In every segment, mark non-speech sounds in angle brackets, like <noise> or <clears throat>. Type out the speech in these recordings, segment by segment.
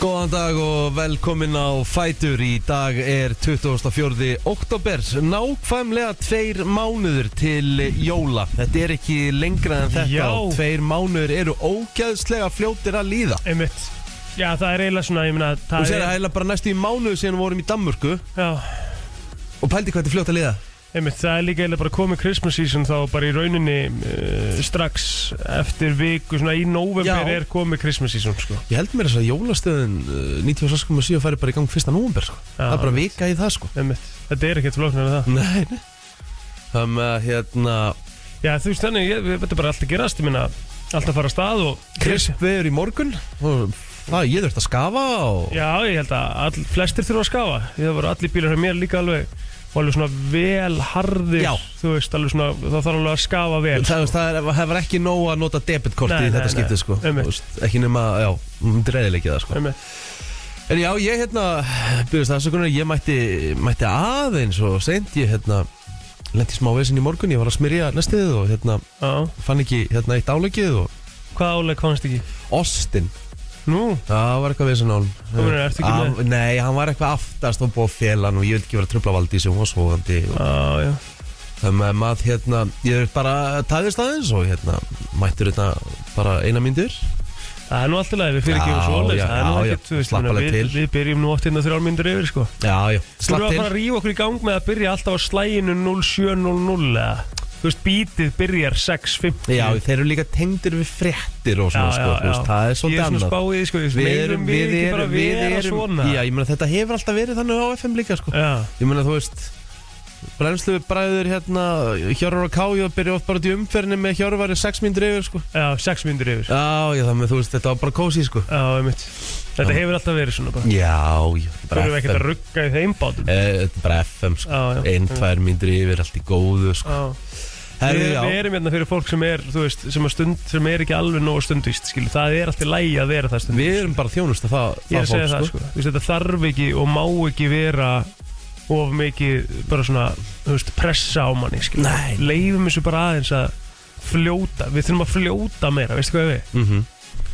Góðan dag og velkomin á Fætur Í dag er 24. oktober Nákvæmlega tveir mánuður til jóla Þetta er ekki lengra en þetta Já. og Tveir mánuður eru ógæðslega fljótir að líða Einmitt. Já, það er eiginlega svona, ég meina, Þú það sér er... að heila bara næstu í mánuðu síðan við vorum í Danmörku Já, Og pældi hvað þetta er fljótt að líða einmitt, það er líka eiginlega bara komið Christmas season þá bara í rauninni uh, strax eftir viku, svona í Já. november er komið Christmas season, sko. Ég held mér þess að jólastöðin uh, 96.7 færi bara í gang 1. november sko. Það er bara vika í það sko Einmitt, þetta er ekkert flóknar en það. Nei, nei Það með að hérna Já, þú veist þannig, ég, þetta er bara allt að gerast, ég meina, allt að fara að stað og... Krisp veður í morgun og það ég þurft að skafa og Já, ég held að all, flestir þurfa að skafa. Það voru allir bílar hjá mér líka alveg, og alveg svona vel harðir, Já. þú veist, alveg svona, það þarf alveg að skafa vel. sko. Það, það, er, það var ekki nóg að nota debitkorti Nei, í þetta nei, skiptið nei, sko einmitt. Þú veist, Ekki nema, já, dreðilegja það sko Einmitt. En já, ég hérna, byrjast afsökunar, ég mætti, mætti aðeins og seint Ég hérna, lenti smá vesinn í morgun, ég var að smyrja næstið og hérna Já, Fann ekki hérna eitt álökið og hvað álega komst ekki? Austin, Nú, það var eitthvað vesinn á hann Þú meinar, ertu ekki með? Nei, hann var eitthvað aftast og búið félan og ég vil ekki vera að trubla valdi sem hún var svoðandi og já, já. Þannig að maður hérna, ég er bara tæðist aðeins og hérna, mættur hérna bara eina myndir. Það er nú alltaf læg, við fyrir ekki Já, svo já, leis Það er nú já, já, ekkert, þú veist, slappa meina, alveg við, til. við byrjum nú 8 og mínútur yfir, sko Já, já, Þú erum slapp að til. fara að rífa okkur í gang með að byrja alltaf á slæginu 0700 eða Þú veist, bítið byrjar 6.50 Já, þeir eru líka tengdir við fréttir og svona, sko, þú veist, það er Ég svolítið er svona annað. spáið, sko, við, við erum við ekki bara vera svona Já, ég meina þetta hefur alltaf verið þannig á FM líka, sko. já, Ég meina, þú veist, brennslu bræður hérna, Hjörvar og Kájóð byrja oft bara út í umferðinni með Hjörvar í sex myndir yfir, sko. já 6 mínútur yfir Já, Já, já, þannig, þú veist, þetta var bara kósi, sko. einmitt Þetta hefur alltaf verið svona bara Já, já, Þú erum bara ekkert að FM. rugga í þeim bátum Eh, Þetta er bara FM, sko. Já, já Einn, tvær myndir yfir, allt í góðu, sko. Já. Herri, við, já. við erum hérna fyrir fólk sem er, þú veist, sem, er stund, sem er ekki alveg nógu stundvist, skilu, það er alltaf lægi að vera það stundvist. Við erum bara að þjónusta það, Ég er að segja það, sko. Þú veist, þetta þarf ekki og má ekki vera of mikið, bara svona, þú veist, pressa á manni, skilu. Nei. Leifum þessu bara aðeins að fljóta, við þurfum að fljóta meira, veistu hvað við? mm -hmm.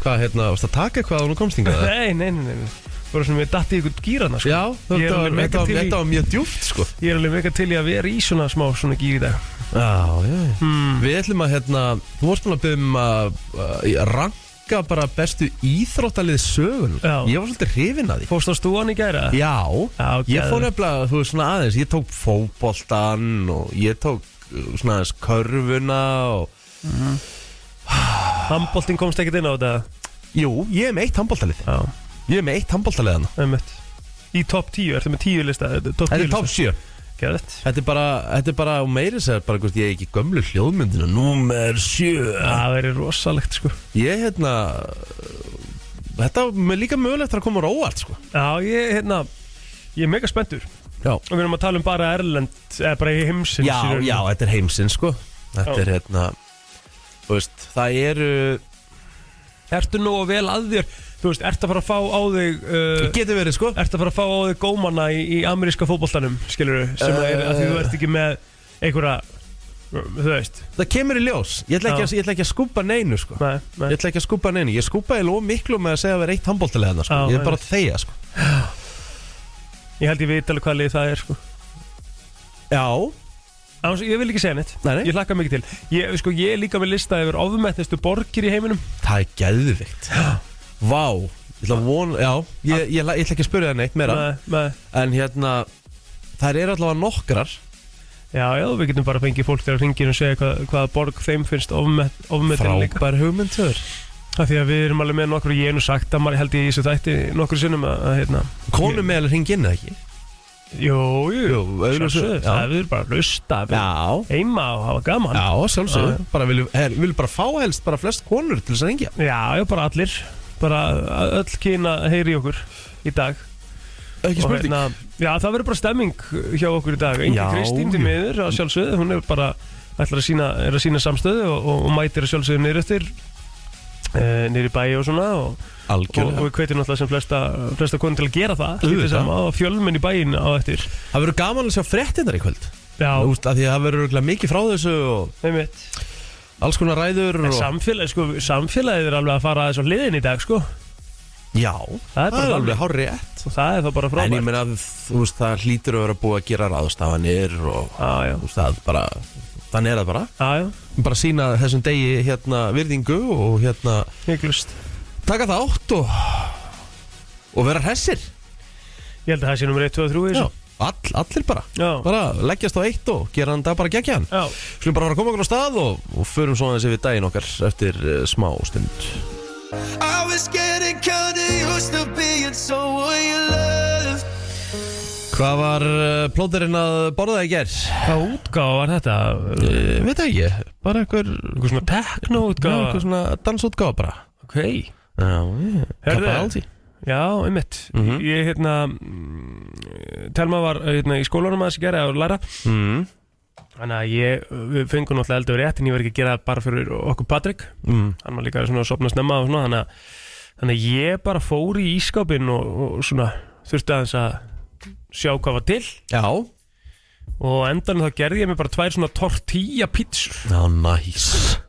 Hvað, hérna, varst að taka eitthvað á nú komst hingað? eða? <laughs> Nei, nei, nei, nei, nei. Bara svona, við datti ykkur gýrana, sko. Já, Ég er þetta var, alveg mega þetta var, til í- þetta var mjög djúft, sko Ég er alveg meika til í að vera í svona smá svona gýr í dag. Já, já, já Hmm. Við ætlum að, hérna, þú varst búin að byggja um að uh, ranka bara bestu íþróttalið sögun Já. Ég var svolítið hrifin að því Fórst á stúan í gæra? Já, Já, ég fór geðveikt. nefnilega, þú veist, svona aðeins Ég tók fótboltan og ég tók uh, svona aðeins körfuna og Hmm. Handboltinn komst ekkert inn á þetta? Jú, ég er með eitt handbóltalið Já. Ég er með eitt handbóltalið hann Einmitt. Í topp 10, ertu með 10 lista? Top Þetta er top 7 Gerðið Þetta er bara, þetta er bara og meiri sér bara, hvort ég er ekki gömlu hljóðmyndina Númer sjö Það verður rosalegt sko Ég hérna Þetta er líka mögulegt að koma á óvart sko Já, ég, hérna, ég er mega spenntur Já, Og við erum að tala um bara Erlend Eða bara í heimsins já, í rauninni. já, þetta er heimsinn sko Þetta Já. er hérna Þú veist, það eru Ertu nú að vel að þér Þú veist, ertu að fara að fá á þig Það uh, getur verið sko Ertu að fara að fá á þig gómana í, í ameríska fótboltanum Skilur sem uh, er að því þú ert ekki með Einhverja, þú veist Það kemur í ljós Ég ætla ekki, Já. að, ég ætla ekki að skúpa neinu sko Nei, nei Ég ætla ekki að skúpa neinu Ég skúpa í lóð miklu með að segja að vera eitt handbóltalið hann sko Já, Ég er bara einmitt. að þegja sko Ég held ég veit alveg hvað lið það er sko Já, Án, Ég vil ekki segja neitt Nei, nei. Ég hlakka mikið til Ég, sko, ég er líka með lista yfir ofmetnistu borgir í heiminum Það er geðvikt Vá Ég ætla að vona Já Ég, ég, ætla- ég ætla ekki að spyrja það neitt meira Nei, nei En hérna Það eru allavega nokkrar Já, já, við getum bara fengið fólk til að ringja og segja hvað, hvaða borg þeim finnst ofmet- ofmetin líka. Frábær hugmyndur Af því að við erum alveg með nokkur og ég er nú sagt að maður held ég í þessu þætti nokkur sinnum að, að hérna, Konum með alveg hringi inn eða ekki jú, jú, Jú, auðvitað, sjálfsögðu, já. það er við erum bara að lusta, við erum Já heima og hafa gaman. Já, sjálfsögðu Já, Bara viljum, her, viljum bara fá helst bara flest konur til þess að ringja Já, já, bara allir, bara öll kýna heyri í okkur í dag. Ekki Og spurning hérna, já, það verður bara stemming hjá okkur í dag. Engi Já, Kristín til jú. miður, að sjálfsögðu, hún er bara, ætlar að sína, er að sína samstöðu og, og, og mætir að sjálfsögðu niður eftir, eh, niður í bæi og svona og og, og Algjörlega við kveitum náttúrulega sem flesta, flesta konur til að gera það Auðvitað. lítið sama og fjölmenn í bæinn á eftir Það verður gaman að sjá fréttinnar í kvöld já, Þú veist, af því að það verður örugglega mikið frá þessu og einmitt alls konar ræður en og... samfélagið sko, samfélagið er alveg að fara aðeins á hliðin í dag sko Já, Það er bara þannig. alveg hárið ett og það er þá En bara ég frábært meina, þú veist, það hlýtur að vera búið að gera ráðstafanir og Já, já. þú veist, það bara, þannig er það bara Já, já, Bara sína þessum degi hérna virðingu og hérna hygglust taka það átt og, og vera hressir Ég held að það sé nummer 1, 2 og 3 í Já, þessu all, allir bara Já. Bara leggjast á eitt og gera hann dag bara gegja hann Já, Skulum bara fara að koma okkur á stað og, og förum svo aðeins yfir daginn okkar eftir uh, smá stund I was getting kinda used to being someone you love. Hvað var uh, plóterinn að borða í gerð? hvað útgáfa var þetta? Uh, veit það ekki, bara einhver Einhver svona tekno Já, einhver útgáfa svona dansútgáfa bara Ok Já, Herðu. Kappaldi Já, einmitt Mhm. Ég, hérna mm, Telma var hérna, í skólanum að þessi gera að læra mm. Þannig að ég, eh, við fengum náttúrulega eldur rétt En ég var ekki að gera það bara fyrir okkur Patrik mm. Hann var líka svona að sopna snemma og svona Þannig að, þannig að ég bara fór í ískápin og, og svona þurfti aðeins að sjá hvað var til Já Og á endanum þá gerði ég mér bara tvær svona tortilla pítsur Já, næs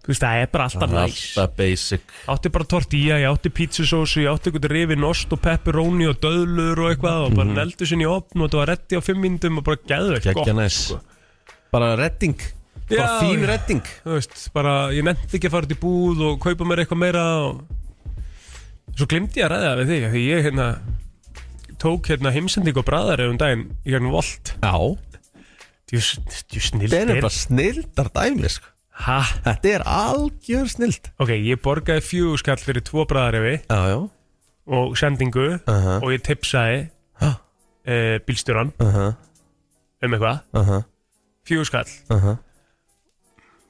Þú veist, það er bara alltaf næs Alltaf basic Átti bara tortilla, ég átti pítsusósu, ég átti einhvern rifin ost og pepperoni og döðlur og eitthvað og Mhm. bara neldu sinni í opn og þetta var reddi á fimm myndum og bara gæðu eitthvað Gekkja næs sko. Bara redding Bara Já, fín já. redding Þú veist, bara ég nefndi ekki að fara út í búð og kaupa mér eitthvað meira og svo glimti ég að ræða við þig af því ég hérna tók hérna heimsending og bræðari um daginn í hérna volt Já Djú, Þetta djú er snildir bara snildar dæmi sko. Ha? Þetta er algjör snild Ok, ég borgaði fjögurskall fyrir tvo bræðari við Já, já og sendingu Aha. og ég tipsaði Ha? uh, bílstjóran Aha, um eitthvað aha, fjögurskall aha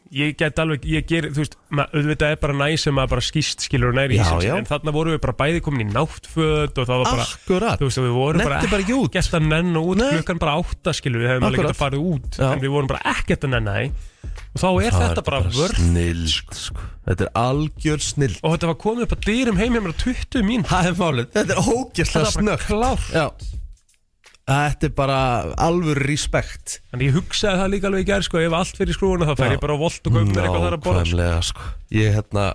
ég get alveg, ég ger, þú veist ma- auðvitað er bara næs sem maður bara skýst skilur og næri Já, í sig, já. en þarna voru við bara bæði komin í náttföt og það var bara Akkurat þú veist, og við vorum bara Nennti bara ekki út. ekkert að nenn út, Nei. klukkan bara átta skilur við hefum alveg Akkurat. getað farið út Já. en við vorum bara ekkert að nenn það og þá er þetta bara vörð Snild sko. Þetta er algjör snild og þetta var komið upp að dyrum heim hjá mér á 20 mín Það er málið Þetta er ógjastlega Þetta var bara snögt klárt Þetta er bara alvör respekt en ég hugsaði það líka alveg í gær sko, ef allt fyrir skrúuna þá Já. fer ég bara á volt og kaupir eitthvað þar að borða sko. Nákvæmlega, sko. Ég hérna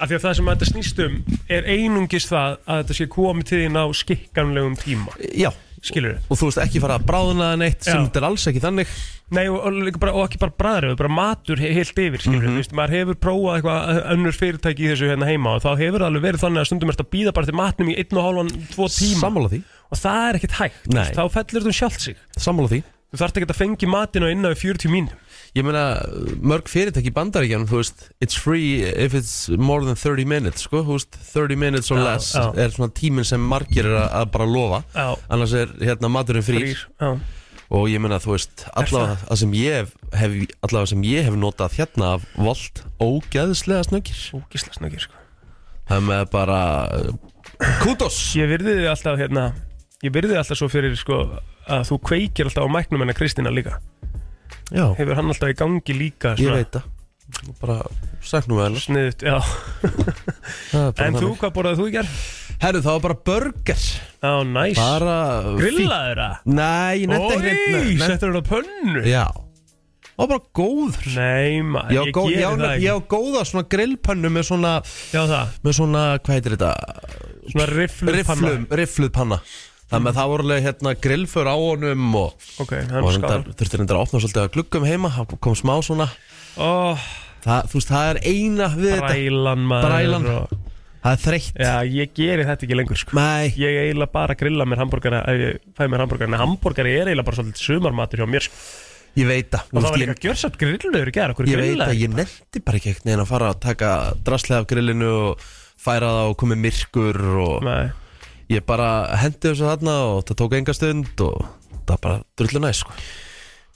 af því að það sem þetta snýst um er einungis það að þetta sé komið til þín á skikkanlegum tíma Já skilur Og þú veist ekki fara að bráðna það neitt sem Já. þetta er alls ekki þannig Nei, og, og, líka bara, og ekki bara bræðröð, bara matur he heilt yfir, skilur, Mhm. mm veist, maður hefur prófað eitthvað önnur fyrirtæki í þessu hérna heima og þá hefur það alveg verið þannig að stundum ert að býða bara til matnum í einn og hálfan, tvo tíma Sammála því og það er ekkert hægt, þú Nei. veist, þá fellur þú sjálft sig Sammála því þú þarft ekki að fengi matin og inna við 40 mínum Ég meina, mörg fyrirtæki í bandaríkjanum, þú veist, it's free if it's more than 30 minutes, sko, þú veist, 30 minutes or Já, less já. er svona tíminn sem margir er að, að bara lofa, Já. annars er hérna maturinn frýr Já. og ég meina, þú veist, allavega það sem ég hef, hef, allavega sem ég hef notað hérna af volt ógeðslega snöggir. Ógisla snöggir, sko Það með bara, uh, kudos! Ég virði þið alltaf, hérna ég virði þið alltaf svo fyrir, sko að þú kveikir alltaf á mæknum hennar Kristina líka Já, hefur hann alltaf í gangi líka ég svona, veit það, bara sæknum við hennar. sniðut, já. <laughs> Það er bara En þú, þannig. hvað borðað þú í gær? Herru, það var bara burger, Á, næs, bara fínt. grillaður það Nei, ég nefndi ekki Ói, nefndi- settur hún á pönnu Já Það var bara góður Nei maður, Ég á ég gó- gerir Ég á það nef- ekki ég á góða svona grillpönnu með svona Já það, með svona, hvað heitir þetta? svona rifflum Rifflum, riffluð panna Þannig að það voru alveg hérna grillför á honum og, Ok, það og er skáð reyndar, þurfti reyndar að opna svolítið að gluggum heima það kom smá svona oh, það, Þú veist, það er eina við þetta Brælan maður Brælan. og... Það er þreytt Já, ég geri þetta ekki lengur sko Nei, Ég eiginlega bara grilla mér hambúrgara Ef ég fæ mér hambúrgara En hambúrgari er eiginlega bara svolítið sumarmatur hjá mér sko ég veit það Og Þú það var veist, líka ég- gjörsamt grillur í gerð Okkur Ég veit að grillaði ég nefndi bara ekki eitthvað en að fara að taka draslega af grillinu og færa það og komið myrkur og Nei, ég bara hendi þessu þarna og það tók enga stund og það var bara drullu næst sko.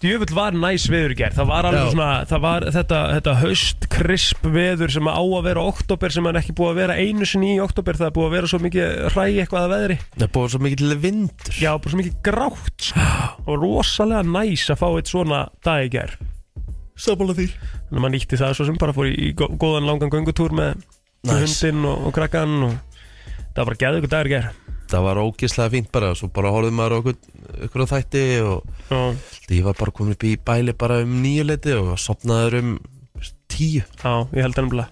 Djöfull var næs veður í gerð Það var alveg Já. svona, það var þetta, þetta höst krisp veður sem á að vera oktober sem er ekki búið að vera einu sinni í oktober Það er búið að vera svo mikið hræ eitthvað að veðri það er búið svo mikið til vindur Já, bara svo mikið grátt sko. og rosalega næs að fá eitt svona dag í gær Sábála því þannig að maður nýtti það svo sem bara fór í gó- góðan langan göngutúr með nice. Næs. hundinn og, og krakkan og það var bara gæðið ykkur dagur í gær það var ógislega fínt bara svo bara horfðum maður á okkur, okkur á þætti og og ég var bara komin upp í bæli bara um nýju leti og sopnaður um tíu já, ég held ennumlega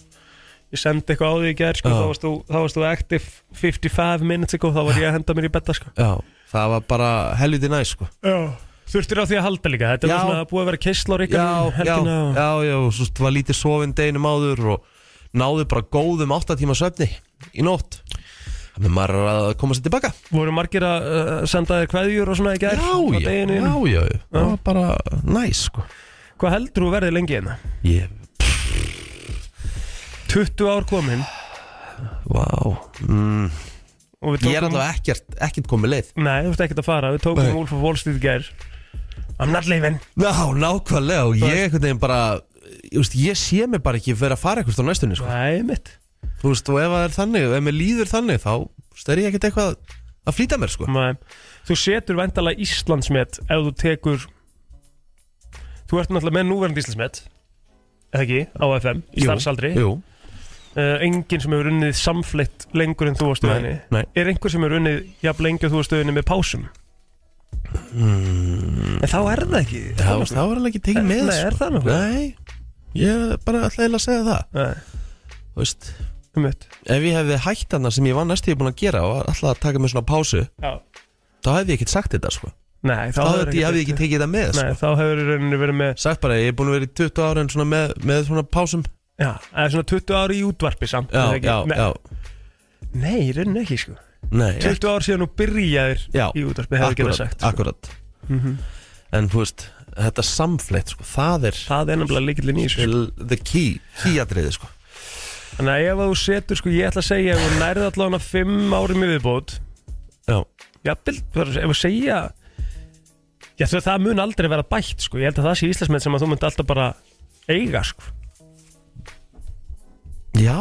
ég sendi eitthvað á því í gerð sko, Já. þá, varst þú, þá varst þú active 55 minutes ago, þá var ég að henda mér í betta sko. Já, það var bara helviti næ sko þurftir á því að halda líka þetta Já. var svona búið að vera kistla á Já, ríkarnum já, helgina og- já, já, og svo var lítið sofin deginum áður og náðu bara góðum 8 tíma svefni í nótt Þannig maður er að koma sér tilbaka voru margir að uh, senda þér kveðjur og svona í Já, gerð já, já, já, já, það var bara næ sko hvað heldur þú verði lengi hérna? Ég, 20 ár komin vá mm. og við Ég er tókum alveg ekkert, ekkert komið leið nei, þú ert ekkert að fara, við tókum Nei. Wolf of Wall Street í gerð I'm not leaving Já, nákvæmlega og ég einhvern veginn bara Ég, veist, ég sé mig bara ekki fyrir að fara eitthvað á næstunni sko. nei, mitt Þú veist, og ef það er þannig, ef mér líður þannig þá þú veist, er ég ekkert eitthvað að flýta mér sko. Nei. Þú setur væntalega Íslandsmet ef þú tekur Þú ert náttúrulega með núverandi Íslandsmet eða ekki, á FM, í Jú, starfsaldri uh, Jú, Enginn sem hefur unnið samflitt lengur en þú á stöðinni nei, nei Er einhver sem hefur unnið jafn lengi og þú á stöðinni með pásum? mm, En þá er það ekki Það var, það var alveg ekki tekið með sko. Nei, er það nokkuð? Nei, ég bara ætla eiginlega að segja það Nei, Þú veist, um mitt ef ég hefði hætt hana sem ég var næstu ég búin að gera og ætla að taka mér svona pásu Já. þá hefði ég ekkert sagt þetta sko Nei, þá Þá hefur hefði ég hefði ekki tekið þetta með Nei, sko þá hefur í rauninni verið með Sagt bara, ég er búin að vera í 20 ára en svona með, með svona pásum Mm. Já, eða svona 20 ári í útvarpi samt Já, eða ekki? já, Nei, já Nei, í rauninni ekki sko Nei, 20 ár síðan og byrjaðir Já, í útvarpi hefði ekki það sagt sko. akkurat En þú veist, þetta samfleytt sko, það er það er nefnilega líkillin í þessu sko. the key, keyadriði sko þannig að ef að þú setur, sko, ég ætla að segja ef þú nærði allavega fimm árum í viðbót Já, jafnvel, bara ef þú segja já þú veist, það mun aldrei vera bætt sko, ég held að það sé íslensmenn sem að þú munt alltaf bara eiga, sko, já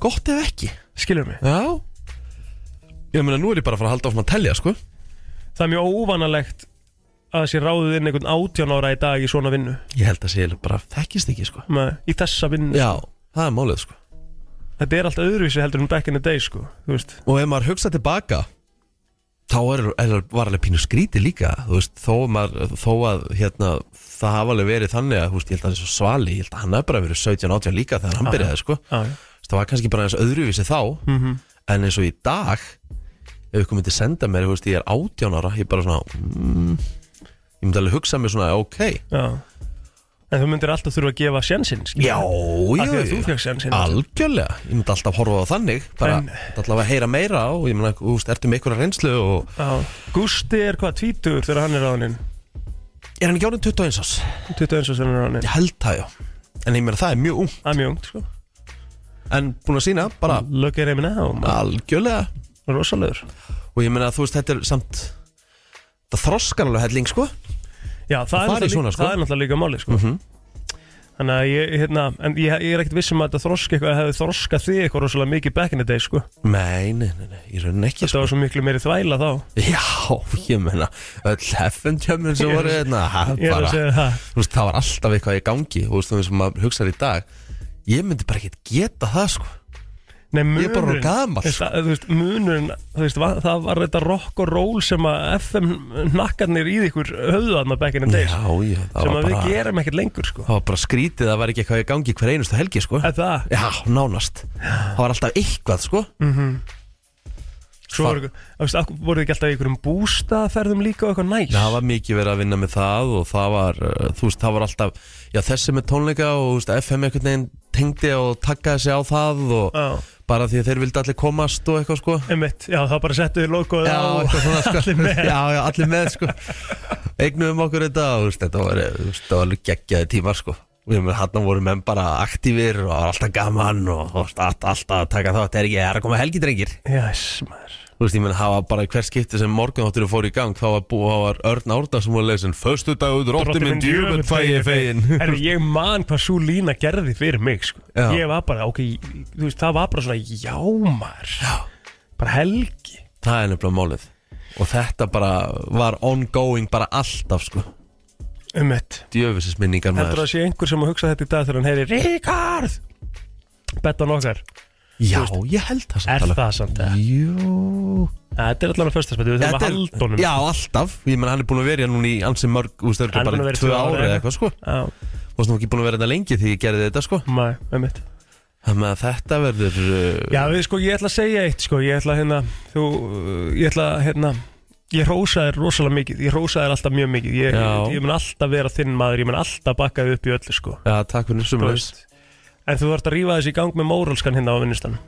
gott ef ekki skilur mig Já Ég meina, nú er ég bara að fara að halda áfram að telja sko það er mjög óvanalegt að það sé ráðið inn einhvern 18 ára í dag í svona vinnu Ég held að sé bara þekkist ekki sko Nei, í þessa vinnu, Já, það er málið sko þetta er allt öðruvísi heldur en back in the day, sko, þú veist Og ef maður hugsa tilbaka Þá er, er, var alveg pínu skríti líka Þú veist, þó, maður, þó að hérna, það hafa alveg verið þannig að þú veist, Ég held að það er svo svali, ég held að hann hafi bara verið 17-18 líka þegar hann Já, já. byrjaði sko já, já. Þú veist, Það var kannski bara eins öðruvísi þá Mhm. En eins og í dag Ef ykkur myndi senda mér, þú veist, ég er 18 ára Ég er bara svona mm, Ég myndi alveg hugsa mér svona, ok já en þú myndir alltaf þurfa að gefa sjensinn skilur Já, mig. já, Af því að já. þú fékkst sénsinn. Algjörlega, ég myndi alltaf horfa á þannig bara En- en... alltaf að heyra meira og ég meina, þú veist, ertu með einhverja reynslu og Já. Gústi er hvað, tvítur þegar hann er ráðin er hann ekki árið 21 ás? 21 sem hann er ráðin Ég held það, já en ég meina, það er mjög ung Það er mjög ungt sko en búin að sína, bara Look at him now, man. algjörlega rosalegur og ég meina, þú veist, þetta er samt það þroskar alveg helling, sko Já, það, fara er í náttúrulega- svona, sko. Mhm. það er náttúrulega líka máli sko. Þannig að ég, hérna, en ég, ég er ekkert vissum að þetta þroska eitthvað hefði þroskað þig eitthvað rosalega mikið back in the day sko. Nei, nei, nei, nei, ég raun ekki, Þetta sko var svo miklu meiri þvæla þá Já, ég meina, öll heffendjömmin sem Ég er- voru, hérna, það Ég er að bara segja það þú veist, það var alltaf eitthvað í gangi þú veist, þú veist, sem maður hugsaði í dag ég myndi bara ekkert geta það, sko Nei, munurinn, Ég er bara orðinn gamall, sko. veist, að- Þú veist, munurinn, þú veist, va- það var þetta rock og roll sem að FM nakkarnir í ykkur höfðu þarna back in the day sko, Já, já, það sem var að bara við gerum ekkert lengur sko. Það var bara skrítið að það var ekki eitthvað í gangi hver einustu helgi sko Eða það Já, nánast Það var alltaf eitthvað sko Svo Fa- voru, þú veist, af hverju voruð þið ekki alltaf í einhverjum bústaferðum líka og eitthvað næs? Það var mikið verið að vinna með það og það var, uh, þú veist, það var alltaf Já, þessi með tónleika og þú veist, FM einhvern veginn tengdi og takkaði sig á það og Já, bara því að þeir vildi allir komast og eitthvað sko einmitt, já, það bara settu þið logoð Já, á eitthvað svona sko allir <laughs> með. Já, já, allir með sko Eignuðum okkur þetta og þú veist, þetta var, eh, þú veist, það var alveg geggjaði tímar sko Við með hann voru menn bara aktífir og það var alltaf gaman og þú veist, allt- alltaf að taka þátt er ekki, það er að koma helgi drengir Jæs, maður. Þú veist, ég menn, það var bara hver skipti sem morgunáttur fór í gang, þá var búið, þá var Örn Árna sem var leysin, Föstu dagur, drótti minn djöfut fæ ég fegin Herru, <laughs> ég man hvað svo lína gerði fyrir mig, sko. Já. Ég var bara, ok, þú veist, það var bara svona, já, maður. Já. Bara helgi. Það er nefnilega málið Og þetta bara var ongoing bara alltaf, sko Einmitt. Djöfisins minningar Heldur maður það Um að sé einhver sem að hugsa þetta í dag þegar hann heyri, Ríkard! Bettan okkar. Já, ég held það Er alveg. það samt það? Jú Þetta er allavega föstarsmættu, við þurfum Þetta að er- halda honum. Já, alltaf Ég menn, hann er búin að vera hérna núna í ansi mörg, þú veist, Hann er örugglega búinn að bara vera í tvö tvö ár ári eða eða eitthvað, sko Já, Og svona ekki búin að vera þetta lengi því ég gerði þetta, sko maður, einmitt. Þannig að þetta verður uh, Já, við, sko, ég ætla að segja eitt, sko, ég ætla hérna, þú, uh, ég ætla hérna, ég rósa þér rosalega mikið, ég rósa þér alltaf mjög mikið, ég, Já. ég, ég mun alltaf vera þinn maður, ég mun alltaf bakka þig upp í öllu, sko, Já, takk fyrir þú sumleis veist, en þú vart að rífa þessi í gang með móralskan hérna á vinnustan,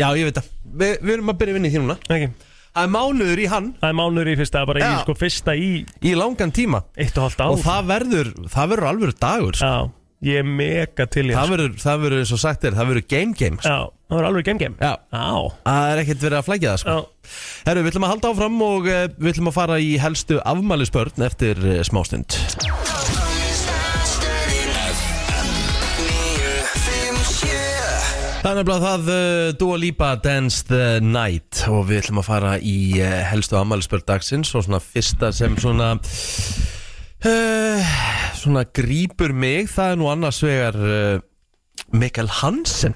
Já, ég veit það Vi, Við erum að byrja vinni í því núna ekki? Það er mánuður í hann Það er mánuður í fyrsta, bara í, Já. sko, fyrsta í í langan tíma eitt og halvt Og ár, það verður, það verður alveg dagur sko. já, ég er mega til ég, það, verður, það verður, eins og sagt er, það verður game game sko. já, það var alveg game game, Já, já, það er ekkert verið að flækja það sko. já, Herru, við ætlum að halda áfram og eh, við ætlum að fara í helstu afmælisbörn eftir eh, smástund. Það er nefnilega það uh, Dua Lipa Dance the Night og við ætlum að fara í uh, helstu afmælisbörn dagsins og svona fyrsta sem svona uh, svona grípur mig það er nú annars vegar uh, Mikael Hansen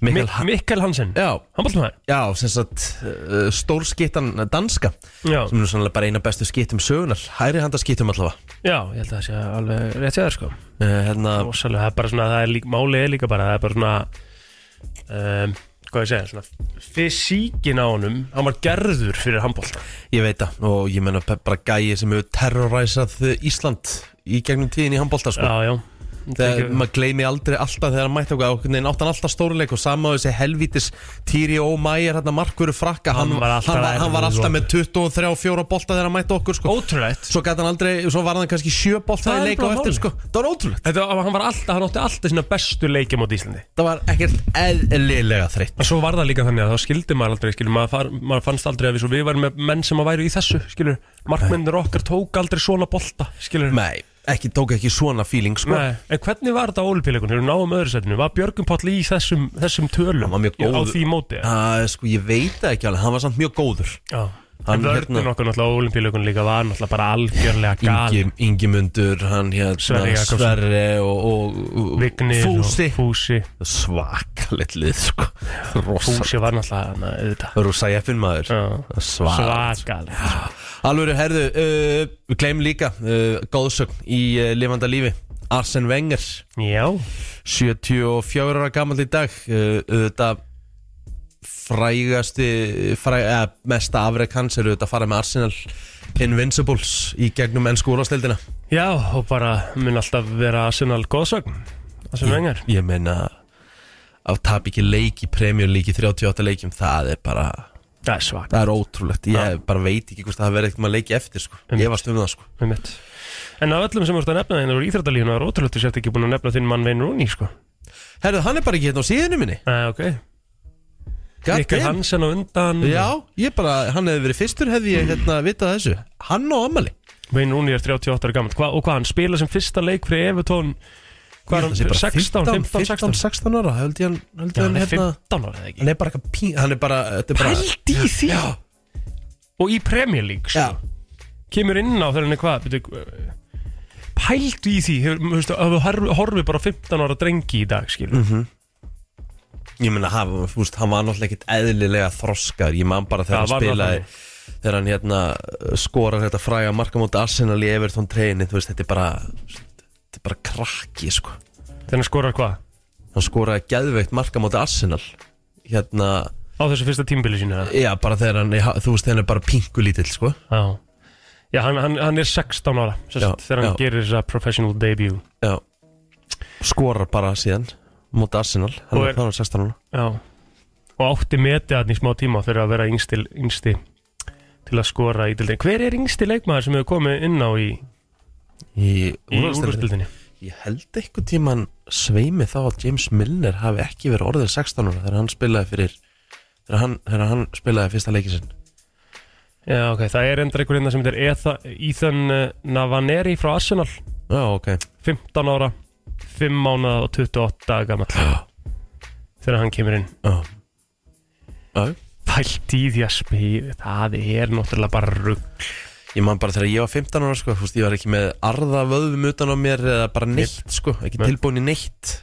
Mikael Mik Hansen Mikkel Hansen, Já, handbóltmaður, Já, sem sagt uh, stórskittan danska já, sem er sannlega bara eina bestu skittum sögunar hæri handa skittum allavega já, ég held að það sé alveg rétt hjá þér, sko. uh, hérna, rosalega, það er bara svona, það er líka, málið er líka bara, það er bara svona um, hvað ég segja, svona fysíkin á honum, hann var gerður fyrir handbólt ég veit það og ég menna bara gæi sem hefur terroræsað Ísland í gegnum tíðin í handbólta sko. já, já þegar maður gleymi aldrei alltaf þegar hann mætti okkur okkur en áttan alltaf stóruleik og sama á þessi helvítis Týri Ómæjar, hérna markvöru frakka hann, Hann var alltaf hann, var, hann var alltaf erfiður. sko. með 23-4 bolta þegar hann mætti okkur sko. ótrúlegt svo gæti hann aldrei, svo var hann kannski 7 bolta Það í er leik á bara eftir málið. sko. það var ótrúlegt Þetta, var- hann var alltaf, hann átti alltaf sína bestu leiki mot Íslandi það var ekkert eðlilega þreytt En svo var það líka þannig að þá skildi maður aldrei, skilur, maður, far, maður fannst aldrei að við, svo, við varum með menn sem að væru í þessu, skilur, markmennir okkar tók aldrei svona bolta, skilur. Nei, ekki, tók ekki svona feeling sko Nei. En hvernig var þetta á olimpíuleikunum, þegar við náum um öðru setinu, var Björgum Páll í þessum, þessum Hann tölum var mjög á góður. því móti? uh, Sko, ég veit það ekki alveg, hann var samt mjög góður Já, Hann, en vörðin hérna- okkur náttúrulega á olimpíuleikun líka var náttúrulega bara algjörlega gal Ingi, Ingimundur, hann hérna Sverri Jakobsson. Sverri og, og, og Vignir Fúsi og Fúsi Svakalit lið sko Rosa Fúsi var náttúrulega hana, auðvitað Rúsa jeffin maður Já. Svakalit Svakal Alvöru, herðu, uh, við gleym líka uh, góðsögn í uh, lifanda lífi Arsene Wenger, Já, 74 ára gamall í dag uh, Þetta frægasti fræg, eða, mesta afrek hans eru þetta að fara með Arsenal Invincibles í gegnum ennsku úrvastildina já og bara mun alltaf vera Arsenal góðsögn Arsenal vengar ég meina að tap ekki leik í Premier League í 38 leikjum það er bara, Það er svak það er ótrúlegt ég bara veit ekki hvort það verið eitthvað maður leiki eftir sko. Einmitt. ég var stum það sko með mitt En af öllum sem voru að nefna þeirna úr íþrættalífuna er ótrúlega þú sért ekki búin að nefna þinn mann Vein Rúni sko herðu, hann er bara ekki hérna á síðinu minni Æ, ok God Rikki damn. Hansen á undan já, ég bara, hann hefði verið fyrstur hefði ég hérna vitað þessu hann og Amali Vein Rúni er 38 ára gammal Hva, Og hvað, hann spila sem fyrsta leik fyrir Evertón Hvað er hann? 16, 15, 16 16 ára held ég hann, held ég Já, hann hann, er hérna 15 ára eða ekki hann er bara eitthvað pín hann er bara, þetta er bara Pældi í því já, Og í Premier League já, sko. Kemur inn á þegar hann er hvað byrju, eh, Pældi í því hefur- þú veist, að horfi, horfi bara á 15 ára drengi í dag skilur Mhm. ég meina hann, þú veist, hann var náttúrulega ekkit eðlilega þroskar, ég man bara Já, þegar var hann það spilaði þegar hann hérna uh, skorar þetta fræga marka móti Arsenal í Everton treyni, þú veist, þetta er bara þetta er bara krakki, sko Þegar hann skorar hvað? hann skoraði geðveikt marka móti Arsenal hérna, Á þessu fyrsta tímbili sínu eða? já, bara þegar hann er- þú veist, þegar hann er bara pingulítill, sko Já Já, hann, hann, hann er 16 ára sest, Já, Þegar hann já. gerir þessa professional debut já, skorar bara síðan móti Arsenal, Og hann er- er þannig 16 ára Já Og átti metið hann í smá tíma fyrir að vera yngsti, yngsti til að skora í dildinni Hver er yngsti leikmaður sem hefur komið inn á í, í í úrvalsdeildinni. úrstildinni? Ég held eitthvað tíman sveimi þá að James Milner hafi ekki verið orðin 16 ára þegar hann spilaði fyrir þegar hann, þegar hann spilaði fyrsta leikið sinn Já, ok, það er endur einhver hérna sem heitir Etha- Ethan eh, Navaneri frá Arsenal Já, ok 15 ára 5 mánuða og 28 daga gammal Já, þegar hann kemur inn já pælt í því að spila það er náttúrulega bara rugg Ég man bara þegar ég var 15 ára sko, fúst, ég var ekki með arða vöðum utan á mér eða bara neitt sko, ekki Nei. tilbúin í neitt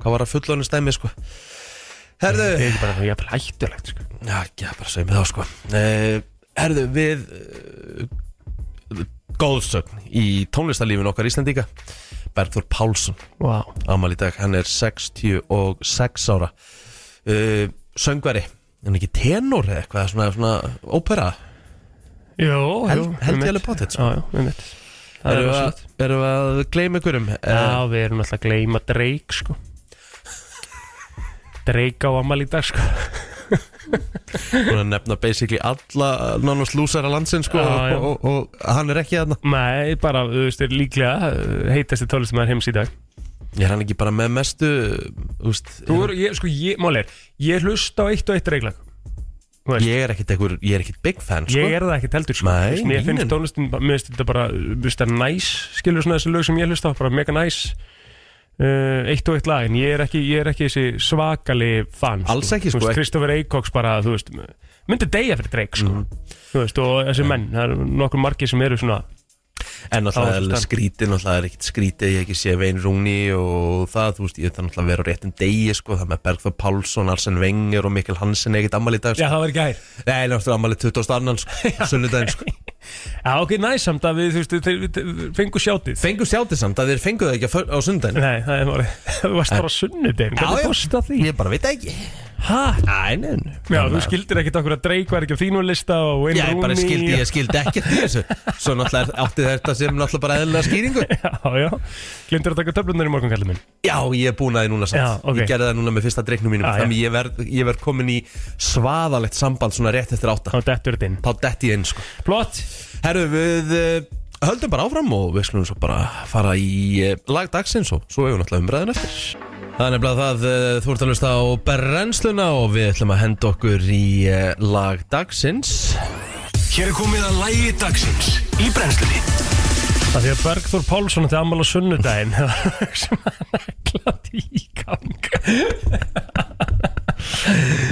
hvað var að fullónu stæmi sko það Herðu er ekki bara jafnvel hættulegt sko. Já, ekki, það bara segjum við þá sko uh, Herðu, eh, við uh, góðsögn í tónlistarlífin okkar Íslendinga Berður Pálsson Vá ámæli í dag, hann er 66 ára uh, söngveri en ekki tenor eða eitthvað svona, svona ópera Jó, Held- jú, held ég einmitt. alveg pottet, sko. Já, já, einmitt Það er erum við rosalegt að, erum við að gleyma ykkurum Já, uh, við erum alltaf að gleyma Drake, sko Drake á amal í dag, sko búin að nefna basically alla nánast lúsara landsins sko, Já, já. Og, og, og hann er ekki þarna Nei, bara, þú veist, er líklega uh, heitasti tólestumæður heims í dag ég er hann ekki bara með mestu úst, Þú eru, ég, sko, ég, mál er Ég hlusta á eitt og eitt reiklag ég er ekkit ekkur, ég er ekkit big fan sko. Ég er það ekkert heldur, sko Nei, Þú veist, Mér nei, nei. finnst tónlistin, bara- mér finnst þetta bara Þú veist, það er næs, skilur svona þessi lög sem ég hlusta á Bara mega næs Uh, eitt og eitt lag, en ég er ekki, ég er ekki þessi svakali fan Alls ekki, sko, Þú veist, ekki- Kristoffer Eikóks bara, þú veist myndi deyja fyrir Drake, sko Mm. Þú veist, og þessi menn, það eru nokkur margir sem eru svona En Á þessu náttúrulega er stað. skrítið, náttúrulega er ekkert skrítið ég ekki sé Vein Rúni og það, þú veist, ég þarf náttúrulega að vera á réttum degi, sko, það með Bergþór Pálsson, Arsen Wenger og Mikkel Hansen ekkert ammali í dag, sko. það var ekki hær Nei, náttúrulega ammali 22. <laughs> sko, sunnudaginn, sko. Já, ok, næs samt að við, þú veist, þeir þeir fengu sjátið Fengu sjátið samt að þeir fengu það ekki á fö- á sunnudaginn. Nei, það er málið Þú varst bara <laughs> á sunnudegin, hvernig fórst að því? Ég bara veit ekki. Hæ? Æ, nein. Já, þú skildir ekkert okkur að Drake var ekki á þínu lista og Wayne Já, ég bara Rooney skildi, ég skildi ekkert í <laughs> þessu. Svo náttúrulega er- átti þetta sem náttúrulega bara eðlilega skýringu. Já, já, glindur að taka töflunar í morgun, kallið minn Já, ég er búin að því núna samt Já, ok. Ég gerði það núna með fyrsta dreiknum mínum Já, já. Þannig ég verð, ég verð komin í svaðalegt samband svona rétt eftir átta Þá dettur þetta inn þá detti ég inn sko Plott Herru, við uh, höldum bara áfram og við skulum svo bara fara í uh, lag dagsins og svo hefur náttúrulega umræðin eftir Það er nefnilega það, uh, þú ert að hlusta á brennsluna og við ætlum að henda okkur í uh, lag dagsins Hér er komið að lægi dagsins í brennslunni Það því að Bergþór Pálsson átti ammál á sunnudaginn <laughs> sem hann er glatt í gang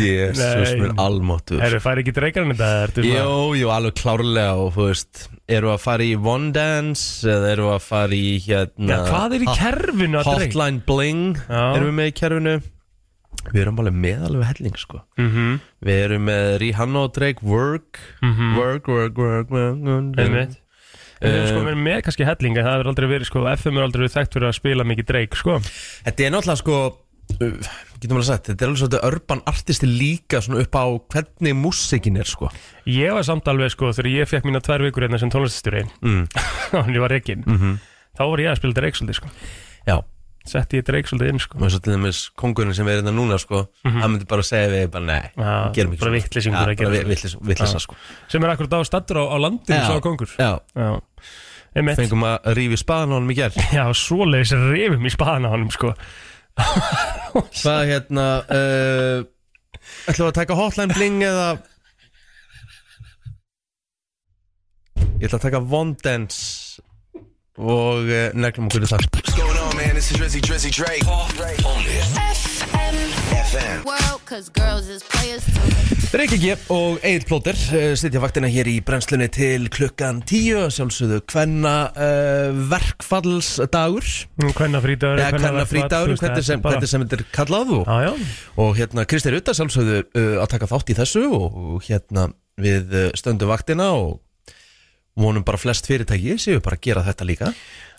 Jésus, Nei. mér almáttur Herru, fær ekki dreikarinn þetta? ertu svona- Jú, jú, alveg klárlega og þú veist Eru að fara í One Dance eða eru að fara í hérna Já, hvað er í Hot- kerfinu að dreik? Hotline Bling Já. erum við með í kerfinu Við erum alveg með alveg helling sko Mhm. Við erum með Rihanna og Drake Work Work, work, work, work, work, Einmitt. Við erum Eh, sko verið með kannski helling en það hefur aldrei verið sko, FM er aldrei verið þekkt fyrir að spila mikið dreik sko. Þetta er náttúrulega sko uh, Getum alveg sagt, þetta er alveg svolítið urban artisti líka Svona upp á hvernig músikin er sko Ég var samt alveg sko þegar ég fekk mína tvær vikur hérna sem tónlistastjóri <laughs> Mm. Mhm. þannig ég var reikinn -hmm. þá var ég að spila dreik svolítið sko. Já, setti ég dreik svolítið inn sko. og svo til dæmis kongurinn sem er hérna núna sko Hann myndi bara segja við, bara nei, Mhm. Já, gerum ekki bara svona. vitleysingur Já, að gera bara það. vitleys- Vitleysa Já. sko sem er akkur dag stattur á, á landinu Já. sá kongur Já, Já. Einmitt. fengum að rífi spaðan á honum í gerð Já, svoleiðis rifum í spaðan á honum sko. Hvað hérna uh, Ætlum við að taka hotline bling eða Ég ætla að taka one dance Og uh, neglum okkur í það What's going on man, this is Drizzy Drizzy Drake Only FM FM world, cause girls is players too. Reykja G og Egil Plóter uh, Sitja vaktina hér í brennslunni til klukkan 10 Sjálfsögðu hvenna uh, verkfallsdagur hvenna frítagur Eða hvenna frítagur Hvernig sem, hvernig sem þetta er kallað og, Já, já, og hérna Kristi Rutta sjálfsögðu uh, að taka þátt í þessu og, og hérna við uh, stöndum vaktina og vonum bara flest fyrirtæki séu bara að gera þetta líka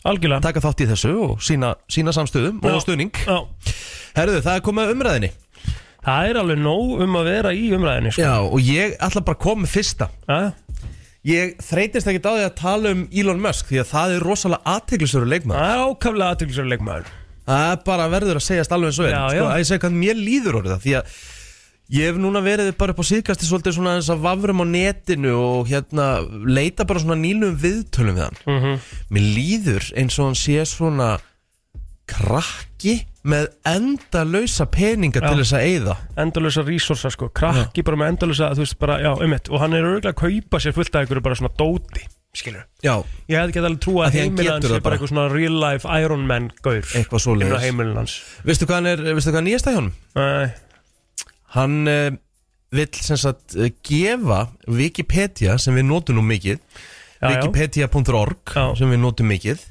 algjörlega taka þátt í þessu og sína, sína samstöðum Já. og stuðning Já. Herðu, það er komið að umræðinni Það er alveg nóg um að vera í umræðinni sko. Já, og ég ætla bara að koma með fyrsta Já, Ég þreytist ekkert á því að tala um Elon Musk því að það er rosalega aðteglisveru leikmaður Það er ákaflega aðtöklisverð leikmaður Það er bara verður að segjast alveg eins og er Já, Sko, já. að ég segja hvað mér líður orðið það því að ég hef núna verið bara upp á síðkasti svolítið svona eins að vafrum á netinu og hérna leita bara svona nýlum viðtölum við hann Mhm. Mér líður eins og hann sé svona krakki með endalausa peninga til þess að eyða endalösa resursa sko, krakki bara með endalösa þú veist bara, já, ummitt, og hann er örgulega að kaupa sér fullt af einhverju bara svona dóti skilur, Já, ég hefði gett alveg trúa Af að því hann heimilans getur er það bara. bara eitthvað svona real life Iron Man gaur, Eitthvað svoleiðis. inn á heimilans veistu hvað, hann er, veistu hvað hann nýjast að hjónum? já, Hann uh, vill sem sagt uh, gefa Wikipedia sem við notum nú mikið já, Wikipedia.org Já. sem við notum mikið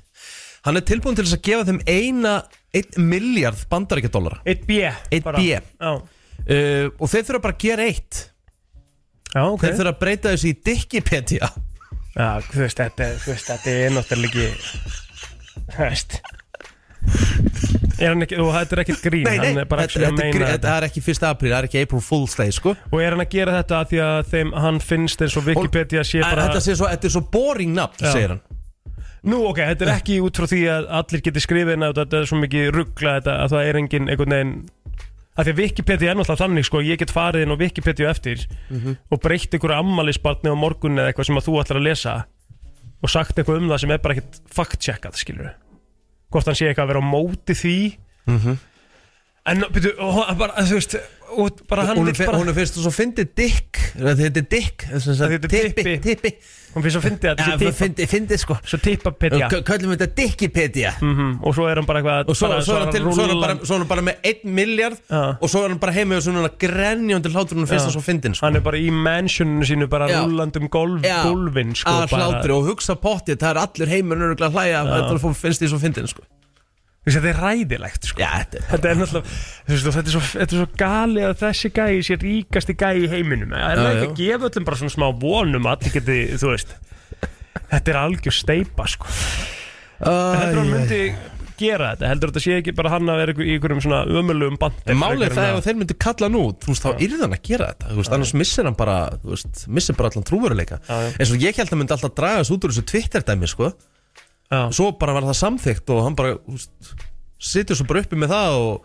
Hann er tilbúin til þess að gefa þeim eina 1 miljard bandaríkjadólara eitt B Eitt bara. B. já, uh, og þeir þurfa bara að gera eitt já, ok Þeir þurfa að breyta þessu í Dickipedia já, þú veist, þetta, þú veist, þetta er náttúrulega ekki þú veist Er hann ekki, og þetta er ekkert grín Nei, nei, Hann er bara þetta, actually að þetta, meina þetta, þetta þetta er ekki 1. apríl, það er ekki April Fool's Day sko. Og er hann að gera þetta af því að þeim, hann finnst eins og Wikipedia sé En bara þetta, sé svo, þetta er svo boring nafn, Já. segir hann Nú ok, þetta er ekki út frá því að allir geti skrifið inn að þetta er svo mikið ruggla þetta að það er engin einhvern veginn að því að Wikipedia er náttúrulega þannig sko ég get farið inn á Wikipedia á eftir Mhm. og breytt einhverju ammælisbarni á morgun eða eitthvað sem að þú ætlar að lesa og sagt eitthvað um það sem er bara ekkert fact-checkað skilur hvort hann sé eitthvað að vera á móti því Mhm. en byrju, og, hann bara, þú veist og bara hann Hún vill bara, er fyrst og svo fyndið Dick Þetta er Dick, sem sagt, Þetta er tippi, Dippi. tippi hún finnst svo fyndið að Ja, þetta sé tippa- fyndið- Fyndið sko svo tippapedia K- Köllum þetta Dickipedia Mhm, og svo er hann bara eitthvað Og svo, bara, svo, er hann til, svo, er hann bara, rúllan- svo er hann bara með 1 miljard Já. Og svo er hann bara heim með svona grenjóndi hlátur Hún finnst Já. það svo fyndin sko. hann er bara í mansioninu sínu bara Já. rúlandum golf, Já. golfin sko, Að bara- hlátri og hugsa pottið Það er allir heimur nörgulega að hlæja Þetta finnst því svo fyndin sko. Þú veist, þetta er ræðilegt sko. Já, þetta er þetta er náttúrulega þú veist, og þetta er, svo, þetta er svo gali að þessi gæi sé ríkasti gæi í heiminum það er Já, já. ekki að gefa öllum bara svona smá vonum að allir geti, þú veist þetta er algjör steipa sko. Æ, æ, heldur hann æ. myndi gera þetta heldur þetta sé ekki bara hann að vera einhver- í einhverjum svona ömulegum bandi En málið er það Frekar en ef að- þeir myndu kalla hann út Þú veist, þá yrði hann að gera þetta Þú veist, annars missir hann bara Þú veist, missir bara allan trúveruleika Já, já. Eins og ég held að myndi alltaf dragast út úr þessu Twitter-dæmi, sko Já. Svo bara var það samþykkt og hann bara þú veist, Situr svo bara uppi með það og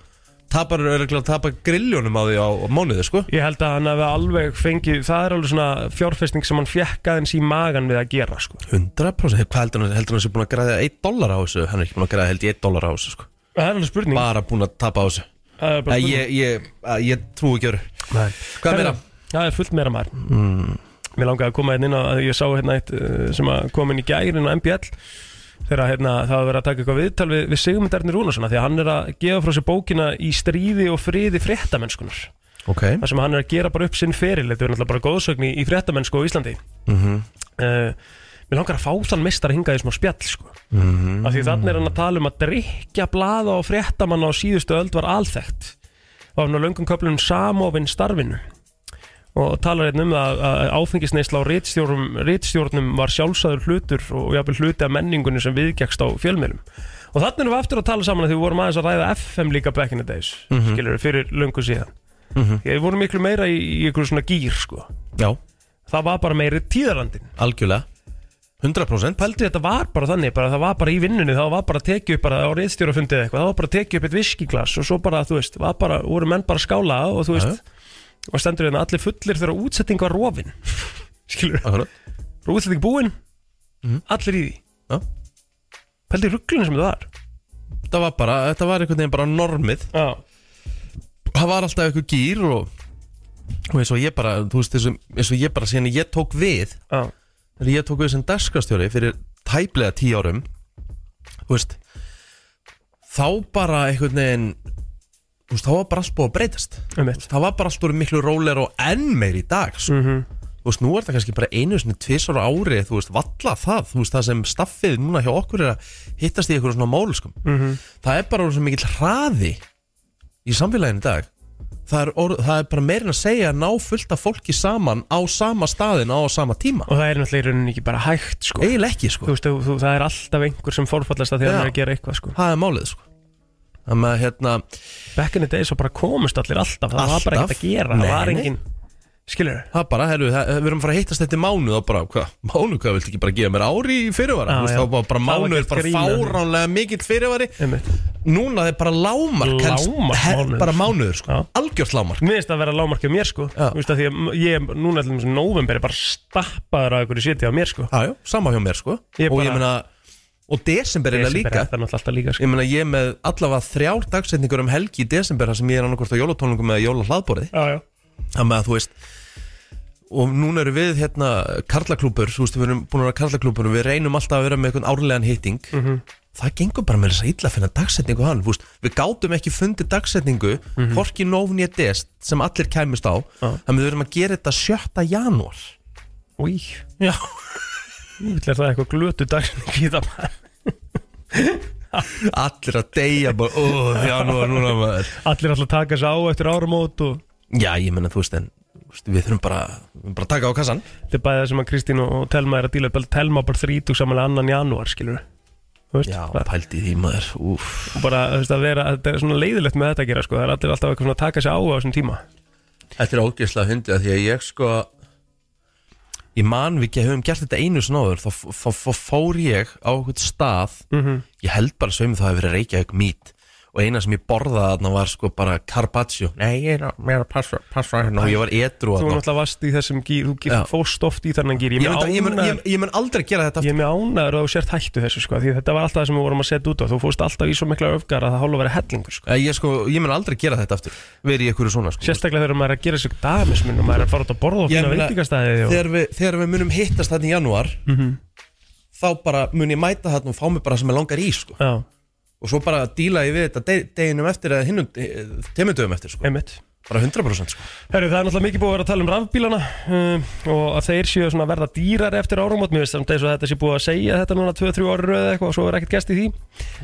Tapar, örgulega, tapar grilljónum á því á, á mánuði, sko Ég held að hann hafi alveg fengið, það er alveg svona fjárfesting sem hann fjekk aðeins í magan við að gera sko. 100% Hvað heldur hann, heldur hann sé búin að græða 1 dólar á þessu Hann er ekki búin að græða held ég 1 dólar á þessu, sko Það er alveg spurning Bara búin að tapa á þessu Það er bara Ég, spurning. ég, ég, að- ég trú ekki öru Nei. Hvað Herra, meira? Mm. Það er fullt meira maður Mér langaði að koma hérna inn á að ég sá hérna eitt eh, sem að kom inn í gærin á MBL þegar hérna, það var verið að taka eitthvað viðtal við, við Sigmundarni Rúnarssona því að hann er að gefa frá sér bókina í stríði og friði fréttamennskunar Ok það sem hann er að gera bara upp sinn feril þetta er náttúrulega bara góðsögn í, í fréttamennsku á Íslandi Mhm. uh, Mér langar að fá þann mistar hingað í smá spjall sko. Mhm. af því þannig er hann að tala um að drikja blaða og fréttamanna á síðustu öld var alþekkt og hann á löngum köflun samofinn starfinu og talar hérna um það að áfengisneisla á ritstjórnum, ritstjórnum var sjálfsæður hlutur og jafnvel hluti af menningunni sem viðgekst á fjölmjölum og þannig erum við aftur að tala saman að því við vorum aðeins að ræða FM líka back in the days mm fyrir löngu síðan mm Mhm. við vorum miklu meira í, í einhverju svona gýr sko. Já, það var bara meiri tíðarandin algjörlega 100% pældu þetta var bara þannig bara það var bara í vinnunni það var bara að tekið upp bara á reyðstjórafundið eitthvað það var bara að tekið upp eitt viskiglas og svo bara þú veist var bara voru menn bara að skála og þú veist og stendur hérna allir fullir þegar útsetting var rofin <laughs> skilur Akkurat Mhm. bara útsetting búin allir í því Já. pældu í rugglunum sem það var þetta var bara, þetta var einhvern veginn bara normið já það var alltaf eitthvað gýr og, og eins og ég bara, þú veist, eins og, eins og ég bara síðan ég tók við, já þegar ég tók við sem dagskastjóri fyrir tæplega tíu árum þú veist þá bara einhvern veginn þú veist, þá var bara allt búið að breytast Þú um veist, það var bara allt búið miklu rólegur og enn meir í dag sko. Mhm. þú veist, nú er það kannski bara einu sinni tvisar ári, þú veist, valla það þú veist, það sem staffið núna hjá okkur er að hittast í eitthvað svona mál, sko það er bara orðið svo mikill hraði í samfélaginu í dag það er, orð, það er bara meirinn að segja að ná fullt af fólki saman á sama staðin á sama tíma og það er náttúrulega í rauninni ekki bara hægt sko eiginlega ekki þú sko, veist þú, þú, það er alltaf einhver sem forfallast að því að Já. hann er að gera eitthvað sko það er málið sko þannig að hérna, back in the days og bara komust allir alltaf það var bara Alltaf? ekkert að gera það Nei, var nei. engin skilur það er bara, herru, það- við erum að fara að hittast þetta í mánuð og bara, hvað, mánuð, hvað, viltu ekki bara gefa mér ári í fyrirvara, Já, þú veist, já. þá bara, bara Það var mánuð er gert bara grín að því. fáránlega mikill fyrirvari einmitt núna það er bara lámark helst- Lágmark he- mánuður. bara mánuður sko, Já. algjört lámark Mér finnst það að vera lámarkið á mér sko Já. Þú veist að því að ég núna allir sem november er bara stappaður að einhverju seti á mér sko já, já, sama hjá mér sko, Ég og bara- ég meina og desemberina Desember líka er Það er náttúrulega alltaf líka sko Ég meina ég er með allavega þrjár dagsetningur um helgi í desember þar sem ég er annarkvort á jólatónlingum eða jólahlaðborði Já, já Það með að þú veist Og núna eru við hérna karlaklúpur Þú veist við erum búin að vera karlaklúpur og Við reynum alltaf að vera með einhvern árlegan hitting Mhm. Það gengur bara með þess að illa að finna dagsetningu hann þú veist, Við gátum ekki fundið dagsetningu mm -hmm. Horki nófn ég dest sem allir kæmist á Mhm. Já. Þannig við erum að gera þetta 7. janúar Új Já Þú er það eitthvað glötu dagsning í það maður. Allir að deyja bara Ó, janúar núna maður Allir alltaf taka sig á eftir áramót og Já, ég meina þú veist en þú veist, Við þurfum bara, við þurfum bara að taka á kassan Þetta er bæðið sem að Kristín og og Telma er að díla upp Telma bara þrítug samanlega annan janúar skilur þú veist, Já, bara- pældi í því maður Úf bara þú veist, að vera, þetta er svona leiðilegt með þetta að gera sko. það er allir alltaf eitthvað svona að taka sig á á þessum tíma Þetta er ógeðslega fyndið af Því að ég sko Ég man við ekki að höfum gert þetta einu sinni áður Þá f- f- f- fór ég á eitthvað stað Ég held bara sveimi það að verið Reykjavík mít Og eina sem ég borðaði þarna var sko bara Carpaccio Nei, ég er að, mér er að passa, passa hérna Og ég var edru þú þarna náttúrulega varst í þessum gýr, þú Já. gýr, fórst oft í þannan gýr ég Ég, mynd, ég, mun, ég, mun ég mun aldrei gera þetta aftur. ánaður að þú sért hættu þessu sko, því þetta var alltaf það sem við vorum að setja út á þú fórst alltaf í svo mikla öfgar að það hálfa að vera hellingur sko. Ég, ég, sko, ég mun aldrei gera þetta aftur Verið í einhverju svona sko. sérstaklega þegar maður er að gera sig dagamismin og maður er að fara út að borða og Ég finna meina, veitingastæði og... Mhm. þegar, við, þegar við munum hittast þarna í janúar Þá bara mun ég mæta þarna og fá mig bara sem ég langar í sko. Já, og svo bara díla ég við þetta de- deginum eftir eða hinnum teimundum eftir sko. einmitt bara 100% sko. Herru, það er náttúrulega mikið búið að vera að tala um rafbílana um, og að þeir séu svona að verða dýrar eftir árumót, mér finnst samt eins og þetta sé búið að segja þetta núna 2-3 ára röð eitthvað og svo er ekkert gæst í því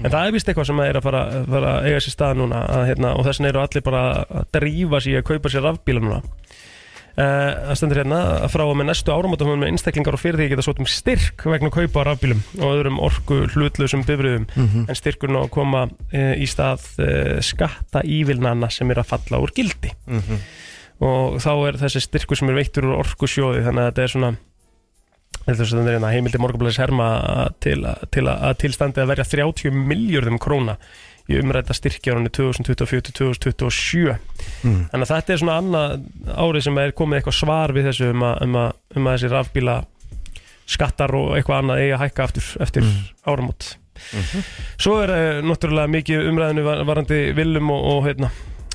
en það er vist eitthvað sem er að fara, fara að eiga sér stað núna að, hérna, og þessin eru allir bara að drífa sér að kaupa sér rafbíla núna Eh, Það stendur hérna að frá og með næstu áramótum með einstaklingar og fyrirtæki geta sótt um styrk vegna kaupa á rafbílum og öðrum orku hlutlausum bifriðum en styrkurinn á að koma eh, í stað eh, skatta ívilnana sem er að falla úr gildi og þá er þessi styrkur sem er veittur úr orkusjóði þannig að þetta er svona heldur sem þetta er hérna heimildi morgunblæðis herma að- til, að- til að, að tilstandi að verja 30 miljörðum króna í umræta styrki árunni 2024-2027 Þannig að þetta er svona annað árið sem er komið eitthvað svar við þessu um að, um að, um að þessi rafbíla skattar og eitthvað annað eigi að hækka aftur eftir áramót. Svo er uh, náttúrulega mikið umræðinu var, varandi Willum og, og hérna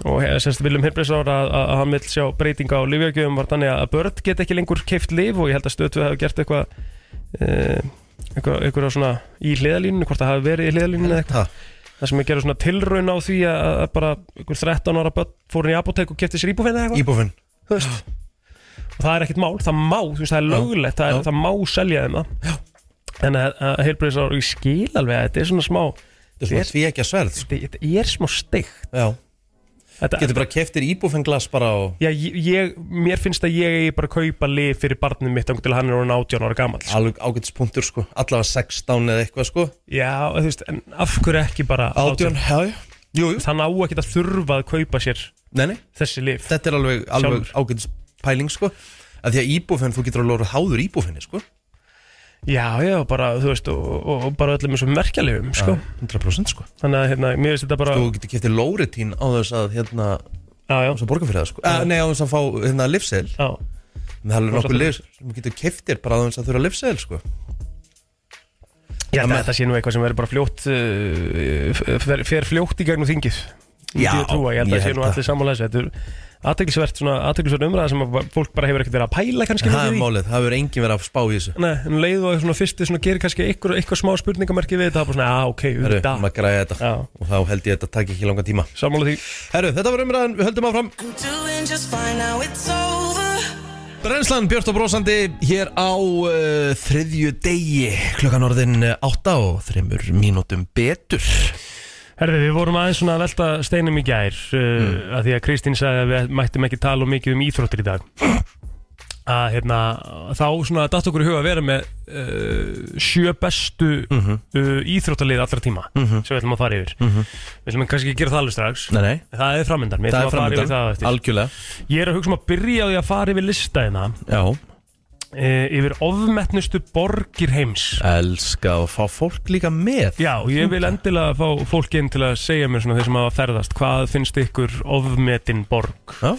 og he- semst Willum Hilbreysár að, að, að hann vil sjá breytinga á lifjagjöfum var þannig að börn get ekki lengur keift lif og ég held að stötu hafa gert eitthvað uh, eitthvað, eitthvað svona í hliðalínu, hvort það hafi verið í hliðalínu eða eitthvað það það sem er gerður svona tilraun á því að að bara einhver 13 ára börn fór inn í apotek og kefti sér íbúfinn eða eitthvað íbúfinn þú veist. og það er ekkert mál, það má þú veist, það er lögulegt, það, Já. er, það má selja þeim það en að, að heilbreyðisar og ég skil alveg að þetta er svona smá þetta er svona því ekki að sverð sko. þetta- þetta er smá steikt Já. þetta, getur bara keftir íbúfinn glas bara og já, ég, ég, mér finnst að ég eigi bara að kaupa lið fyrir barnið mitt þangur til hann er orðin 18 ára gamall sko. alveg ágætispunktur sko. allavega 16 eða eitthvað sko. já, þú veist, en af hverju ekki bara 18, já, já. Jú, jú. þannig á ekki að þurfa að kaupa sér Nei, nei. þessi lif þetta er alveg, alveg Sjálfur. ágætispæling sko. að því að íbúfinn, þú getur alveg orðið háður íbúfinni sko. Já, já, bara, þú veist, og, og, og bara öllum þessum verkjalegum, sko. 100% sko. Þannig að, hérna, mér finnst þetta bara, þú getur keftir lóritín á þess að hérna, já, já, á þess að borga fyrir það sko. Eh, nei, á þess að fá hérna, lifseðil já, það er alveg Rosa nokkuð lif sem þú getur keftir bara á þess að þurfa lifseðil sko. ég held að Þannig- þetta sé nú eitthvað sem verður bara fljótt, uh, f- fer, fer fljótt í gegnum þingið. Myndi Já, ég, trúa, ég held að ég sé held nú það. allir sammála þessu, þetta er aðteglisvert, svona, aðteglisvert umræða sem að ba- fólk bara hefur ekkert verið að pæla kannski það mikið er í. málið, það verður engin verið að spá í þessu Nei, en leið og svona fyrsti svona gerir kannski eitthvað, eitthvað smá spurningamarki við þetta, það er bara svona, já, ok, Herru, við maður græði þetta Já. og þá held ég að þetta takk ekki langan tíma sammála því. Herru, þetta var umræðan, við höldum áfram I'm doing just fine now, it's over. Brennslan Björn og Brósandi hér á uh, þriðju degi klukkan orðin eh, átta og þreymur mínútum betur Herði, við vorum aðeins svona að velta steinum í gær uh, Mm. að því að Kristín sagði að við mættum ekki tala of mikið um íþróttir í dag að hérna, þá svona datt okkur í huga að vera með uh, sjö bestu Mhm. uh, íþróttalið allra tíma sem við ætlum að fara yfir við ætlum kannski ekki að gera það alveg strax Nei, nei, það er framindan, við það ætlum er að fara yfir það á framöndan, eftir algjörlega ég er að hugsa um að byrja á því að fara yfir listaðina Já, uh, yfir ofmetnustu borgir heims elska að fá fólk líka með Já, og ég vil endilega fá fólki inn til að segja mér svona þeir sem hafa ferðast hvað finnst ykkur ofmetin borg Já,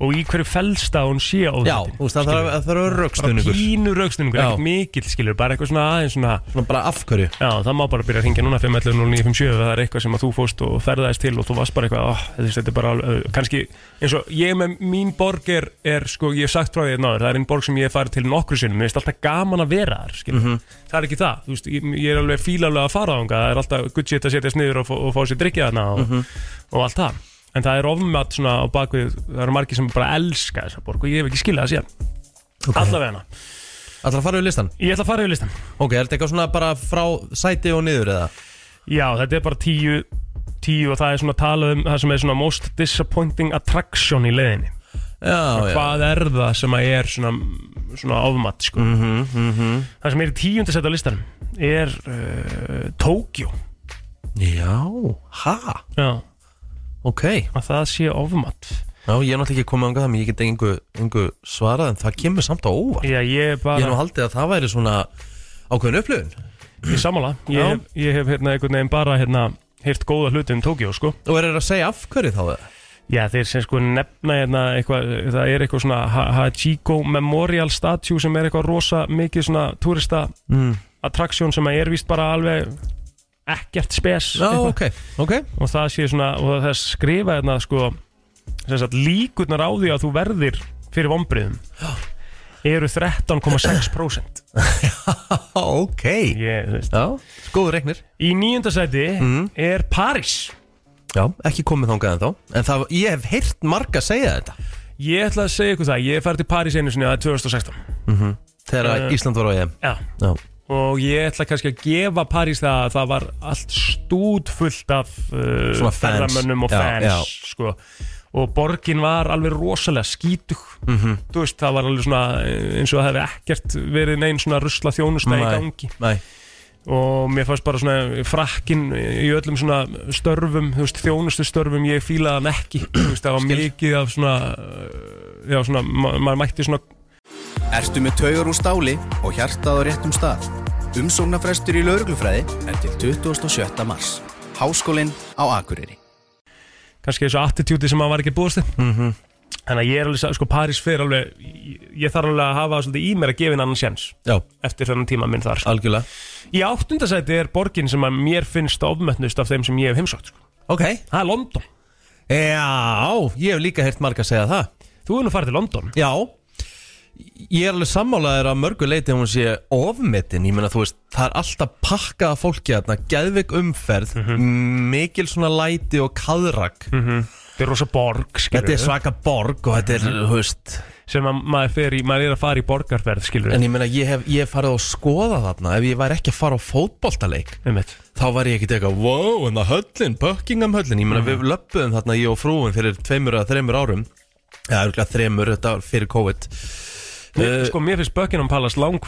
og í hverju felst að hún sé Já ofmetin þú veist það þarf að- það þarf að bara rögstunningur pínu raukstunningur, Já. ekkert mikill skilur bara eitthvað svona aðeins svona Svona bara afhverju Já, það má bara byrja að ringja núna 511-0957 ef það er eitthvað sem að þú fórst og ferðaðist til og þú varst bara eitthvað, oh, þetta er bara uh, kannski, eins og ég með mín borg er, er sko, ég hef sagt frá því að náður það er einn borg sem ég hef farið til nokkru sinnum mér finnst alltaf gaman að vera þar, skilur það er ekki það, þú veist, ég, ég er alveg fílalega að fara þangað, það er alltaf gutt sétt að setjast niður og, fá- og fá sér drikja þarna og, Mhm. og allt það, en það er ofmat svona á bakvið, það eru margir sem bara elska þessa borg og ég hef ekki skilað það síðan allavega, Ætlar að fara við listan? ég ætla að fara yfir listan Ok, er þetta eitthvað svona bara frá sæti og niður eða? Já, þetta er bara tíu, tíu og það er svona talað um það sem er svona most disappointing attraction í leiðinni Já, já Hvað er það sem að er svona svona ofmat sko. það sem er í tíundi seti á listanum er uh, Tókjó Já, ha, Já, ok Já, að það sé ofmat ég er náttúrulega ekki komið ánga það Mér get engu, engu svarað En það kemur samt á óvart Já, ég er Ég er bara, nú haldið að það væri svona <laughs> ákveðin upplifun ég er sammála Ég Já. hef, ég hef hérna, einhvern veginn bara hérna, heyrt góða hluti um Tókjó sko. Og er það að segja af hverju þá það? Já, þeir sem sko nefna hérna eitthvað, það er eitthvað svona Ha- Hachiko Memorial Statue sem er eitthvað rosa mikið svona turista Mm. attraction sem er víst bara alveg ekkert spes Já, eitthvað. ok, ok og það sé svona, og það skrifa hérna sko, sem sagt líkurnar á því að þú verðir fyrir vombriðum eru 13,6% Já, ok Ég, þú veist. Já, Mhm. góður regnir Í nýjunda sæti er París Já, ekki komið þangað en þá En það, ég hef heyrt marga segja þetta Ég ætla að segja ykkur það, ég fær til París einu sinni að 2016 Mhm. Þegar Eh. Ísland var á EM Já Já, og ég ætla kannski að gefa París það að það var allt stúdfullt af uh, Svona fans. ferðamönnum og Já, fans já. Sko. og borgin var alveg rosalega skítug Mhm. -hmm. þú veist það var alveg svona eh, eins og það hefði ekkert verið neinn svona rusla þjónusta í Nei. gangi nei og mér fannst bara svona frakkin í öllum svona störfum þú veist þjónustu störfum ég fílaði hann ekki þú veist það var mikið af svona eh, já svona ma maður mætti svona Ertu með taugar úr stáli og hjartað á réttum stað? Umsóknarfrestur í lauruglufræði er til 27. mars. Háskólinn á Akureyri. kannski þessu attitúti sem maður var ekki búist mm Mhm. þannig að ég er alveg sa- sko París fyrir alveg ég, ég þarf alveg að hafa svolítið í mér að gefa henni annan sjans Já, eftir þennan tíma minn þar sko. algjörlega í áttundasæti er borgin sem að mér finnst ofmennust af þeim sem ég hef heimsótt sko. Ok það er London Já, ég hef líka heyrt marga segja það þú er nú farið til London Já Ég er alveg sammálaður að mörgu leiti hún sé ofmetin, ég meina þú veist það er alltaf pakkað af fólki þarna geðveik umferð, Mhm. mikil svona læti og kaðrak þetta er rosa borg skilur þetta er við, svaka borg og þetta er, þú veist sem að maður, fer í, maður er að fara í borgarferð skilur en við. ég meina ég hef, ég hef farið að skoða þarna ef ég væri ekki að fara á fótboltaleik einmitt þá var ég ekkert eitthvað, wow, en það höllin Buckingham höllin, ég Mhm. meina við löppuðum þarna ég og frúin fyrir tveimur eða þreimur árum eða örgulega þreimur, þetta var fyrir COVID Mér- Eh, sko mér finnst Buckingham Palace lang,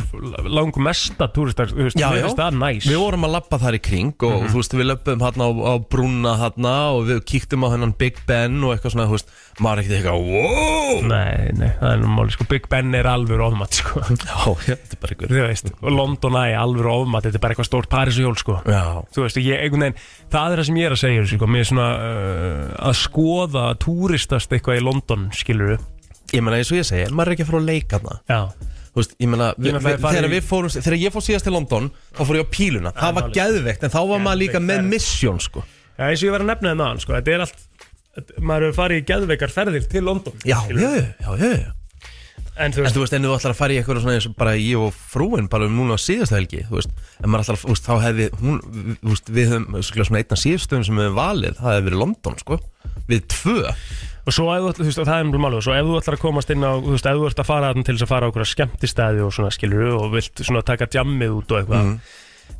lang mesta túristar þú veist, Já, mér já. finnst það næs Mhm. Við vorum að lappa þar í kring og þú veist við löpum hérna á, á brúna hérna og við kíktum á hennan Big Ben og eitthvað svona, þú veist, maður er ekkert eitthvað wow! nei, nei, það er nú máli sko Big Ben er alveg ofmatt sko Já, já, þetta er bara ykkur þú veist, og London æ, alveg ofmat þetta er bara eitthvað stórt Parísuhjól sko Já, þú veist, ég, einhvern veginn, það er það sem ég er að segja sko, mér er svona uh, að skoða að túristast eitthvað í London skilur við, ég meina eins og ég segi maður er ekki að fara að leika þarna já, Þú veist, ég meina, við, Ég meina, það við, er farið þegar í- við fórum þegar ég fór síðast til London, þá fór ég á píluna það var geðveikt, en þá var maður líka Geðveik með ferð. misjón, sko já eins og ég var að nefna það sko, þetta er allt, þetta- maður er farið í geðveikar ferðir til London Já, skilurðu. já, já, já, já, já. en þú En veist, þú veist, en þú ætlar að fara í eitthvað svona eins og bara ég og frúin bara um núna á síðasta helgi, þú veist en maður ætlar að, þú veist, þá hefði hún, þú veist, við höfum örugglega svona einna síðastöðum sem við höfum valið, það hefði verið London, sko við tvö, og svo ef þú, ætlar- þú veist, og það er mjög máluð, svo ef þú ætlar að komast inn á, þú veist, ef þú ert að fara þarna til þess að fara á okkur skemmtistæði og svona skilur og vilt svona taka djammið út og eitthvað Mhm.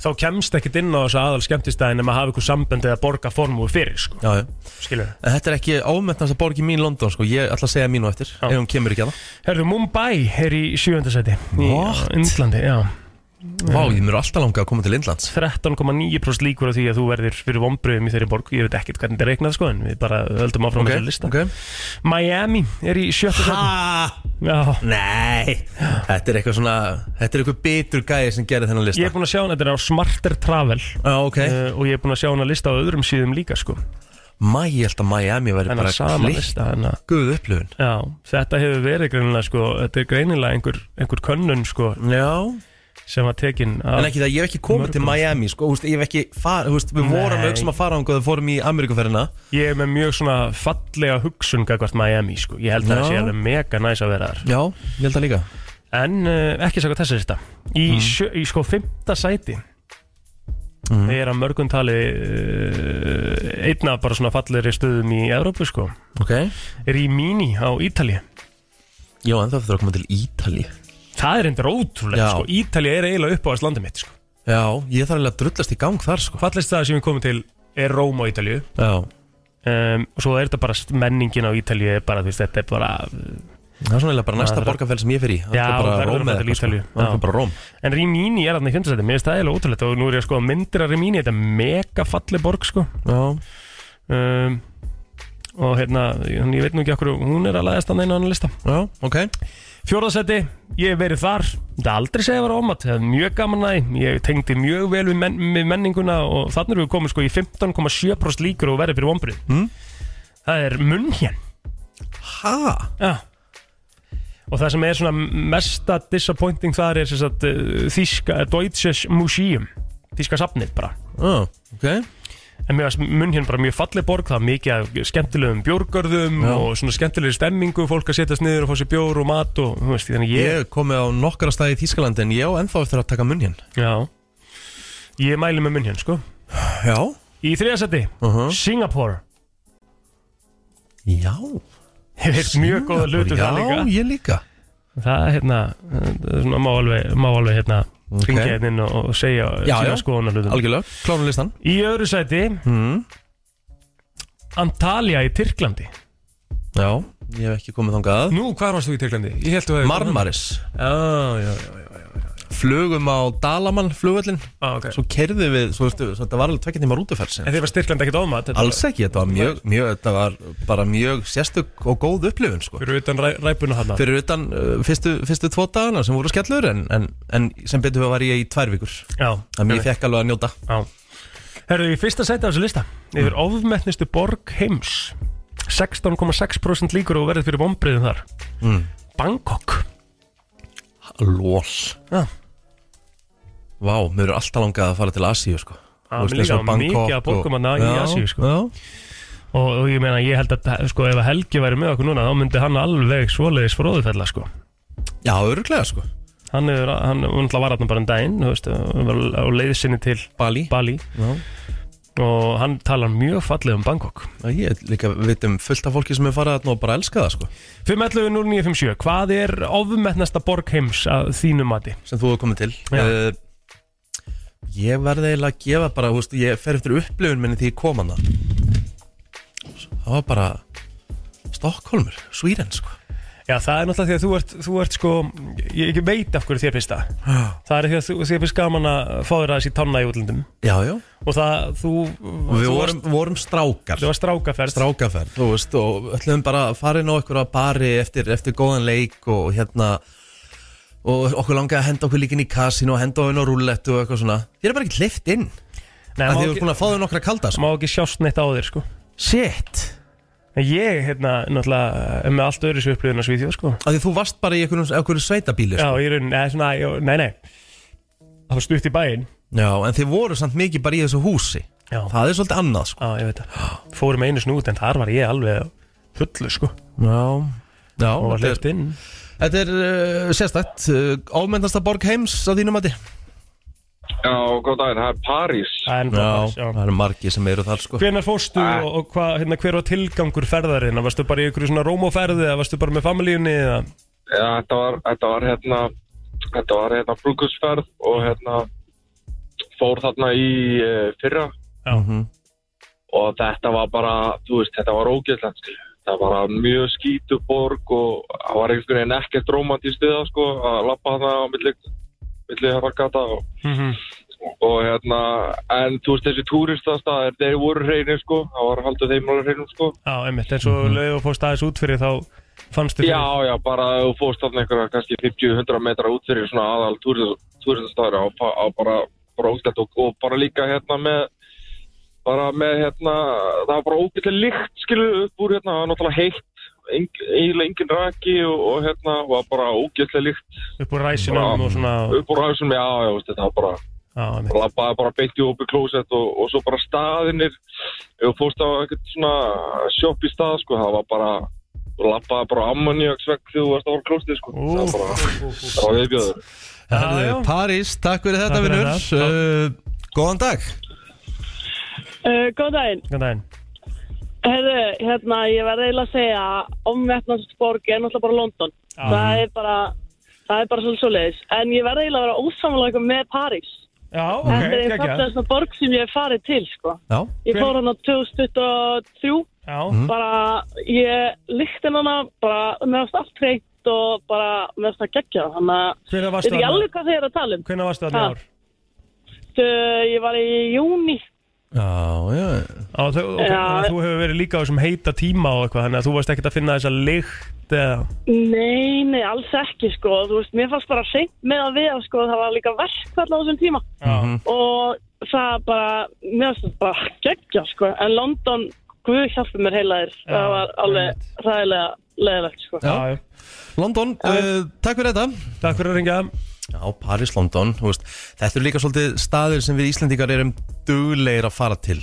þá kemst ekkert inn á þessa aðal skemmtistæði nema að hafa ykkur sambönd eða borga formúi fyrir, sko, já, já skilur en þetta er ekki ámennast að borgi mín London, sko ég ætla að segja mínu eftir, Já. ef hún kemur ekki að það Herðu, Mumbai er í sjöundasæti Í What? Indlandi, já Vá, ég mér er alltaf langað að koma til Indlands 13,9% líkur á því að þú verðir fyrir vombriðum í þeirri borg Ég veit ekkert hvernig þetta er reiknað sko En við bara höldum áfram okay. lista ok Miami er í sjötta sæti Ah, Já nei, þetta er eitthvað svona þetta er eitthvað bitur gæði sem gerir þennan Ég lista er búinn að sjá hana, þetta er á Smarter Travel Já, Ah, ok, uh, Og ég er búinn að sjá hana lista á öðrum síðum líka sko mæ, ég held að Miami væri Þannig bara að sama klikkuð lista hana. upplifun Já, þetta hefur verið greinilega sko Þetta er greinilega einhver, einhver könnun sko Já, Sem var tekin En af ekki það, ég hef ekki komið Mörgum. til Miami sko, húst, ég hef ekki far, húst, við vorum Nei. að hugsa um að fara ánga þegar við fórum í Ameríkuferðina Ég er með mjög svona fallega hugsun Gagvart Miami sko Ég held að Já. það sé alveg mega næs að vera þar Já, ég held að líka Mm. En uh, ekki sagði þessi þetta Í, sjö, í sko fymta sæti Mhm. Það er að mörgum tali uh, einna bara svona fallegri stöðum í Evrópu sko Ok Er í Mini á Ítali Já, en það fyrir að koma til Ítali Það er endur ótrúlega Já. sko Ítali er eiginlega upp á þess landi mitt sko Já, ég þarf alveg að drullast í gang þar sko Fallist það sem við komum til er Róm á Ítalíu Já um, Og svo er þetta bara st- menningin á Ítalíu er bara þú veist þetta er bara uh, Það er svona eiginlega bara Já, næsta það er- borgarfell sem ég fer í Það Já, er það bara verður Róm að eða fara til eitthvað, Ítalíu, sko. Það já. er bara Róm En Rimini er þarna í fjöndasæti, mér finnst það eiginlega ótrúlegt og nú er ég að skoða myndir af Rimini, þetta er mega falleg borg sko Já, um, og hérna, ég, ég veit nú ekki okkur, hún er að læðast hann einu annan lista já, ok Fjórðasetti, ég hef verið þar Það er aldrei segja að vera ómat, það er mjög gaman að því Ég tengdi mjög vel við, men við menninguna Og þannig erum við komið sko í 15,7% líkur Og verið fyrir vombrið Hmm? mm? Það er munn hér Ha? ja. Og það sem er svona mesta disappointing þar er sem sagt, uh, Þíska, Deutsches Museum Þíska safnið bara Já, ok En mér varst munn hérna bara mjög falleg borg, það var mikið af skemmtilegum bjórgörðum og svona skemmtilegri stemmingu, fólk að setjast niður og fá sér bjór og mat og, þú veist, þannig ég, Ég komi á nokkara staði í Þískaland En ég á ennþá eftir að taka munn hérna. hér Já Ég mæli með munn hérna sko Já Í þriðasetti, uh Mhm. Singapore Já Ég veit mjög góða hlutu Já, það líka ég líka Það er hérna, það er svona má alveg, má alveg hérna okay. Ringja hérna inn og, og segja Já, já. sína skoðunar hlutum Algjörlega, klárum listan Í öðru sæti Mm. Antalya í Tyrklandi Já, ég hef ekki komið þangað Nú, hvað varst þú í Tyrklandi? Ég held að Marmaris Já, já, já, já. Flugum á Dalaman flugvöllin Ah, okay. Svo kerði við, svo veistu, svo þetta var alveg tvekja tíma rútuferð En síðan. þið var Tyrklandi ekkert ofmat þetta Alls var ekki, þetta var mjög, mjög, þetta var bara mjög sérstök og góð upplifun sko. Fyrir utan ræ, ræpuna hana Fyrir utan uh, fyrstu, fyrstu tvo dagana sem voru skellur en, en, en sem betur við var ég í tvær vikur Já, Þannig ég fekk alveg að njóta Já Herðu, í fyrsta sæti á þessu lista Yfir Mm. ofmetnustu borg heims 16,6% líkur og verðið fyrir vombriðum þar Mm. Bangkok Lól Já. Vá, mér eru alltaf langað að fara til Asíu sko Já, Þú veist, mér líka eins og á mikið Bangkok af borgum og- þarna í Já, Asíu, sko. já. og, og ég meina, ég held að sko, ef að Helgi væri með okkur núna þá myndi hann alveg svoleiðis fróðufella sko. Já, öruglega sko Hann er, hann, hann var hann bara en daginn þú veist, og var á leiðsinni til Bali Bali Já. og hann talar mjög fallið um Bangkok Ég líka veit um fullt af fólki sem er farið þarna og bara elska það sko 511-0957, hvað er ofmetnasta borg heims að þínu mati? sem þú hefur komið til Já. uh, Ég verði eiginlega að gefa bara, þú veist, ég fer eftir upplifun minni því ég kom hana Það var bara Stokkólmur, Svíren sko Já, það er náttúrulega því að þú ert, þú ert sko, ég ég veit af hverju þér finnst það. Það er því að þú, þér finnst gaman að fá þér aðeins í tanna í útlöndum. Já, já Og það, þú, Og við þú vorum, vorum strákar þú var strákaferð. Strákaferð, þú veist, og ætlum bara að fara inn á einhverja bari eftir, eftir góðan leik og hérna og okkur langaði að henda okkur líkin í kassin og henda okkur inn á rúllettu og eitthvað svona Þér er bara ekki hleyft inn Nei, að má þið eru ekki, búin að fá þau nokkra kalda sko. má ekki sjást neitt á þér, sko. Shit En ég, hérna, náttúrulega, er með allt öðru sér upplifun að svíðjóð, sko. að því þú varst bara í einhverjum, einhverjum sveitabíli Já, sko. ég raun, neða, svona, já, nei, nei. Það var stutt í bæinn. Já, en þið voru samt mikið bara í þessu húsi Já. Það er svolítið annað sko. Já, ég veit það. Fórum einu snút, en þar var ég alveg fullu, sko. Já, Já Og var þetta hleypt er, inn. þetta er uh, sérstætt uh, Ámendasta borg heims á þínum mati Já, góð daginn, það er París. Það er nú bara þess, það eru margir sem eru þar sko. Hvenar fórstu Ah. og, og hva, hérna, hver var tilgangur ferðarinn? Varstu bara í ykkur svona rómóferði eða varstu bara með familíunni? Eða? Já, þetta var, þetta var hérna, þetta var hérna brúkusferð og hérna fór þarna í uh, fyrra Já. og þetta var bara, þú veist, þetta var ógeðland, skilju. Það var bara mjög skítuborg og það var einhvern veginn ekkert romantíst við það, sko, að lappa þarna á milli, milli hérna gata og, og hérna, en þú veist, þessi túristastæðir, þeir voru hreinir, sko, það var haldið þeim alveg hreinum, sko. Já, einmitt, eins og Mhm. mm -hmm. lög og fórst aðeins út fyrir þá fannstu fyrir. Já, já, bara ef þú fórst þarna einhverja kannski 50-100 metra út fyrir svona aðal túristastæður og, fa- og bara bróðgætt og, og bara líka hérna með bara með hérna, það var bara ógætlega lykt skilu upp úr hérna, það var náttúrulega heitt eng- eiginlega engin raki og, og hérna var bara ógætlega lykt upp úr ræsinum Já. og svona. upp úr hásum, já, já, veist, þetta var bara Já, einmitt. bara labbaði bara beint í opið klósett og, og svo bara staðinir ef þú fórst á eitthvað svona sjopp í stað sko, það var bara þú labbaði bara ammoníaksvegg þegar þú varst á klósettið sko, Ú. það var bara það var viðbjöður Já, já. Herðu, París, takk fyrir þetta Takk fyrir vinnur þetta. uh, Góðan dag Uh, góð daginn. Góðan daginn. Herðu, hérna, ég verði eiginlega að segja omvettnast borg er náttúrulega bara London. Ah. Það er bara, það er bara svolítið svoleiðis. En ég verði eiginlega að vera ósamlega með París. Já, ok, Þetta er einn geggjað. fallegasta borg sem ég hef farið til, sko. Já, Mhm. Ég Hver- Mhm. fór hann á 2023, Já, bara, ég líkti hann bara, meðast allt reynt fínt og bara með það geggja þannig að Hvenær ég varstu veit ekki þarna? alveg hvað þið er að tala um Hvenær varstu þarna í Ha. ár? uh, ég var í júni Já, já Á, þau, ok, Já. þannig að þú hefur verið líka á þessum heita tíma og eitthvað þannig að þú varst ekkert að finna þessa lykt eða nei, nei, alls ekki sko þú veist, mér fannst bara seint með að við sko, það var líka verkfall á þessum tíma Já. og það bara mér finnst það bara geggja sko en London, guð hjálpi mér heila þér Já, það var alveg einmitt. ræðilega leðilegt sko Já, já. London, uh, takk fyrir þetta Takk fyrir að ringa Já, Paris, London, þú veist Þetta eru líka svolítið staðir sem við Íslendingar erum duglegir að fara til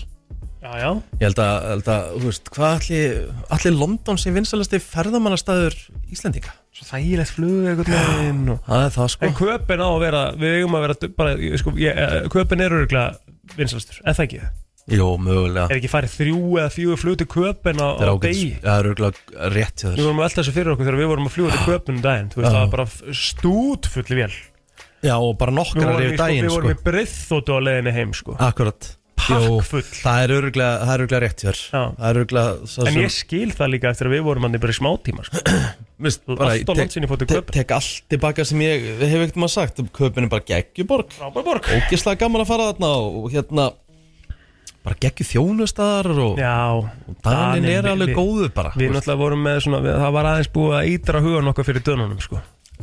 Já, já, Ég held að, held að þú veist, hvað allir, allir London sem vinsalasti ferðamannastaður Íslendinga? svo þægilegt flug eitthvað með einn og Það er það sko En köpinn á að vera, við eigum að vera du- bara, ég- sko, ég, eh, köpinn er örgulega vinsalastur, eða það ekki Jó, mögulega Er ekki farið þrjú eða fjögur flug til köpinn á, Það Ah. á er degi? ágætt, það er örgulega rétt hjá Við þér vorum að velta þessu fyrir okkur þegar við vorum að Ah. fljúa til köpinn um daginn, þú veist, Já. það var bara stút fulli vél. Já, og bara Við nokkrar vorum, í, yfir sko, daginn við vorum sko í bryðþóttu á leiðinni heim, sko. Akkurat Jó, Pakkfull. Það er örgulega, það er örgulega rétt hjá þér Já. Það er örgulega það En sem ég skil það líka eftir að við vorum hann í bara í smátíma, sko. Vist, Allt <clears throat> bara, á ég land tek- sinni fór til te- Köben. Tek allt tilbaka sem ég hef ekkert maður sagt Köpun er bara geggjuborg Rábarborg. Ógislega gaman að fara þarna og hérna Bara geggju þjónustar og Já. Danin Daninn, er við- alveg við- góður bara Við náttúrulega vorum með svona, við, það var aðeins búið að ítra hugan okkar fyrir dönunum, sko.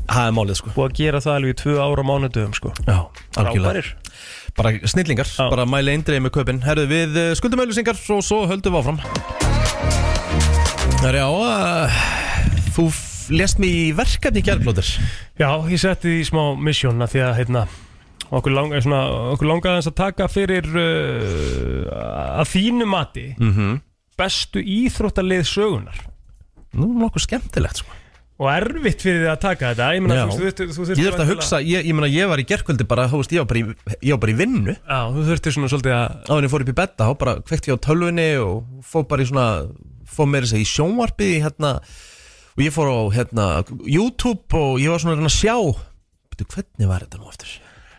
Það er málið sko Búið að gera það alveg í tvö ára mánudöfum, sko. Já, algjörlega Rábarir. Bara snillingar, Já. bara mæli eindreið með Köpun Herðu við eh, skuldum auðlýsingar og svo höldum við áfram Það er já uh, Þú f- lést mig í verkefni gerðblóður Já, ég setti því smá misjón að því að heitna, okkur, lang, eh, svona, okkur langaði aðeins að taka fyrir uh, að þínu mati bestu íþróttalið sögunar Nú nokkuð skemmtilegt sko og erfitt fyrir því að taka þetta ég meina Já. þú veist, þú, þú, þú Ég þurfti að hugsa, ég, ég meina ég var í gerðkvöldi bara, þú veist, ég var bara í, ég var bara í vinnu Já, þú þurfti svona svolítið að áður en ég fór upp í betta, þá bara kvekti ég á tölvunni og fór bara í svona, fór meira þess að segja í sjónvarpið í hérna og ég fór á hérna YouTube og ég var svona að reyna að sjá Bíddu, hvernig var þetta nú aftur?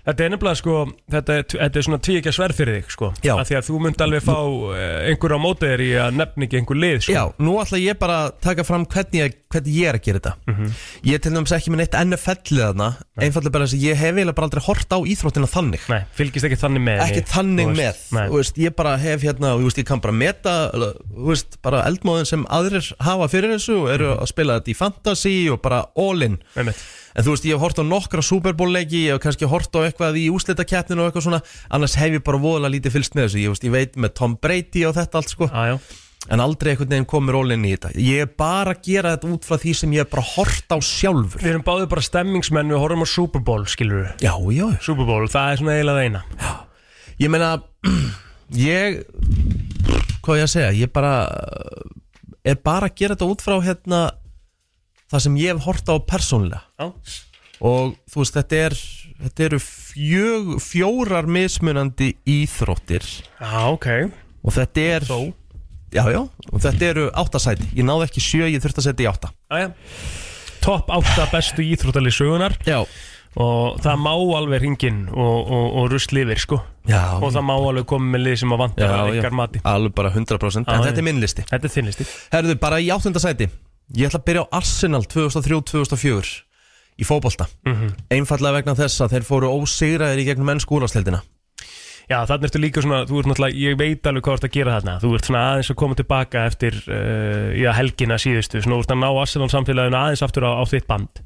þetta er nefnilega sko þetta, er- þetta er svona tvíkja sverð fyrir þig sko Já. að því að þú myndi alveg fá eh, einhver á móti þér í að nefna ekki einhver lið sko Já, nú ætla ég bara að taka fram hvernig ég, hvernig ég er að gera þetta Mhm. Ég er til dæmis ekki með neitt NFL-lið þarna einfallega bara þess að ég hef eiginlega bara aldrei hort á íþróttina þannig Nei, fylgist ekki þannig með ekki henni, þannig þú með veist. Nei. þú veist, ég bara hef hérna og, þú veist, ég kann bara meta alveg, þú veist, bara eldmóðin sem aðrir hafa fyrir þessu og eru að spila þetta í fantasy og bara all in Mhm. Einmitt. en þú veist ég hef hort á nokkra Super Bowl leiki ég hef kannski hort á eitthvað í úslitakeppninu og eitthvað svona annars hef ég bara voðalega lítið fylst með þessu ég, veist, ég veit með Tom Brady og þetta allt sko Já, já. en aldrei einhvern veginn komur all in í þetta ég er bara að gera þetta út frá því sem ég hef bara hort á sjálfur Við erum báðið bara stemmingsmenn, við horfum á Super Bowl, skilur við já, já, já Super Bowl, það er svona eiginlega það eina Ég meina <clears throat> Ég Hvað á ég að segja Ég bara eh, Er bara að gera þetta út frá hérna Það sem ég hef hort á persónlega Já, Og þú veist þetta er Þetta eru fjög, fjórar mismunandi íþróttir ok Og þetta er Þó. Já, já, og þetta eru áttasæti Ég náði ekki sjö, ég þurfti að setja í átta Aja. Top 8 bestu íþróttalið sögunar Já, og það má alveg ringin og, og, og rust lifir sko já, og það má alveg koma með lið sem að já, vantar að já. ykkar mati alveg bara 100% En Já, þetta já. er minn listi Þetta er þinnlisti Herðu, bara í áttundasæti Ég ætla að byrja á Arsenal 2003-2004 Í fótbolta Einfallega vegna þess að þeir fóru ósigraðir í gegnum ennsku úrvarsleildina Já, þannig ertu líka svona, þú ert náttúrulega, ég veit alveg hvað þú ert að gera þarna Þú ert svona aðeins að koma tilbaka eftir uh, já, helgina síðustu Svona, þú ert að ná Arsenal samfélaginu aðeins aftur á, á þitt band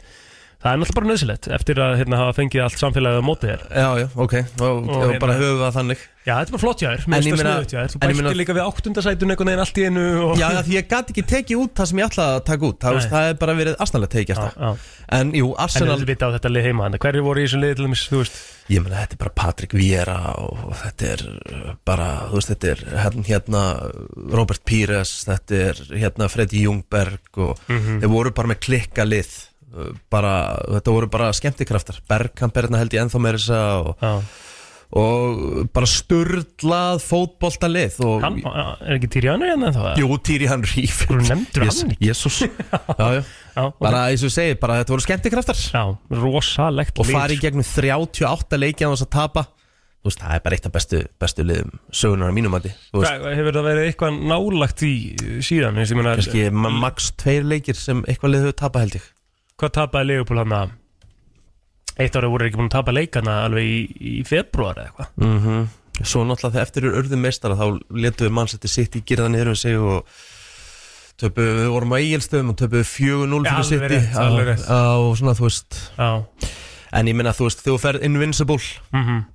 Það er náttúrulega bara nöðsilegt eftir að hérna, hafa fengið allt samfélagið á móti þér Já, já, ok, og, og, hérna- bara höfum við það þannig Já, þetta er bara flott jáður, En mér ég finnst það meina- sniðut jáður Þú en ég bætti meina- líka við áttundasætun einhvern veginn allt í einu og... Já, já, því ég gat ekki tekið út það sem ég ætla að taka út Það, Nei. veist, það er bara verið Arsenal að tekið þetta já. En jú, En Arsenal þú veit á þetta lið heima þannig Hverju voru í þessum liði til dæmis, þú veist Ég meina, þetta er bara Patrick Vieira og þetta er uh, bara, þú veist, þetta er hérna, hérna Robert Pires, þetta er hérna Freddy Jungberg og Mhm. þeir voru bara með klikka lið uh, bara, þetta voru bara skemmtikraftar Bergkamp er hérna held ég ennþá meira þess að og, já. og bara sturdlað fótbolta lið og Hann, já, Er ekki Tyrjánu hérna þá? Jú, Týri hann ríf Hverju nefndur hann ekki? <laughs> Jésús Já, já Já, ok. Bara eins og ég segi, bara þetta voru skemmtikraftar já rosalegt og lið, fari í sko. gegnum 38 leiki á þess að tapa þú veist, það er bara eitt af bestu, bestu liðum sögunar á mínum mati, þú veist, Hvað, Hefur það verið eitthvað nálagt í síðan? Þessi, mena, kannski ma- max tveir leikir sem eitthvað lið hefur tapað held ég hvað tapaði Leopold hann að eitt árið voru þeir ekki búin að tapa leik hann alveg í, í februar eða eitthvað Mhm. Svo náttúrulega þegar eftir urðum meistara þá letum við mannsætti sitt í girða niður um sig og töpu, við vorum á eigilstöðum og töpu 4-0 Ja, fyrir alveg sitt rétt, alveg rétt. og svona þú veist Já, en ég minna þú veist þegar þú ferð invincible Mhm.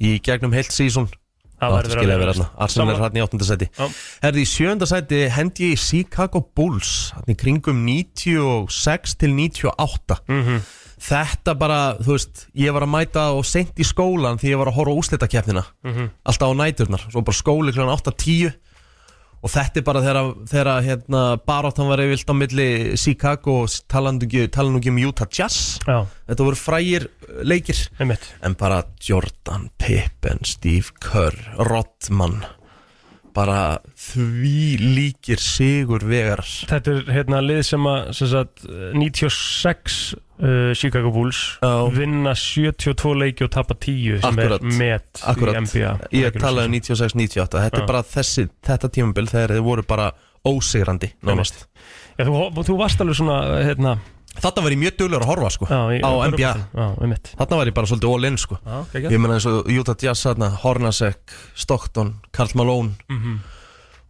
í gegnum heilt sísón það Það verður skilja að vera verst. hérna Arsenal er Sammála. hérna í 8. seti Já. Herði í 7. seti hendi ég í Chicago Bulls Hérna í kringum 96 til 98 Mhm. Þetta bara, þú veist Ég var að mæta og sent í skólan Því ég var að horfa á úslitakeppnina -hmm. Alltaf á næturnar Svo bara skóli kl. 8.10 Og þetta er bara þegar, þegar hérna, Baráttan var yfirlt á milli Chicago og talandu ekki, talandu ekki um Utah Jazz Já, Þetta voru frægir uh, leikir einmitt en bara Jordan, Pippen, Steve Kerr, Rodman bara því líkir sigur vegar Þetta er hérna lið sem að sem sagt, 96 uh, Chicago Bulls Já. vinna 72 leiki og tapa 10 sem Akkurat. er met Akkurat. í NBA ég talaði um 96-98 þetta Já. er bara þessi, þetta tímabil þegar þið voru bara ósigrandi nánast Já, þú, þú varst alveg svona hérna, þarna var ég mjög duglur að horfa sko já, í- á NBA, Já, einmitt þarna var ég bara svolítið all in sko Já, geggjað. ég meina eins og Utah Jazz þarna, Hornacek, Stockton, Karl Malone Mhm.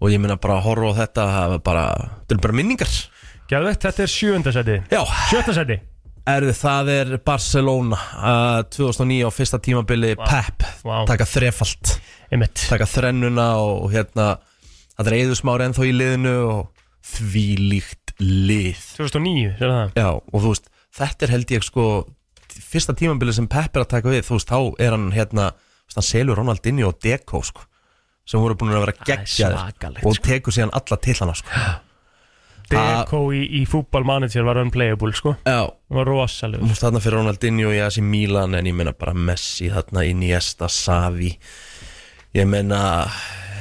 og ég meina bara að horfa á þetta það var bara, þetta er bara minningar Geðvegt, þetta er sjöunda seti já, Sjötta seti Erðu, það er Barcelona uh, 2009 á fyrsta tímabili Pep, Vá. taka þrefalt Einmitt taka þrennuna og hérna það er eður smári ennþá í liðinu og því líkt lið 2009, sér það Já, og þú veist, þetta er held ég sko fyrsta tímabili sem Pep er að taka við þú veist, þá er hann hérna þú veist, hann selur Ronaldinho og Deco sko sem voru búin að vera er geggjaðir svakalegt, sko. og tekur síðan alla til hana sko Deco í, í Football Manager var unplayable sko Já, Það var rosalega Þú veist þarna fyrir Ronaldinho í Asi Milan en ég meina bara Messi þarna Iniesta, Savi ég meina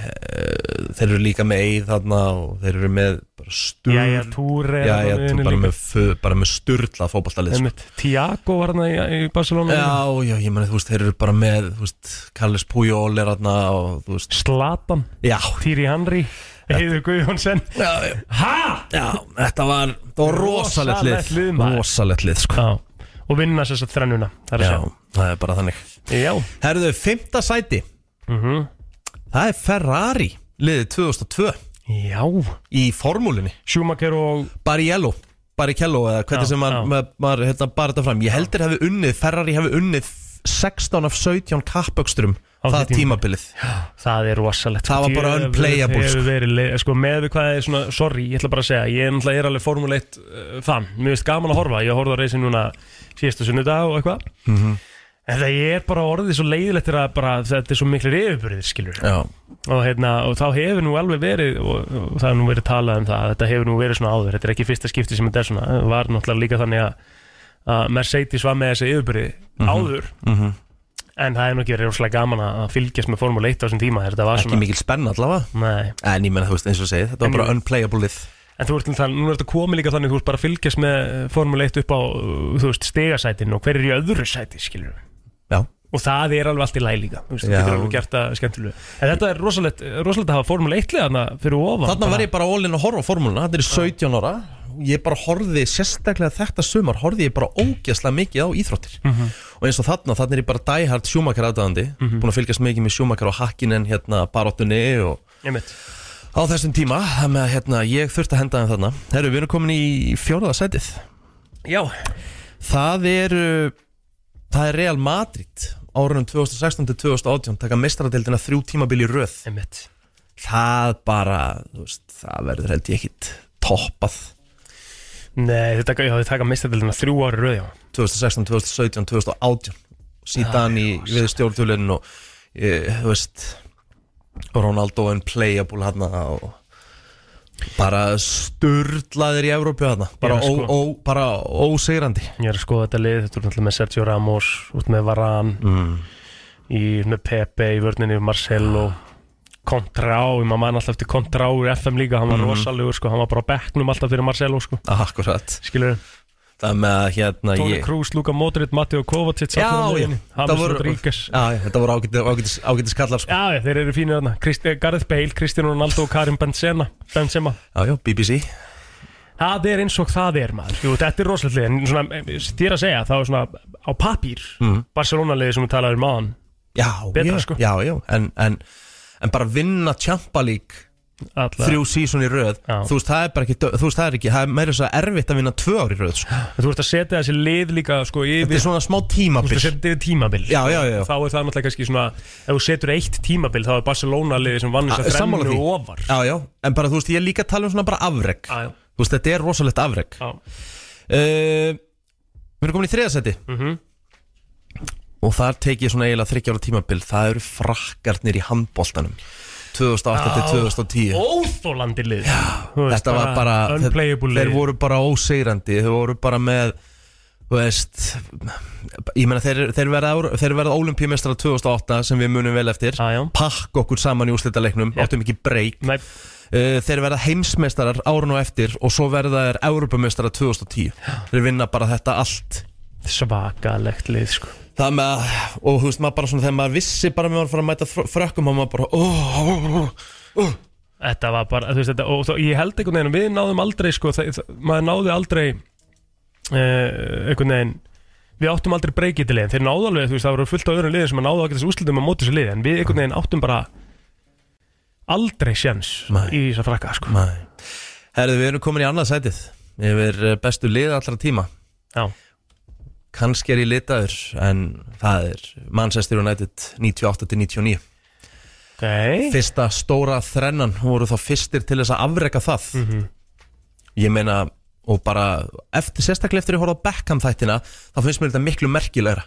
eh, þeir eru líka með Eið þarna og þeir eru með bara sturl Jæja, Túre sko. já, já, þú bara, með fö- bara með sturla fótballtalið sko. Einmitt, Tiago var hann í, í Barcelona já, sko. já, ég meina þú veist þeir eru bara með þú veist, Carles Puyol er þarna og þú veist, Slatan, já, Týri Henry Heiður Guðjónsson já, já, Hæ? já þetta var, það var rosalegt Rosalegt lið, lið maður. rosalegt lið, sko Já, og vinna sér satt þrennuna Það er já, að það er bara þannig segja Já, Herðu, fymta sæti Mhm. Það er Ferrari Liðið 2002 já Í formúlinni Schumacher og Bariello Barrichello eða hvernig Já, sem maður já. ma ma hérna, bar þetta fram Ég heldur hefði unnið Ferrari hefði unnið 16 af 17 kappöksturum Á Það því tímabili. tímabilið það er rosalegt Það var bara Djöfull unplayable, hefur sko. verið le- sko, með við hvað er svona, sorry, ég ætla bara að segja ég er náttúrulega er alveg Formule 1 uh, fan mér finnst gaman að horfa, ég horfði á reysin núna síðasta sunnudag og eitthvað en það er bara orðið svo leiðilegt þegar að bara, þetta er svo miklu reyðuburðir skilur Já, og, hérna, og þá hefur nú alveg verið og, og það hefur nú verið talað um það þetta hefur nú verið svona áður, þetta er ekki fyrsta skipti sem þetta er svona það var náttúrulega líka þannig að, að Mercedes var með þessi yfirbyrði áður Mhm. en það hefur nú ekki verið rosalega gaman að að fylgjast með Formule 1 á þessum tíma þetta var ekki svona, mikil spenn allavega nei En ég menna þú veist eins og segið Þetta En var bara ég- unplayable lið En þú ert til það, nú er þetta komið líka þannig, þú ert bara að fylgjast með eh, Formule 1 upp á, uh, þú veist, stegasætin og hver er í öðru sæti, skilur við. Já, Og það er alveg allt í læg líka, þú veist, þú Já. getur alveg gert það skemmtilega. En þetta er rosalegt, eh, rosalegt að hafa Formule 1 leðana fyrir ofan. þarna var ég bara all in að horfa á formúluna Þetta er 17 ára Ég bara horfði sérstaklega þetta sumar Horfði ég bara ógeðslega mikið á íþróttir Mhm. Og eins og þarna, þarna er ég bara diehard sjúmakar aðdæðandi Búin að fylgjast mikið með sjúmakar og hakkinen Hérna baróttunni og Einmitt. á þessum tíma Það með að hérna, ég þurfti að henda þeim þarna Herru, við erum komin í fjóraða sætið Já, Það eru Það er Real Madrid Árunum 2016 til 2018 Taka mestaradeildina þrjú tímabili í röð einmitt. Það bara, þú veist, það verður held ég ekkit toppað Nei, þetta, já, þetta taka mistadeldina þrjú ári röð, já. 2016, 2017, 2018 síðan í við stjórntjólinn og e, þú veist Ronaldo en playable hann og bara sturlaðir í Evrópu hann bara, Já, sko. ó, ó, bara ósegrandi Ég er að skoða þetta lið, þetta er náttúrulega með Sergio Ramos, út með Varan, mm. í, með Pepe í vörninni, Marcelo, Kontrá, maður mann alltaf eftir Kontrá í FM líka, hann var rosalegur, sko, hann var bara á bekknum alltaf fyrir Marcelo, sko. Mm. akkurat skilur það með að hérna Toni ég Kroos, Luka Modric, Matteo Kovacic Já, já, Hamis voru- Rodríguez já, já, þetta voru ágætis, ágætis, ágætis kallar sko. Já, já, þeir eru fínir þarna Kristi- Gareth Bale, Cristiano Ronaldo og Karim Benzema Benzema Já, já, BBC Það er eins og það er maður Jú, þetta er rosalega En svona, eh, þér að segja, þá er svona á papír Barcelona-liði sem við talaðum um án Mhm. Já, Betra, já, sko. já, já en, en, en bara vinna Champa League Alla. þrjú sísón í röð Já. þú veist, það er bara ekki, dö- þú veist, það er ekki það er meira svo erfitt að vinna tvö ár í röð sko. Þú ert að setja þessi lið líka sko, yfir, þetta er svona smá Þú tímabil ert að setja yfir tímabil Já, já, já, já. Þá er það náttúrulega kannski svona Ef þú setur eitt tímabil Þá er Barcelona-liði sem vann þess að Ah, sammála þrennu því. ofar já, já, en bara þú veist, ég er líka að tala um svona bara afreg Já, já. þú veist, þetta er rosalegt afreg Já. Eh, Við erum komin í þriðasæti Mhm. Og þar teki ég svona eiginlega þryggjára tímabil Það eru frakkarnir í handboltanum 2008 til 2010 Óþólandi lið Þetta var bara Unplayable Þeir lið voru bara óseirandi Þeir voru bara með Þú veist Ég meina þeir, þeir verða, þeir verða olimpíumestrar 2008 sem við munum vel eftir Já, já. Pakk okkur saman í úrslitaleiknum Jep. Áttum ekki breyk Nei, Uh, þeir verða heimsmeistarar árun og eftir og svo verða þeir Európameistarar 2010 þeir vinna bara þetta allt svakalegt lið sko. það með að, og þú veist maður bara svona þegar maður vissi bara með að fara að mæta fr- frökkum og maður bara, óh Uh. Þetta var bara, þú veist þetta Og þó, ég held einhvern veginn, að við náðum aldrei sko, það, það, Maður náði aldrei uh, Einhvern veginn Við áttum aldrei breykitilegin, þeir náðu alveg þú veist, Það voru fullt á öðrum liðin sem að náðu ákveð þessu úrslitum að móti þessu liði, en við einhvern veginn áttum bara Aldrei sjens Nei. Í þess að frakka sko. oh. herðu við erum komin í annað sætið yfir eh, bestu lið allra tíma Já, kannski er ég litaður en það er Manchester United 98-99 ok fyrsta stóra þrennan voru þá fyrstir til þess að afreka það Mhm. ég meina og bara eftir, sérstaklega eftir að ég horfa á Beckham þættina þá finnst mér þetta miklu merkilegra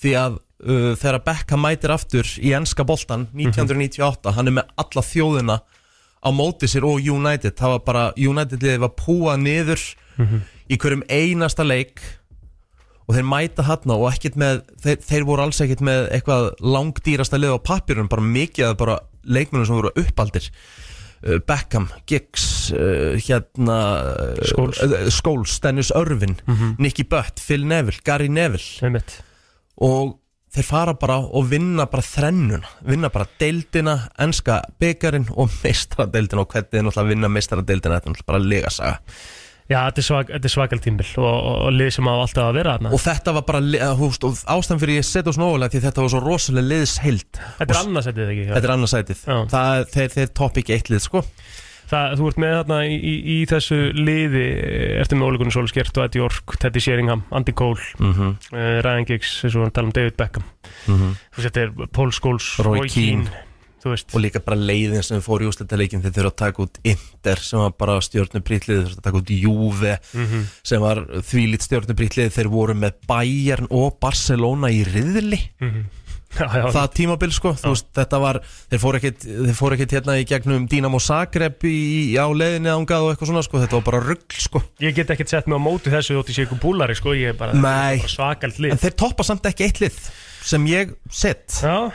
því að uh, þegar Beckham mætir aftur í enska boltan 1998, hann er með alla þjóðina á móti sér og United það var bara, United liðið var púað niður í hverjum einasta leik og þeir mæta hann og ekkert með þeir, þeir voru alls ekkert með eitthvað langdýrasta lið á pappirun, bara mikið að bara leikmennum sem voru uppaldir Uh, Beckham, Giggs uh, hérna uh, Scholes. Mhm. uh, Scholes, Dennis Irvin Nicky Butt, Phil Neville, Gary Neville Einmitt. og þeir fara bara og vinna bara þrennuna, vinna bara deildina enska byggarinn og <laughs> meistaradeildina og hvernig þeir náttúrulega vinna meistaradeildina þetta er náttúrulega bara legasaga Já, þetta er, svak, þetta er svakal tímbil og, og, og lið sem á alltaf að vera þarna og þetta var bara le- eða, þú veist, og ástæðan fyrir ég setja þessu nógulega því þetta var svo rosalega liðsheild Þetta er annarsættið ekki þetta er annarsætið Já. það, þeir, þeir topp ekki eitt lið sko Það, þú ert með þarna í, í, í þessu liði eftir með Ólegunni Solskjert og Eddie Ork, Teddy Sheringham, Andy Cole mm -hmm. uh, Ryan Giggs, eins og hann tala um David Beckham þú veist, þetta er Paul Scholes Mhm. Roy Keane. þú veist, og líka bara leiðin sem fór í úsletaleikin þeir þurfa að taka út Inter sem var bara stjórnubrítlið þeir þurfa að taka út Juve Mhm. sem var þvílitt stjórnubrítlið þeir voru með Bayern og Barcelona í riðli Mhm. <laughs> já, já, það tímabil sko þú veist, þetta var, þeir fóru ekkit, þeir fóru ekkit hérna í gegnum Dinamo Zagreb í, á leiðinni ángað og eitthvað svona sko þetta var bara rugl sko ég get ekkert sett mig á móti þessu þótt ég sé ykkur búlari, sko, ég er bara, Nei. bara En svakalt lið þeir toppa samt ekki eitt lið sem ég sett Já,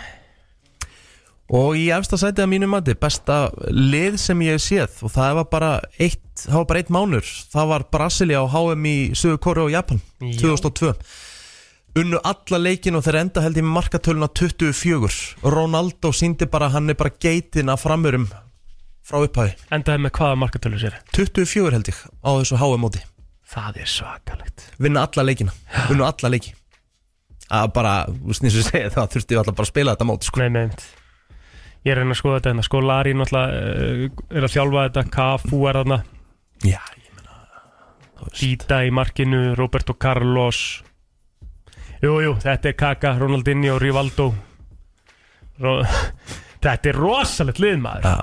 og í efsta sætið að mínu mati besta lið sem ég hef séð og það var bara eitt, það var bara eitt mánur það var Brasilia á HM í Suður Kóru og Japan 2002 unnu alla leikin og þeir enda held ég með markatöluna 24 Ronaldo síndi bara, hann er bara geitin af framurum frá upphæði endaði með hvaða markatölu sér 24 held ég á þessu HM móti það er svakalegt vinna alla leikina, unnu alla leiki að bara, þú veist eins og ég segja það þurfti ég alltaf bara að spila þetta móti sko. Nei, nei, einmitt. ég er að reyna að skoða þetta hérna. sko, Lari náttúrulega eh, er að þjálfa þetta Kafu er þarna Já, ég meina þú veist. Dita í markinu, Roberto Carlos Jú, jú, þetta er Kaka, Ronaldinho, Rivaldo Ro <laughs> Þetta er rosalegt lið maður Já,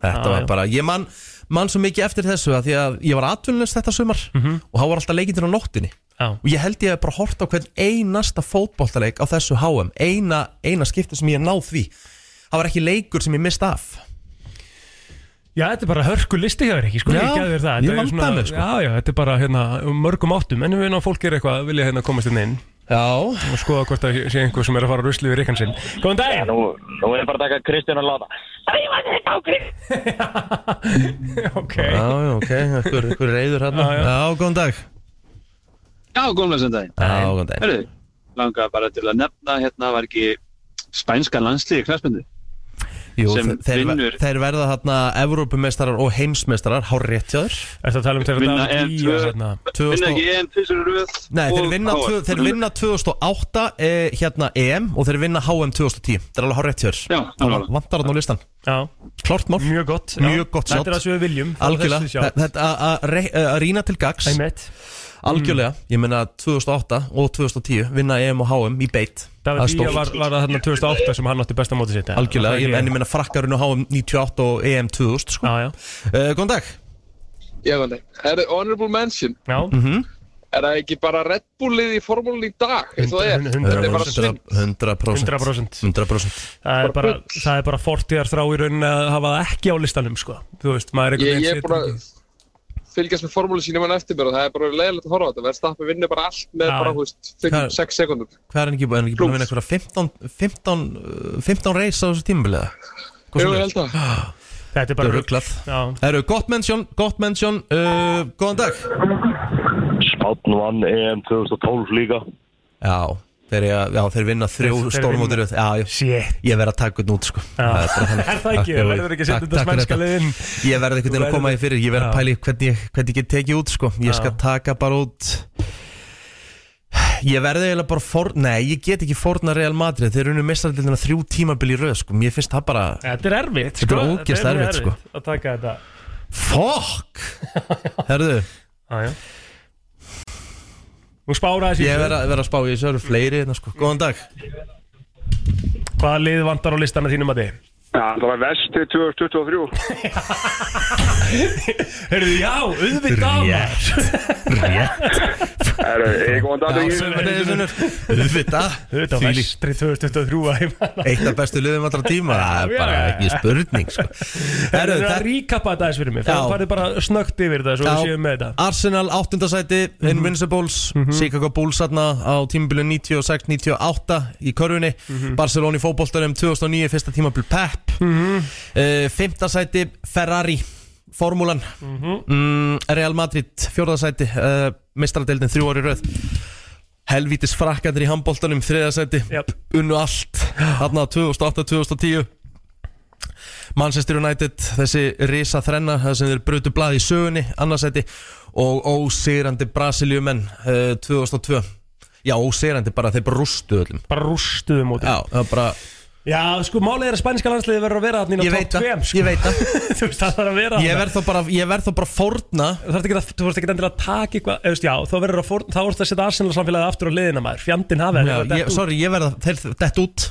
þetta Já, var já. bara Ég man, man svo mikið eftir þessu að Því að ég var atvinnlust þetta sumar Og það var alltaf leikindir á nóttinni Mhm. Já, Og ég held ég hef bara hort á hvern einasta fótboltaleik Á þessu HM Eina, eina skipti sem ég náð því Það var ekki leikur sem ég mist af já þetta er bara hörku listi hjá þér ekki sko, Já, ég gæði þér það ég Þetta er vandaði svona- mig, sko. Já, já, þetta er bara hérna um mörgum áttum En við erum að fólk er eitthvað, vilja hérna komast inn inn Já, Og skoða hvort það sé einhver sem er að fara að rusli við rikkan sinn Góðan daginn! Nú, nú er bara að taka Kristján að láta ok já, já, ok Hver, hver reyður hérna Já, Já, já. góðan dag Já, góðan lesum daginn. Já, góðan dag Hörru, langaði bara til að nefna hérna var ekki spænska landslið í knæspindu. Jú, sem þe- þeir, vinnur þeir verða þarna Evrópumeistarar og heimsmeistarar hár rétt hjá þér Þetta tala um þegar Vinna Davíð en Gíja tvö. hérna. 2000 vinna og- ekki en tvisur röð Nei, þeir og vinna, KR. tvö, þeir vinna 2008 eh, hérna EM og þeir vinna HM 2010 Það er alveg hár rétt hjá Já, þér alveg. Vantar þarna á listan Já, Klárt mál mjög gott já. Mjög gott Þetta shot. er það sem við viljum það er Algjörlega, þessi shot. Þe- þetta að- að re- eh, að rýna til gags Einmitt Mm. Algjörlega, ég meina 2008 og 2010 vinna EM og HM í beitt Það er Davíð Gíja stórt var, var það þarna 2008 sem hann átti besta móti sitt eða? Algjörlega, ég, en Það er ég ekki- meina frakkarinn á HM 98 og EM 2000 sko. Já, já, uh, Góðan dag Já, þannig. Er það honorable mention? já Mhm. Er það ekki bara Red Bullið í formúlunni í dag? eins og það er? Þetta er bara 100%, snill. 100%, 100% 100%. Það er bara, það er bara fortíðar þrá í raunin að hafa það ekki á listanum sko Þú veist, maður er Ég, einhvern ég er situr búin að ekki- fylgjast með formúlunni sínum hann eftir mér og það er bara leiðilegt að horfa á þetta. Verðstappi vinnur bara allt með Já, bara, já. hú veist, Hvað- 5-6 sekundum. Hvað er hann ekki, er hann ekki búin að Plús. vinna eitthvað 15, 15, uh, 15 reis á þessu tímabiliða? Jú, ég held að. Þetta er Bara bara rugglað Já, Það eru gott mennsjón, gott mennsjón uh, Góðan dag Spátn vann EM 2012 líka Já, þeir, eiga- já, þeir vinna þrjú Þeir- þeir stórmótir vinna. Já, já shit Ég verð að taka þetta út sko Já. er bara þannig. <laughs> Er það ekki? Já, Þú jú, verður ekki að setja takk- þetta takk fyrir spænska liðin Ég verð ekkert inn að verður- koma í fyrir Ég verð Já. að pæli hvernig, hvernig ég get tekið út sko Ég skal Já. taka bara út Ég verði eiginlega bara for... Nei, ég get ekki forna Real Madrid Þeir unnu mestaraldildina þrjú tímabil í röð sko Mér finnst það bara Þetta er erfitt Þetta er sko. ógeðslega mjög erfitt, sko. Að taka þetta <laughs> Fuck Herðu Já, já Nú spára þessi Ég verð að, verð að spá, ég sé að það eru fleiri hérna sko Góðan dag Hvaða lið vantar á listana þínum að þið? Já, það var vesti 2023 <laughs> Heyrðu, já, auðvitað maður. <laughs> Er það góðan dag Já, drengir? sömuleiðis, vinur. Auðvitað Auðvitað Þvílík- vestri 2023 að ég manna. Eitt af bestu liðum allra tíma Það er bara ekki spurning sko. Heyrðu, Herru, það er að það- ríkappa þetta aðeins fyrir mig Já. Það farið bara snöggt yfir þetta svo Já. við séum með þetta Mhm. Arsenal áttundasæti Invincibles, Chicago Bulls þarna á tímabilið 96-98 í körfunni, Mhm. Barcelona í fótboltanum 2009, fyrsta tímabil Pep Eh, Fimmta sæti Ferrari, formúlan mm, Real Madrid fjórðasæti, uh, mistradeldin þrjú ári röð helvítis frakkandir í handbóltanum, þriðasæti Jöp. unnu allt þarna 2008-2010 Manchester United þessi risa þrenna það sem þeir brutu blað í sögunni annarsæti og ósigrandi Brasiliumenn uh, 2002 já ósigrandi bara þeir bara rústu öllum Bara rústuðum út já það er bara Já, sko, málið er að spænska landsliði verður að vera þarna ég inn á veit top 2 það sko. ég veit það <laughs> Þú veist, það þarf að vera ég þarna. verð þá bara ég verð þá bara fórna Þú þarfst ekki að, þú þarfst ekki endilega að taka eitthvað eða, þú veist, Já, þá verður að fór, þá vorst að setja Arsenal samfélagið aftur á liðina maður Fjandinn hafið já, ég, sorry ég verð að þeir dett út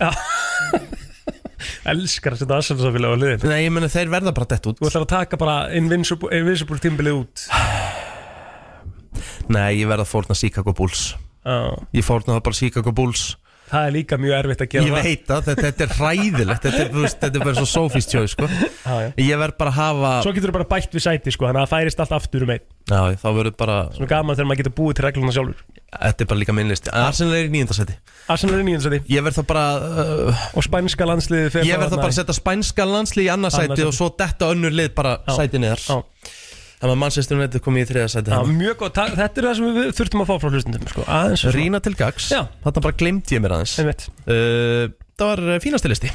Elskar að setja Arsenal samfélagið á liðin nei ég meni þeir verða bara dett út Þú ætlar að taka bara Invincible, Invincible tímbilið út nei ég verð að fórna Chicago Bulls Já, ég fórna það bara Chicago Bulls Það er líka mjög erfitt að gera Ég veit það, þetta, þetta er hræðilegt Þetta er, þú veist, þetta er bara svo Sophie's choice sko. það já, já. Ég verð bara að hafa Svo getur þú bara bætt við sæti sko, þannig að það færist allt aftur um einn Já, þá verður bara Svo gaman þegar maður getur búið til regluna sjálfur Þetta er bara líka minn listi Arsenal er í nýjöndarsæti Arsenal er nýjansæti Ég verð þá bara uh, og spænska landsliði fer Ég verð þá bara að setja spænska landslið í annað Annað sæti sæti. Og svo detta önnur lið bara Já. sæti niðar Já. Þannig að Manchester United komið í þriða sæti Já, þarna. mjög gott, það- þetta er það sem við þurftum að fá frá hlustundum sko. aðeins og svona. Rýna til gags Já. Þetta bara glemdi ég mér aðeins uh, Einmitt. Það var uh, fínasti listi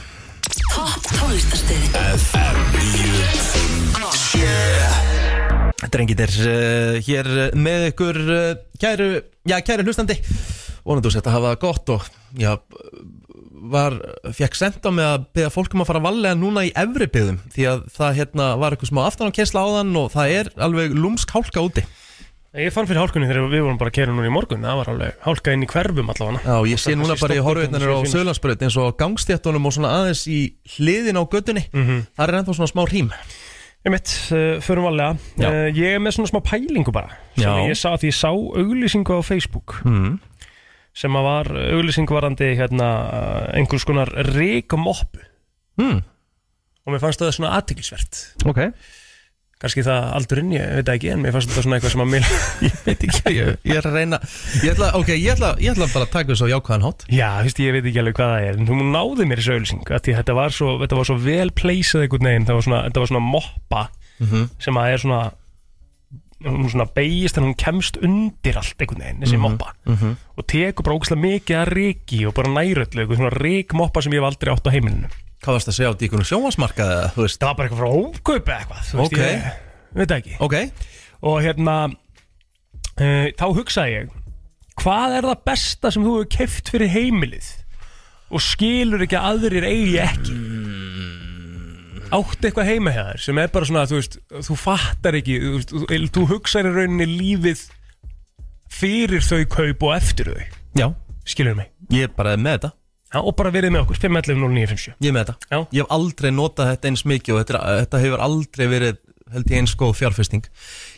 Drengitir, uh, hér uh, með ykkur uh, kæru, já, kæru hlustandi vonandi þú sett að hafa það gott og já, var, fekk senda með að beða fólkum að fara valega núna í efri byðum því að það hérna var eitthvað smá aftanákensla á þann og það er alveg lúmsk hálka úti Ég fann fyrir hálkunni þegar við vorum bara að kera núna í morgun það var alveg hálka inn í hverfum allavega Já, ég sé það núna bara í sé stokkinn horfiðnarnir á sem finnast. Söðlandsbraut eins og á gangstjættunum og svona aðeins í hliðin á göttunni það er ennþá svona smá rím Mhm. Einmitt, uh, förum valega Já. uh, Ég er með svona smá pælingu bara sem Já. ég sá því ég sá auglýsingu á Facebook mm. Mhm. sem að var auglýsingu varandi hérna, uh, einhvers konar reikumoppu mm. og mér fannst það svona aðtiklisvert Ok kannski það aldurinn, ég veit það ekki en mér fannst þetta svona eitthvað sem að mér <laughs> Ég veit ekki, ég, ég er að reyna ég ætla, Ok, ég ætla, ég ætla bara að taka þessu á jákvæðan hátt já, þú veist, ég veit ekki alveg hvað það er en þú náði mér þessu auðlýsing þetta var svo, þetta var svo vel pleysað einhvern veginn það var svona, þetta var svona moppa Mhm. sem að er svona hún svona beigist en hún kemst undir allt einhvern veginn, Mhm, þessi moppa og tekur bara ógæslega mikið að reiki og bara næröllu, eitthvað svona reik moppa sem ég hef aldrei átt á heimilinu Hvað varst að segja á díkunum sjónvarsmarkaði eða, þú veist? Það var bara eitthvað frá ókaup eða eitthvað þú veist, Ok. ég veit það ekki okay. og hérna uh, þá hugsaði ég hvað er það besta sem þú hefur keft fyrir heimilið og skilur ekki að aðrir eigi ekki átt eitthvað heima hjá þér sem er bara svona þú veist, þú fattar ekki þú, veist, þú, þú hugsaði rauninni lífið fyrir þau kaup og eftir þau Já, skilur mig ég er bara með þetta Já, og bara verið með okkur, 5.11.09.57 Ég er með þetta Já. Ég hef aldrei notað þetta eins mikið og þetta, er- þetta hefur aldrei verið held ég eins góð fjárfesting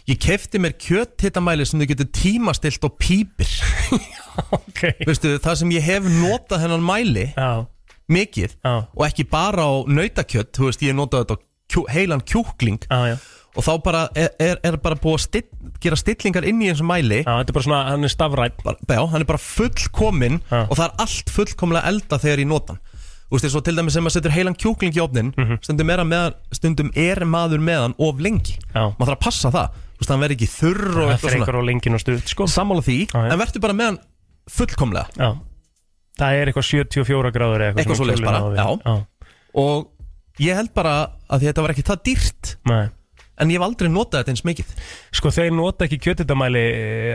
Ég kefti mér kjöthitamæli sem þau getur tímastilt og <laughs> pípir Ok Veistu, það sem ég hef notað hennan mæli Já, mikið Já. og ekki bara á nautakjött, þú veist, ég hef notað þetta á kjú, heilan kjúkling já, já og þá bara er, er, er bara búið að still, gera stillingar inn í eins og mæli Já, þetta er bara svona, hann er stafrætt bara, já, hann er bara fullkominn Já. og það er allt fullkomlega elda þegar ég nota hann Þú veist, eins og til dæmis sem maður setur heilan kjúkling í ofnin Mhm. stundum, er hann með, stundum er maður með hann of lengi Já. maður þarf að passa það, þú veist, hann verður ekki þurr og Það eitthvað svona, frekar og lengin og stutt, sko sammála því Já, já. en verður bara með hann fullkomlega Já Það er eitthvað 74 gráður eða Eitthvað sem svoleiðis kjólinn bara, á við. já. og ég held bara að því þetta var ekki það dýrt Nei en ég hef aldrei notað þetta eins mikið Sko, þeir nota ekki kjötitamæli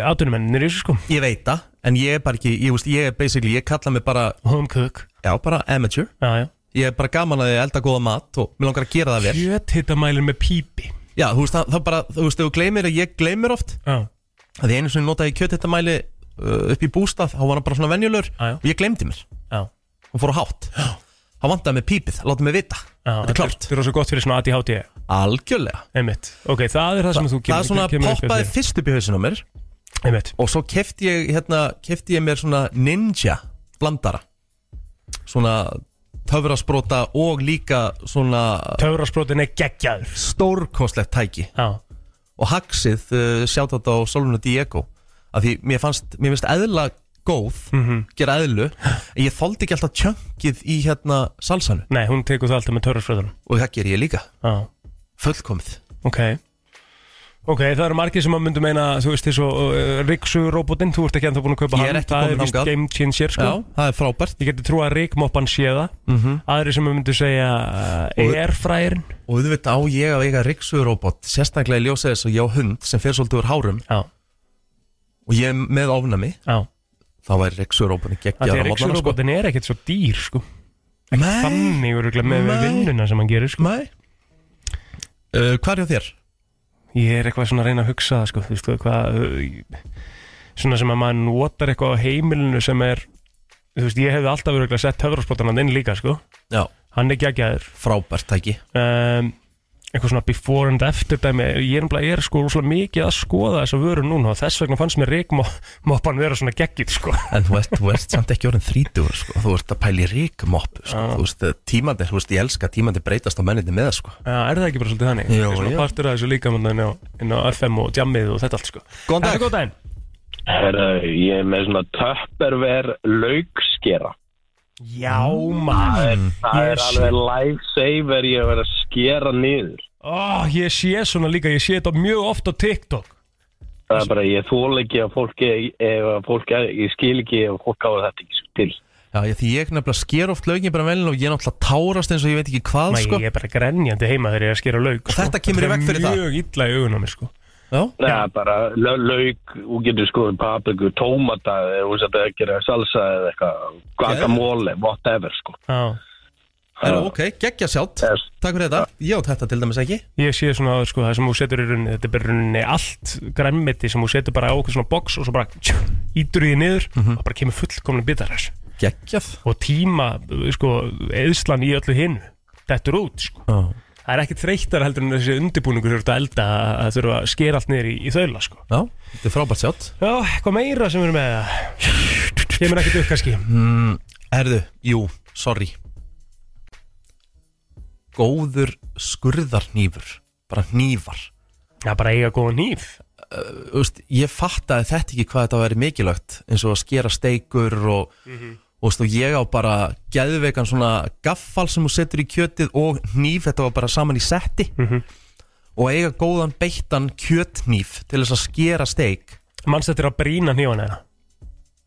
átunumennir í þessu, sko ég veit það, en ég er bara ekki ég, þú veist, ég er basically, ég kalla mig bara Home cook já, bara amateur, Já, já ég er bara gaman að ég elda góða mat og mér langar að gera það vel Kjötitamæli með pípi Já, þú veist, það, það bara, þú veist, ef þú gleymir að ég gleymir oft Já að því einu sem notaði ég kjöthitamæli uh, upp í bústað, þá var hann bara svona venjulur Já, já. og ég gleymdi mér, Já hún fór á hátt þá vantaði mig pípið, láta mig vita Já, þetta er klárt, Þetta er rosa gott fyrir svona ADHD algjörlega Einmitt Ok, það er það sem þú það er svona poppaði fyrst upp í hausinu á mér fyrir Einmitt og svo kefti ég, hérna, kefti ég mér svona ninja blandara svona töfrasprota og líka svona Töfrasprótin er geggjaður stórkostlegt tæki Já og haxið uh, sjátt á Soluna Diego af því mér fannst, mér finnst eðla góð, Mhm. gera eðlu en ég þoldi ekki alltaf tjöngið í hérna salsanu Nei, hún tekur það alltaf með töfrasprótunum og það ger ég líka, Já fullkomið Ok Ok, það eru margir sem að myndu meina Þú veist, þessu uh, Riksu-robotinn Þú ert ekki ennþá búin að kaupa Ég er hann ekki Það kominn er víst þangað. game changer sko. Já, það er frábært Mhm. Ég geti trú að Rikmoppan sé það -hmm. Aðri sem að myndu segja uh, Og- Airfryerin og þú veit á ég að eiga riksuðurobot sérstaklega í ljósið þess að ég á hund sem fer svolítið úr hárum Já, og ég er með ofnami, já þá væri riksuðurobotni Það geggjaður er á morgnana, sko. Riksu-robotin er ekkert svo dýr sko. Nei, Þannig eru örugglega með Nei. vinnuna sem hann gerir sko. nei uh, Hvað er hjá þér? Ég er eitthvað svona að reyna að hugsa það sko. Þú veist, hvað uh, Svona sem að maður notar eitthvað á heimilinu sem er Þú veist, ég hefði alltaf verið að setja höfðarspottan inn líka sko. Já, Hann er geggjaður frábært tæki um, eitthvað svona before and after dæmi ég er, nefnilega- ég er sko rosalega mikið að skoða þessa vöru núna og þess vegna fannst mér reikmoppan vera svona geggit sko En þú ert, þú ert samt ekki orðin þrítugur sko. Þú ert að pæli ríkmopp sko. Þú veist, tímandi, þú veist, ég elska að tímandi breytast á menninni með það, sko. Já, er það ekki bara svolítið þannig? Jú, Þetta er svona jú. partur af þessu líka mann inn, á- inn á FM og jammið og þetta allt sko Góðan Þetta dag. er góð daginn Herra, ég er með svona töpperver laukskera. Já Mm. maður Það Ég er sé- alveg lifesaver ég að vera að skera niður. Ó, ég sé svona líka, ég sé þetta mjög oft á TikTok Það er bara, ég þól ekki að fólki, ef að fólki, ég skil ekki ef fólk á þetta ekki til. Já, ég, því ég nefnilega sker oft lögin bara um velin og ég náttúrulega tárast eins og ég veit ekki hvað, Nei, sko. ég er bara grenjandi heima þegar ég er að skera lauk sko. Þetta kemur í veg fyrir er það. Mjög illa í augun á mér sko Já, Það er bara lau- lauk, þú getur skoðið papriku, tómata, þú veist að það gera salsa eða eitthvað, guacamole, whatever, sko. Já er, ok, geggja sjátt. Yes. Takk fyrir þetta. Ég átt þetta til dæmis ekki. Ég sé svona áður, sko, það sem þú setur í rauninni Þetta er bara í rauninni allt grænmeti sem þú setur bara á okkur svona box og svo bara tjú, ítur því niður og bara kemur fullkomlega bitar þess Mhm. Geggjað. og tíma, sko, eðslan í öllu hinu Þetta er út, sko Já. Það er ekki þreytar heldur en þessi undirbúningur þegar þú ert að elda að- að þurfa að skera allt niður í, í þaula, sko Já, þetta er frábært sjátt. Já, eitthvað meira sem við erum með það Kemur ekkert upp kannski Mm, Herðu, jú, sorry. Góður skurðarnýfur. Bara nýfar. Já, bara eiga góða nýf Úst, ég fattaði þetta ekki hvað þetta væri mikilvægt eins og að skera steikur og, mm Mhm. og, og ég á bara geðveikan svona gaffal sem þú setur í kjötið og hníf, þetta var bara saman í setti Mhm. og eiga góðan beittan kjötnýf til þess að skera steik Manst þetta er að brína nýfana þeirra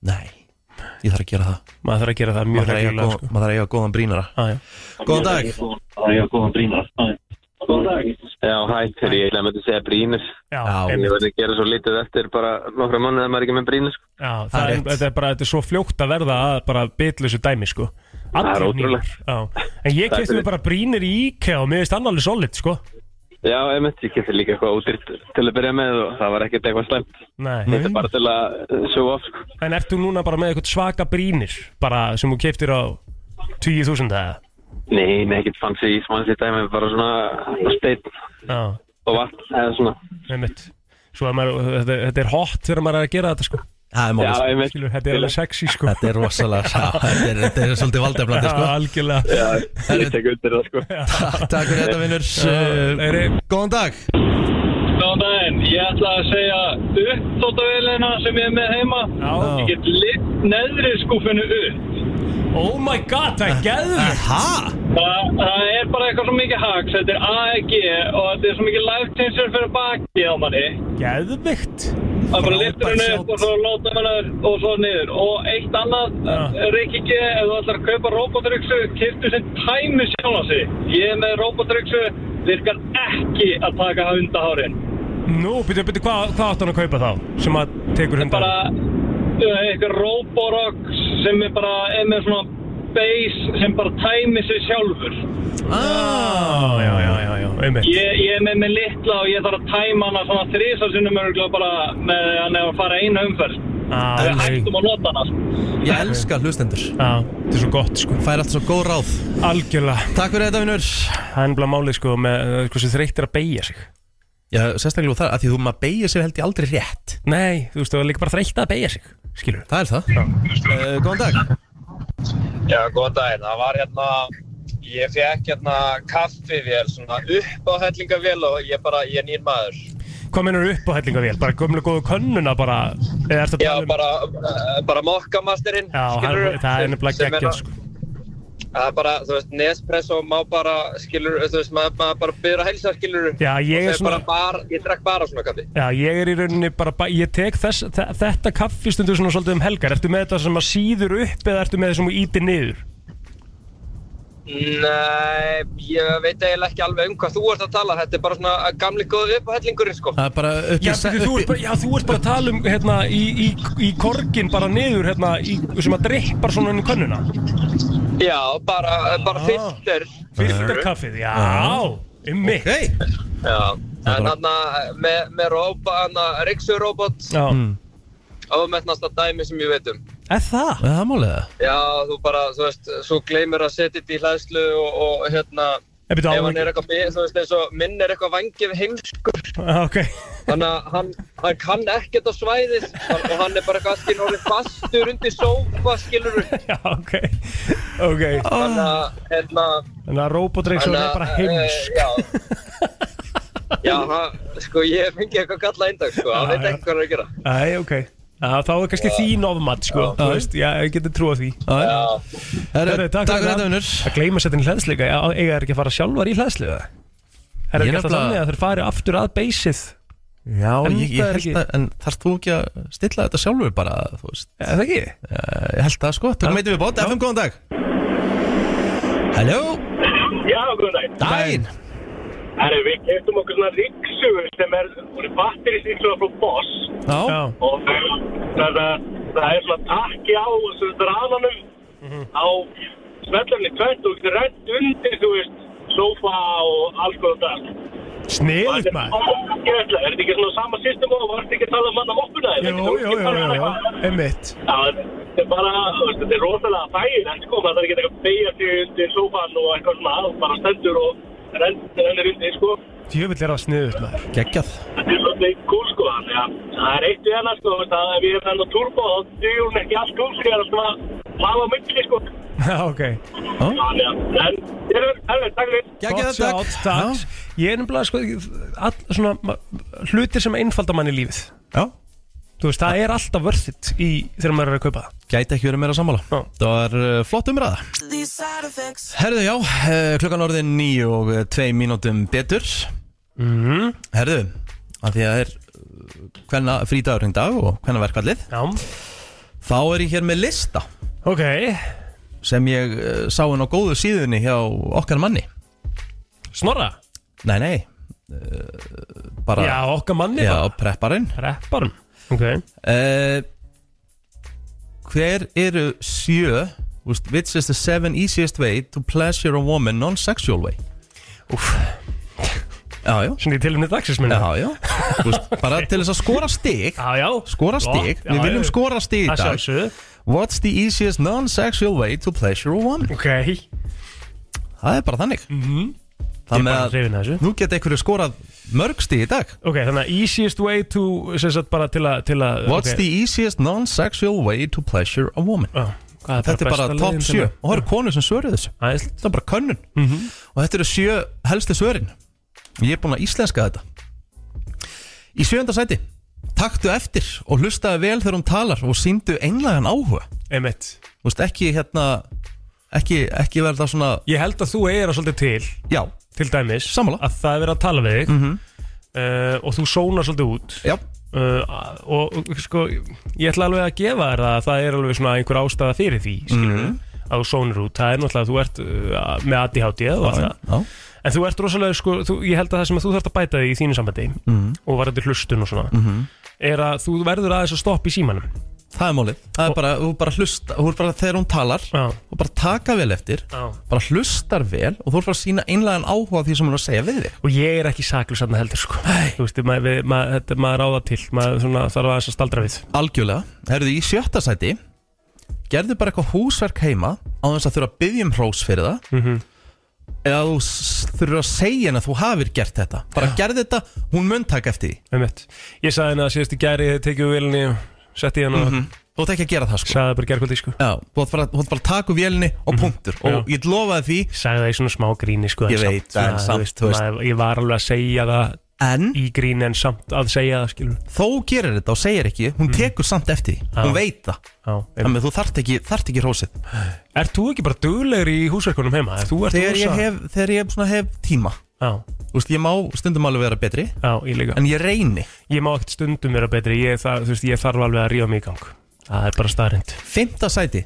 Nei, Ég þarf að gera það hérna. Maður þarf að gera það mjög Maður þarf að eiga reglulega, sko. Ah, góð- maður þarf að eiga góðan brínara Góðan dag Já, góðan brínur. Góðan dag. Já, hæ, þegar ég eiginlega myndi segja brínir Já, Ég verði að gera svo lítið eftir bara nokkra mánuð að maður er ekki með brínir sko. Já, það, Það er er, rétt. þetta er bara þetta er svo fljótt að verða að bara bitlusu dæmi sko Það er Allir ótrúlegt. hnífar, já. En ég Það er kefti mig fyrir- bara brínir í IKEA og mér finnst hann alveg solid sko Já, einmitt, ég kefti líka eitthvað útýrt til að byrja með og það var ekkert eitthvað slæmt Nei. Þetta er bara til að sjó of sko. En ertu núna bara með eitthvað svaka brínir bara sem þú keftir á 20.000 eða? Nei, með ekkert fanns í smansi dæmi, bara svona steinn Já, og vatn eða svona einmitt Svo að maður, þetta, þetta er hot þegar maður er að gera þetta sko Það er málið, Já, sko. einmitt. Skilur, þetta er alveg sexy sko Þetta er rosalega <laughs> sá Þetta er, þetta er svolítið valdeflandi sko Já, algjörlega Já, ég tek undir það sko Takk takk fyrir þetta vinnur Uh, Góðan dag Góðan daginn, ég ætla að segja uppþóttavélina sem ég er með heima Já. Ég get litt neðri skúfinu upp Oh my god, Eh, það er geðvikt Hæ? Það, það er bara eitthvað svo mikið haks, þetta er AEG og þetta er svo mikið life changer fyrir baki á manni Geðvikt Það er bara liftur henni upp og svo láta henni og svo niður Og eitt annað, ja. Rikki G, ef þú ætlar að kaupa robotryksu, kiptu sem tæmi sjálf á sig Ég er með robotryksu, virkar ekki að taka hundahárin Nú, byrju, byrju, hvað hva áttu hann að kaupa þá sem að tekur hundar? bara uh, eitthvað Roborock sem er bara er með svona base sem bara tæmi sig sjálfur ah, Já, já, já, já, einmitt ég, ég er með með litla og ég þarf að tæma hana svona þrísarsinnum örgulega bara með hann ef að fara einu umferð Ah, við nei. hættum að nota hana sko. Ég elska hlustendur Já, þetta er svo gott sko Fær alltaf svo góð ráð Algjörlega Takk fyrir þetta vinnur Það er nefnilega málið sko með uh, hversu þreytt er að beigja sig Já, sérstaklega þar að því þú maður beigir sér held ég aldrei rétt Nei, þú veist, það er líka bara þreytt að beigja sig Skilur Það er það eh, uh, Góðan dag Já, góðan daginn. Það var hérna, ég fekk hérna kaffivél, svona upp á hellingavél og ég bara, ég er nýr maður. Hvað mennur upp á hellingavél? Bara gömlu góðu könnuna bara Eða ertu að Já, tala um bara, eh, bara mokkamasterinn, Já, hann- það er nefnilega geggjað, sko. Það er bara, þú veist, Nespresso má bara, skilur, þú veist, maður, maður bara byrður að helsa, skilur. Já, ég er Bara, svona- bar, ég drakk bara svona kaffi. Já, ég er í rauninni bara, ba- ég tek þess, þe- þetta kaffi stundur svona svolítið um helgar Ertu með þetta sem að síður upp eða ertu með þetta sem að íti niður? Nei, ég veit eiginlega ekki alveg um hvað þú ert að tala. Þetta er bara svona gamli góðu upp á hellingurinn, sko. Það er bara upp Já, byrju, þú ert bara, já, þú ert bara að tala um hérna í, í, í korgin bara niður hérna í, sem að drippar svona inn í könnuna Já, bara, bara filter. Ah. Filterkaffið, Ah. já, um mitt okay. Já, Það er en bara- hann með, með rópa, hann að Rixu-robot Já mm. ámennasta Hmm. dæmi sem ég veit um. Er það? Það er málið það Já, þú bara, þú veist, svo gleymir að setja þetta í hlæðslu og, og hérna, Ég byrja á ef hann hann er eitthvað, mi- þú veist, eins og minn er eitthvað vangið heimskur, Ok, þannig að hann, hann kann ekkert á svæðið hann- og hann er bara eitthvað skinn orðið fastur undir sófa, skilur já, ok Ok Þannig að, hérna, Þannig að Robotrex er Þannig að, bara heims eh, Já, já hann, sko, ég hef fengið eitthvað galla eindag, sko, hann Já, veit já. ekki hvað hann er að gera. Æ, ok Já, þá er kannski þín ofmat, sko, þú veist, já, ég geti trúa því Já, Herru, takk takk fyrir það. þetta, vinur. Að gleyma að setja inn í hlæðsleika, já, eiga er ekki að fara sjálfar í hlæðsleika Er Ég ekki alltaf nefnilega- þannig að þeir fari aftur að beysið Já, ég, ég Endaði held ekki. að, en þarfst þú ekki að stilla þetta sjálfur bara, þú veist Er það ekki? Já, Ég held það, sko, tökum meitum við bótt, FM, góðan dag Halló Já, góðan daginn. Dæn Herri, við keftum okkur svona ríksugur sem er batterísíksuga frá Boss Já, og það, það, það er svona takki á þessu draðanum Mhm. á svellunni tvönd og getur rent undir, þú veist, sofa og alls konar dag. Sniðugt maður Ógeðslega, er þetta ekki svona sama system og varst ekki að tala um hann að hoppuna? Jú, jú, jú, jú, jú, emitt Já, þetta er bara, þú veist, þetta er rosalega þægir, en sko, maður þarf ekki að beigja sig undir sófan og eitthvað svona, og bara stendur og renn- rennir undir, sko. Djöfull er það sniðugt maður Geggjað Þetta er svolítið cool, sko, þannig að það er eitt við hennar, sko, þú veist, að ef ég er hennar turbo, þá dugur hún ekki allt cool, sko, ég er alltaf að maður á milli, sko. <laughs> Já, ok Þannig að, en, ég er, herri, takk fyrir. Gott sjátt, takk Ég er nefnilega, sko, all, svona ma- hlutir sem einfalda manni lífið Já Þú veist, það er alltaf worth it í, þegar maður er að kaupa það Gæti ekki verið meira sammála Það var uh, flott umræða Herðu, já, eh, klukkan orðin 9 og 2 mínútum betur mm. Mhm. Herðu, að því að það er eh, hvenna frítagur í dag og hvenna verkvallið já. Þá er ég hér með lista Ok Sem ég uh, sá hann á góðu síðunni hjá okkar manni Snorra? Nei, nei uh, bara, Já, okkar manni Já, bara. prepparinn Prepparinn, ok uh, Hver eru sjö úst, Which is the seven easiest way to pleasure a woman non-sexual way Úff Já, já Svona í tilumni dagsins minni Já, já Úst, Bara til þess að skora stig Já, já Skora stig Já, Við já. viljum skora stig í Að dag sjálfsögðu. What's the easiest non-sexual way to pleasure a woman Ok Það er bara þannig mm -hmm. Það Mhm. Ég er með bara að hrifinn af þessu. nú geta einhverju skorað mörg stig í dag Ok, þannig að easiest way to sem sagt bara til að til að- What's ok. the easiest non-sexual way to pleasure a woman hvað er bara Þetta er bara besta top leiðin til 7 að- Og það eru konur sem svöruð þessu Æsland. Þetta er bara könnun Mhm. Og þetta eru sjö helstu svörin Ég er búinn að íslenska þetta Í sjönda sæti Taktu eftir og hlustaðu vel þegar hún talar Og síndu einlagan áhuga Einmitt Þú veist ekki hérna Ekki, ekki verða svona Ég held að þú eigir það svolítið til Já Til dæmis Sammála Að það er verið að tala við þig Mhm. uh, Og þú sónar svolítið út Já uh, Og og, sko Ég ætla alveg að gefa þér það að Það er alveg svona einhver ástæða fyrir því Skilur Mhm. Að þú sónir út Það er náttúrulega að þú ert uh, með ADHD og allt Já, það En þú ert rosalega sko þú, Ég held að það sem að þú þarft að bæta þig í þínu sambandi Mhm. Og varandi hlustun og svona Mhm. Er að þú verður aðeins að stoppa í símanum Það er málið Það er bara, þú bara hlusta Þú er bara þegar hún talar Já. Þú bara taka vel eftir Já. Bara hlustar vel Og þú er bara að sína einlagan áhuga á Því sem hún er að segja við þig og ég er ekki saklus þarna heldur sko þú veist, maður, við- maður, þetta, maður ráða til maður svona, þarf aðeins að staldra við Algjörlega, herðu í sjötta sæti Gerðu bara eitthvað húsverk heima Á þess að þurfa að biðja um hrós fyrir það Mhm. Eða þú s- þurfa að segja henni að þú hafir gert þetta Bara gerðu þetta, hún mun taka eftir því Einmitt. ég sagði henni að síðustu gæri tekið við vilni setti henni og Mhm. Þú ætti ekki að gera það sko sagði það bara gærkvöldi sko Mhm. Já, þú ætti bara, þú átt bara að taka úr vélinni og punktur Og ég lofaði því sagði það í svona smá gríni sko Ég veit, svona, en samt, þú þú veist. maður, ég var alveg að segja það en? í gríni en samt að segja það skilur þó gerir þetta og segir ekki Hún tekur samt eftir því, hún veit það Já, Þannig að þú þarft ekki, þarft ekki hrósið Er þú ekki bara duglegur í húsverkunum heima? Þú ert Þegar ég rosa- hef, þegar ég svona hef tíma Já Þú veist, ég má stundum alveg vera betri Já, ég líka En ég reyni Ég má ekkert stundum vera betri ég, það, þú veist, ég þarf alveg að rífa mig í gang Það er bara staðrind Fymta sæti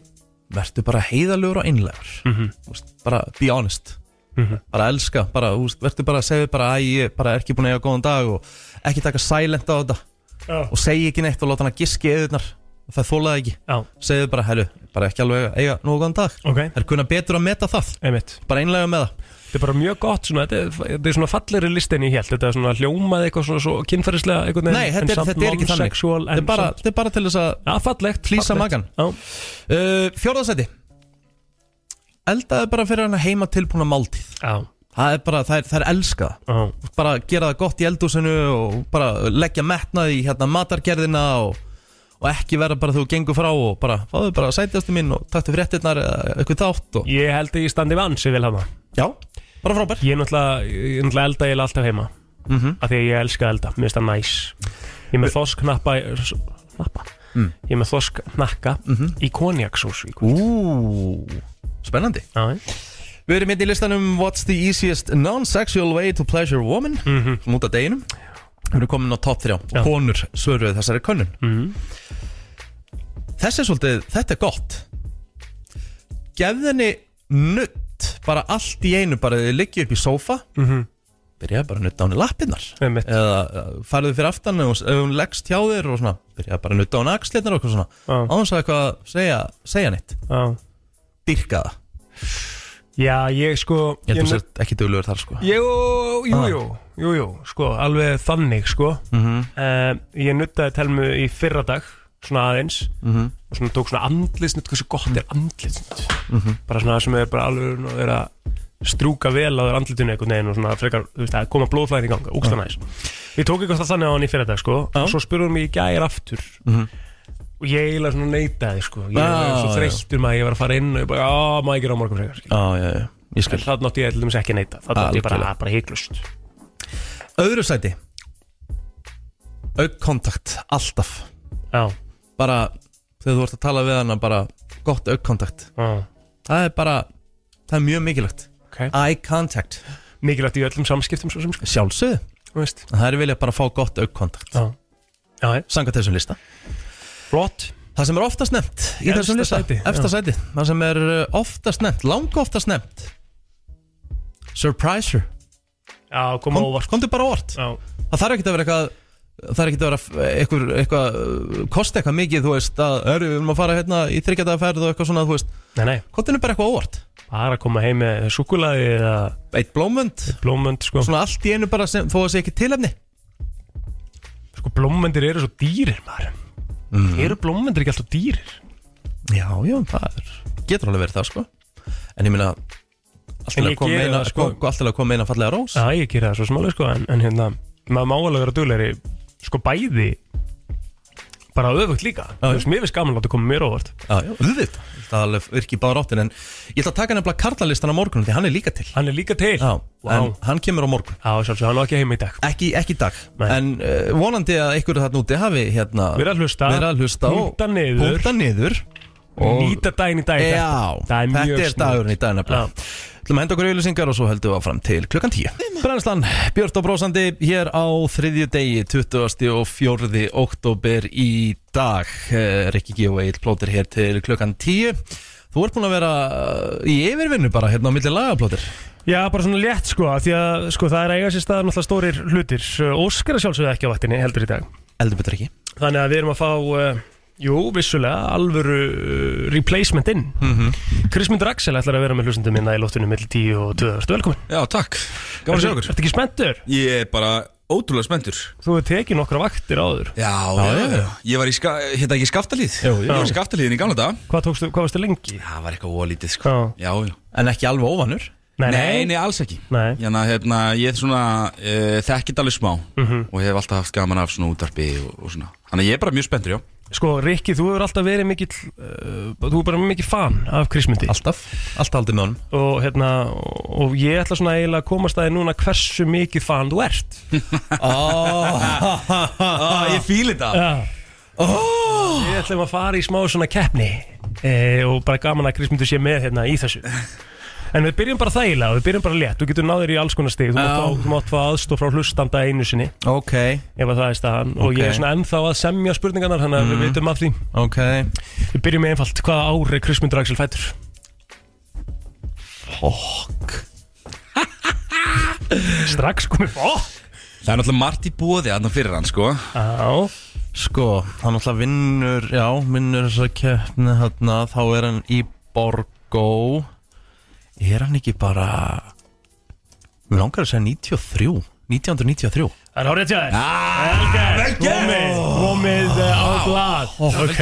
Vertu bara heiðalegur og einlegur Mhm. Þú veist, Bara be honest Mhm. Bara elska bara, þú veist, Vertu bara að segja bara Æ, ég bara er ekki búin að eiga góðan dag Og ekki taka silent á þetta Já. Og segja ekki neitt og láta hann að giski eðurnar Það þólaði ekki Já. Segðu bara, hellu, bara ekki alveg að eiga nógu góðan dag Ok. Það er kunna betur að meta það Einmitt. Bara einlega með það Þetta er bara mjög gott, svona, þetta, er, þetta er svona fallegri listin í hélt, þetta er svona hljómað eitthvað svona svo kynferðislega einhvern Nei, þetta er, þetta er ekki þannig Þetta er bara, þetta er bara til þess að ja, fallegt, Plýsa fallegt. magan uh, Fjórðasæti Eldaði bara fyrir hana heima tilbúna máltíð Já. Það er bara, það er, það er elska Já. Bara gera það gott í eldúsinu Og bara leggja metnað í hérna matargerðina Og, og ekki vera bara þú gengur frá Og bara, fáðu bara sætjastu mín Og taktu fréttinnar eða eitthvað þátt og... Ég held að ég standi vann sem vil hafa Já, bara frábær Ég er náttúrulega, ég er náttúrulega elda eiginlega alltaf heima Mhm. Af því að ég elska að elda, mér finnst það næs Ég er með þossknappa Knappa? Mm. Mhm. Ég er með þossknakka í konjaksús Ú, spennandi Já, Við erum hérna í listanum What's the easiest non-sexual way to pleasure a woman mm -hmm. Út af deginum Við erum komin á top 3 Mhm. Já. og konur svöruðu þessari könnun Mhm. Þessi er svolítið, þetta er gott Gefðu henni nutt bara allt í einu bara þið liggja upp í sófa Mhm. byrjaði bara að nutta á henni lappirnar Einmitt. eða eh, farðu fyrir aftan og ef hún leggst hjá þér og svona byrjaði bara að nutta á henni axlirnar og eitthvað svona Já. á þess að eitthvað segja, segja neitt Já. dyrka það Já, ég sko ég held ég þú sért ekki duglegur þar sko Jú, jú, Ah. jú, jú, jú, sko, alveg þannig, sko Mhm. Eh, Ég nuttaði telmu í fyrra dag, svona aðeins Mhm. Og svona tók svona andlisnut, hversu gott er andlisnut Mhm. Bara svona sem er bara alveg að vera að strúka vel á þér andlitinu einhvern veginn og svona frekar, þú veist, að koma blóðflæðin í ganga, úksla Já. næs Ég tók eitthvað það þannig á hann í fyrra dag, sko Og svo spurði hún mig í gær aftur Ah. Mhm. Og ég eiginlega svona neitaði, sko Ég Já, var svo já. þreyttur maður, ég var að fara inn og ég bara, já, maður ekki á morgun frekar, Já, já, já, ég skil En það nátti ég til dæmis ekki að neita Það nátti ég bara, bara heiklust Öðru sæti Augkontakt, alltaf Já Bara þegar þú ert að tala við hana bara gott augkontakt Já. Það er bara, það er mjög mikilvægt okay. Eye contact Mikilvægt í öllum samskiptum svo sem sko Sjálfsögðu Þú veist. En Það er vilja bara að fá gott augkontakt Já. Já, Sanga þessum lista Flott Það sem er oftast nefnt í Efsta þessum lista sæti, já. Efsta sæti Það sem er uh, oftast nefnt, langa oftast nefnt Surpriser Já, koma Kom, óvart Komdu bara óvart Já. Það þarf ekkert að vera eitthvað Það þarf ekkert að vera eitthvað, eitthvað uh, Kosti eitthvað mikið, þú veist að, er, Við erum að fara hérna í þryggjadaferð og eitthvað svona, þú veist Nei, nei Komdu bara eitthvað óvart Bara að koma heim með súkulaði eða Eitt blómönd Eitt blómönd, sko Svona allt í einu bara sem, þó að sé ekki tilefni Sko, blómöndir eru svo dýrir, maður mm. Eru blómöndir ekki alltaf dýrir? Mhm. Já, já, það er, getur alveg verið það, sko En ég meina Alltaf En að ég koma geri eina, það, sko, sko. alltaf að koma eina fallega rós Já, ég gera það svo smálega, sko En, en hérna, maður má alveg vera duglegri Sko, bæði Bara öfugt líka Þú veist, mér finnst gaman að láta koma mér óvart Já, já, auðvitað. Það alveg virki bara áttin En ég ætla að taka nefnilega karlalistan á morgun Því hann er líka til Hann er líka til Já, en Vá. hann kemur á morgun Já, sjálfsög, hann er ekki heim í dag Ekki, ekki í dag En uh, vonandi að einhverju þarna úti hafi hérna Verið að hlusta. Verið að hlusta og- Punkta niður. Punkta niður Nýta daginn í dag í Já, þetta. Það er mjög þetta er snjallt. dagurinn í dag nefnilega Þú ætlum að henda okkur auðlýsingar og svo höldum við áfram til klukkan 10 Brennslan, Björn og Brósandi hér á þriðju degi 24. oktober í dag Eh, Rikki G og Egil plótir hér til klukkan 10 Þú ert búin að vera eh, í yfirvinnu bara hérna á milli lagaplótir Já, bara svona létt sko, af því að sko, það er að eiga sér staðar náttúrulega stórir hlutir Óskar er sjálfsögðu ekki á vaktinni heldur í dag Heldur betur ekki Þannig að við erum að fá, uh, jú, vissulega, alvöru uh, replacement inn Mhm. Krismundur Axel ætlar að vera með hlustundum minna í lóttinu millir 10 og 2 Ertu velkomin? Já, takk, gaman að sjá Ertu- okkur Ertu ekki spenntur? Ég er bara ótrúlega spenntur Þú hefur tekið nokkra vaktir áður Já, já, já, Ég var í, ska, hérna ekki í skaftalíð Jú, Ég var í Já. skaftalíðin í gamla dag Hvað, tókstu, hvað varstu lengi? Það var eitthvað ólítið sko Já, já En ekki alveg óvanur Nei, nei, alls ekki Nei Hérna, hérna, ég er svona uh, þekkit alveg smá Mhm. Og hef alltaf haft gaman af svona útarpi og, og svona Þannig að ég er bara mjög spenntur, já Sko, Rikki, þú hefur alltaf verið mikill, uh, þú er bara mikill fan af Krismundi Alltaf, alltaf aldrei með honum Og hérna, og ég ætla svona eiginlega að komast að þið núna hversu mikið fan þú <laughs> ert oh, Ég fíl þetta oh. Við ætlum að fara í smá svona keppni e, og bara gaman að Krismundur sé með hérna í þessu En við byrjum bara þægilega, við byrjum bara létt Þú getur náður í alls konar stig Þú Já. mátt fá- þú mátt fá aðstof frá hlustanda einu sinni Ok Ef að það er staðan Og ég Ok. er svona ennþá að semja spurningarnar Þannig að Mm. við vitum af því Ok Við byrjum með einfalt, hvaða ári Krismundur Axel fættur? Fokk <laughs> Strax komið fokk Það er náttúrulega margt í bóði aðna fyrir hann, sko Já Sko, hann alltaf vinnur, já, vinnur þessa keppni hérna Þá er hann í Borgó Er hann ekki bara Mér langar að segja 93 1993 Það er hárið tjáðir Ah, Vel gert Komið, komið eh, á blad vel Ok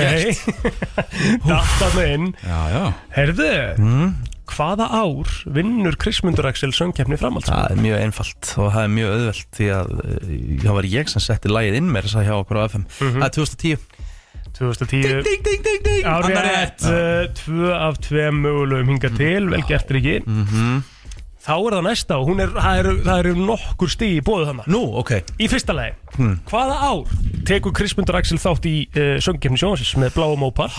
<laughs> Dattan inn Já, já Herðu Mm. Hvaða ár vinnur Krismundur Axel söngkeppni framhalds? Það er mjög einfalt og það er mjög auðvelt Því að eh, það var ég sem setti lagið inn mér Þess að hjá okkur á FM Mhm. Það er 2010 2010 Ding, ding, ding, ding Árið Annar rétt. rétt eh, Tvö af tveim mögulegum hinga til Vel gert Riki Mhm. Þá er það næsta og hún er, það eru, það eru nokkur stíð í bóðu þannig Nú, ok Í fyrsta lagi, Hmm. hvaða ár tekur Krismundur Axel þátt í uh, söngkeppni sjónsins með bláum ópar?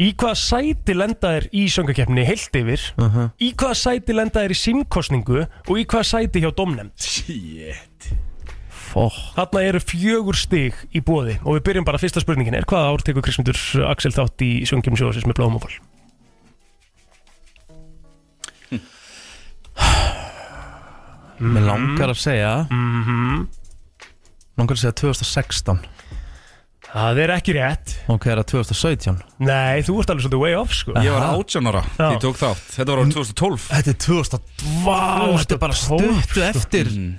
Í hvaða sæti lenda er í söngakeppni heilt yfir? Mhm. Í hvaða sæti lenda er í símkostningu og í hvaða sæti hjá domnefnd? Shit Fokk Þarna eru fjögur stig í bóði og við byrjum bara fyrsta spurningin er hvaða ár tekur Krismundur Axel þátt í söngjum sjóðsins með blóðum ópar? Mhm. Mér langar að segja -hmm. Langar að segja 2016 Það er ekki rétt Ok, er það 2017 Nei, þú ert alveg svolítið way off sko Ég var 18 ára, Já. því ég tók þátt Þetta var árið 2012 Þetta er 2012 Vá, þetta er bara stuttu sko. eftir Mm.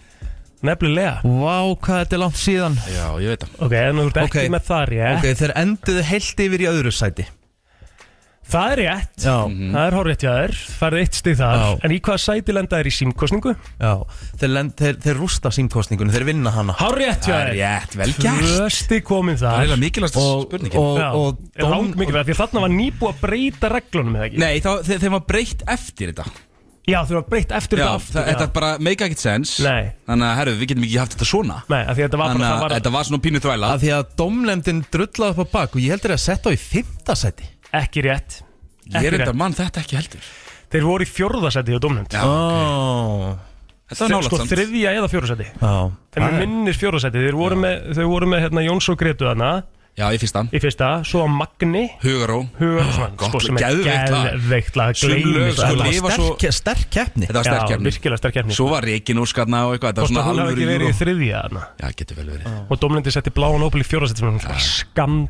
Nefnilega Vá, hvað þetta er langt síðan Já, ég veit það Ok, en þú ert ekki með það rétt. Ok, þeir enduðu heilt yfir í öðru sæti Það er rétt Já. Mhm. Það er horrið hjá þér, færði eitt stig þar Já. En í hvaða sæti lenda er í símkostningu? Já, þeir, lend, þeir, þeir rústa símkostningunni, þeir vinna hana Hárrétt hjá þér Tvö stig komin Það er þar eiginlega mikilvægasta spurningin. Og, Já. og, og Dom- Langt mikilvægt, því að þarna var nýbúið að breyta reglunum eða ekki Nei, þá, þe þeim var breytt eftir þetta Já, þau var breytt eftir Já, þetta það- aftur þetta bara make ekkert sense Nei. Þannig að, herru, við getum ekki haft þetta svona Nei, af því að þetta var bara- Þannig að það var- þetta var svona pínu þvæla Af því að domlemdin drullaði upp á bak og ég heldur að setja á í fymta sæti Ekki rétt Ég er reyndar mann þetta ekki heldur Þeir voru í fjórðasæti hjá domnend Já, ok. Þetta var nálægt Sko samt. þriðja eða fjórðasæti <laughs> Já Þeim er minnir fjórðasæti Þeir voru með, þau voru með hérna, Jóns og Gretu þarna Já, í fyrsta Í fyrsta, svo að Magni Hugaró Hugaró, Gott, sko, sem er geðveikt lag. geðveikt lag Sum gleymist lög, sko, aldrei. lifa svo- Ke- Sterk keppni Þetta var Já, sterk keppni virkilega sterk keppni. Svo var Rekin úrskarna og eitthvað Þetta var Hvort að svona hún hafi alvöru ekki verið í júró þriðja hana Já, getur vel verið Og Dómlindi setti bláan ópil í fjórasættum Skam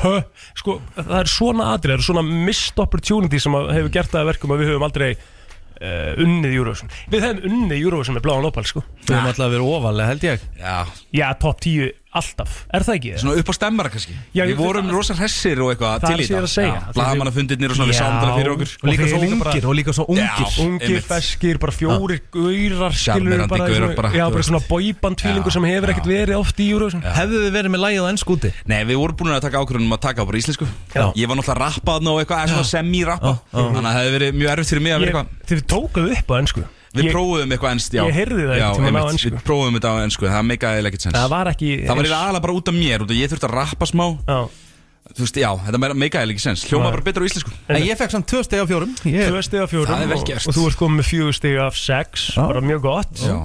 Pö. Sko, það er svona atrið Það er svona missed opportunity sem að hefur gert það að verkum að við höfum aldrei uh, unnið Eurovision Við hefum unnið Eurovision með bláan ópil, sko Við höfum alltaf verið ofalega held ég Já, Já, top 10 alltaf Er það ekki? Svona upp á stemmara kannski Já, Við ég- vorum rosa hressir og eitthvað Það til er í sem ég er að segja. þetta Blagamannafundirnir og svona við Já. sáum þetta fyrir okkur Og líka svo ungir, og líka svo ungir Ungir, feskir, bara fjórir gaurar skilur Sjarmerandi bara, gaurar svona- bara, Já, þú bara veist. svona boyband tvílingur sem hefur ekkert verið oft í Eurovision Hefðu við verið með lagið á ennsku úti? Nei, við vorum búin að taka ákvörðunum að taka á bara íslensku Já. Ég var náttúrulega rappað og eitthvað, eða svona semi-rappa Þannig að það hefði verið mjög erfitt fyrir mig að vera Ég- eitthvað Þið tókuðu upp á ennsku Við prófuðum eitthvað ennst, já Ég heyrði það Já, einhvern tímann á einmitt, ensku. Við prófuðum þetta á ennsku, það meikaði ekkert sens Það var ekki Það var eiginlega aðalega bara út af mér, út af ég þurfti að rappa smá Já Þú veist, já, þetta meikaði ekki sens Hljóma Nei. bara betur á íslensku En ég fekk samt tvö steg á fjórum Ég- Tvö stig af fjórum Það er vel og- gert. Og þú ert komið með fjögur stig af sex Bara mjög gott Já.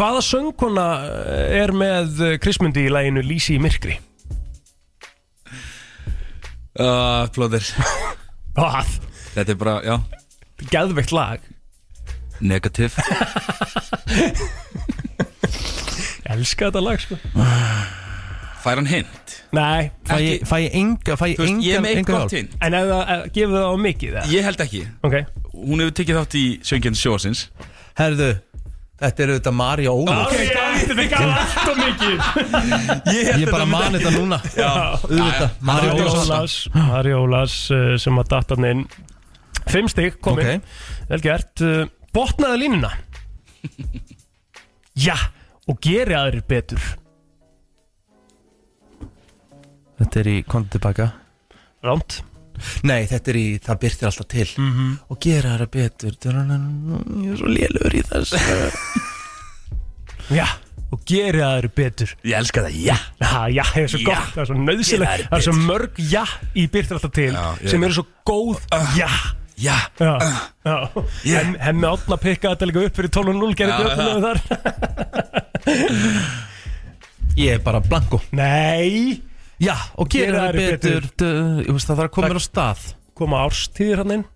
Hvaða söngkona er með eh, Krismundi í læginu Lísi í myrkri? Uh, Plóðir <laughs> Hvað? Þetta er bara, já Gæðveikt lag <laughs> Negativ Ég Elska þetta lag sko Fær hann hint? Nei Fæ ég- fæ ég enga Fæ ég Þú veist, enga ég er með eitt enga gott hjálp? hint En ef það ef- gefur það á mikið það? Ég held ekki Ok Hún hefur tekið þátt í sjöngjarni sjósins Herðu, þetta eru þetta Marja Ólaf Ég gæti mig gaf allt og mikið Ég, Ég bara man þetta núna Auðvitað, Marja Ólaf Ólafs Mari Ólafs eh, sem að datta hann inn Fimm stig komin Ok. Vel gert Eh, Botnaði <laughs> línuna Já Og geri aðrir betur Þetta er í Kondi tilbaka Rámt Nei, þetta er í, það byrtir alltaf til Mhm. Og gera það betur Ég er svo lélur í þess <laughs> Já Og geri aðrir betur Ég elska það, já Já, já, það er svo Já. gott, það er svo Ég nöðsilegt lærði Það er svo mörg já í byrtir alltaf til ég Uh, sem veit. eru svo góð já Já, Já, Uh. já. Hem, hemmi átna pikkaði þetta líka upp fyrir 12.0 gerði Já, þetta upp þar Ég er bara blanko Nei, Já, og gera það betur du- Ég veist það þarf að koma mér á stað koma árstíðir hann inn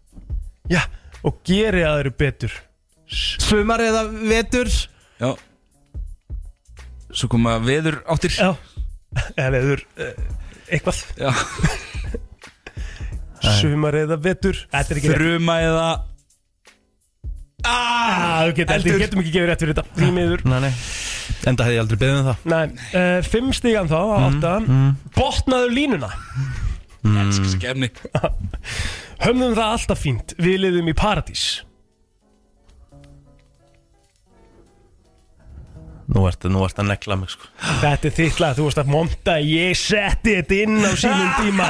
Já, og geri aðeir betur Sumar eða vetur Já Svo koma veður áttir Já Eða veður, eh, eitthvað Já Sumar eða vetur Þetta er ekki rétt Fruma eða ah, þú getur- Við getum ekki gefið rétt fyrir þetta Þrýmiður Nei, nei Enda hefði ég aldrei beðið um það Nei, uh, fimm stígan þá, á átta Botnaðu línuna Mm. Elskar þessi <laughs> gefni Höfnum það alltaf fínt, við liðum í paradís Nú ertu, nú ertu að negla mig sko Þetta er þitt lag, þú veist að monta Ég setti þetta inn á sínum <laughs> tíma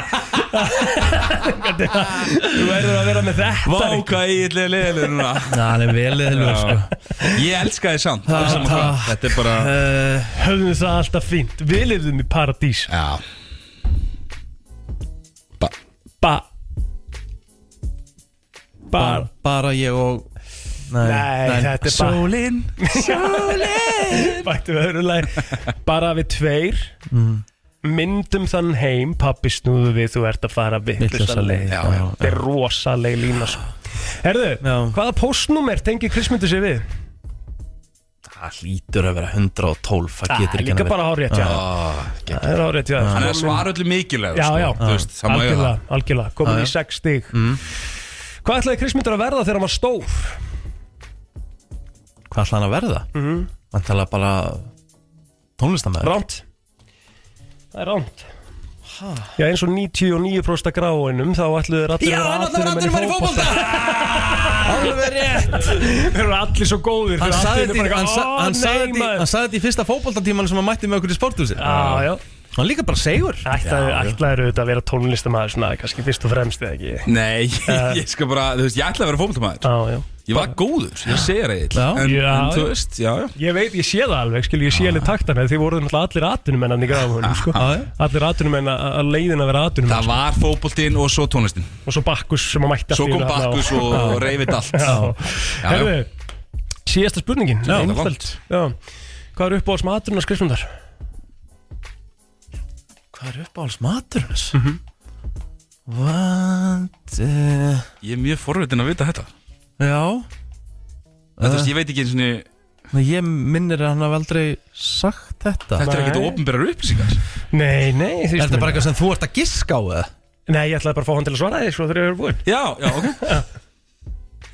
Þú verður að vera með þetta Váka í yllega leðilegur núna <laughs> Na, hann er vel eðlur sko Ég elska þið samt alveg sama það- hvað. Þetta er bara uh, Höfnum það alltaf fínt, við liðum í paradís Já Ba Ba Bar bara, bara ég og Nei, Nei, þetta er bara Sólin Sólin Bættu við öðru lagi Bara við tveir Mm. Myndum þann heim, pappi snúðu við Þú ert að fara Vitlausa vittlösa leið, leið já, já. Þetta er rosaleg lína svo Herðu, hvaða postnúmer tengir Kristmundur sér við? Það hlýtur að vera 112 Það Ah, getur ekki líka annað verið. bara hárrétt, já. Ah, geggjað. Það er árið, já Þannig að svara öllu mikilvæg Já, já, Þú veist, það má ég algjörlega, það algjörlega Já, Komin Ah, já. Mm. í 6 stig Hvað ætlaði Kristmundur að verða þegar hann var stór? Hvað ætla hann að verða? Mhm. Hann tala bara tónlistamæður Ránt Það er ránt Já, eins og 99% af gráinum þá ætluðu þeir allir Já, hann ætlaði að vera atvinnumaður atvinnumenn í fótbolta. Alveg rétt <laughs> Þeir eru allir svo góðir Hann þeir eru sagði allir bara þetta í- hann sa- eitthvað, "Ó, hann sagði nei, þetta í- maður." hann sagði þetta í fyrsta fótboltatíman sem hann mætti með okkur í sporthúsi Já, já Hann líka bara segur Ætlaði ætlaði auðvitað að vera tónlistamæður svona kannski fyrst og fremst eða ekki Nei, <laughs> ég, ég skal bara, þú veist, ég ætla að vera fólkmaður Uh. Já, já Ég var góður, ég segir eitthvað en, Já, en þú já. veist, já, já Ég veit, ég sé það alveg, skil, ég sé alveg taktana Þið voru náttúrulega allir atvinnumennan í gráðum sko. Allir atvinnumenn að að leiðin að vera atvinnumenn sko. Það var fókbóltinn og svo tónlistin Og svo Bakkus sem að mætti Svo allt í kom einu þarna á- Bakkus og Já. reyfið allt Já. já. Herðu, síðasta spurningin Já, það er einföld. Já. Hvað er uppáhalds maturinn að skrifnum þar? Hvað er uppáhalds matur hans? Mhm. What? Uh, Ég er mjög forvitin að vita þetta já Eh, Þetta Uh. veist, ég veit ekki eins og Nei, Ég minnir að hann hafi aldrei sagt þetta Þetta er ekkert opinberar upplýsingar Nei, nei Er þetta bara eitthvað sem þú ert að giska á það? Nei, ég ætlaði bara að fá hann til að svara því Svo þegar ég er búinn Já, já, <laughs> ok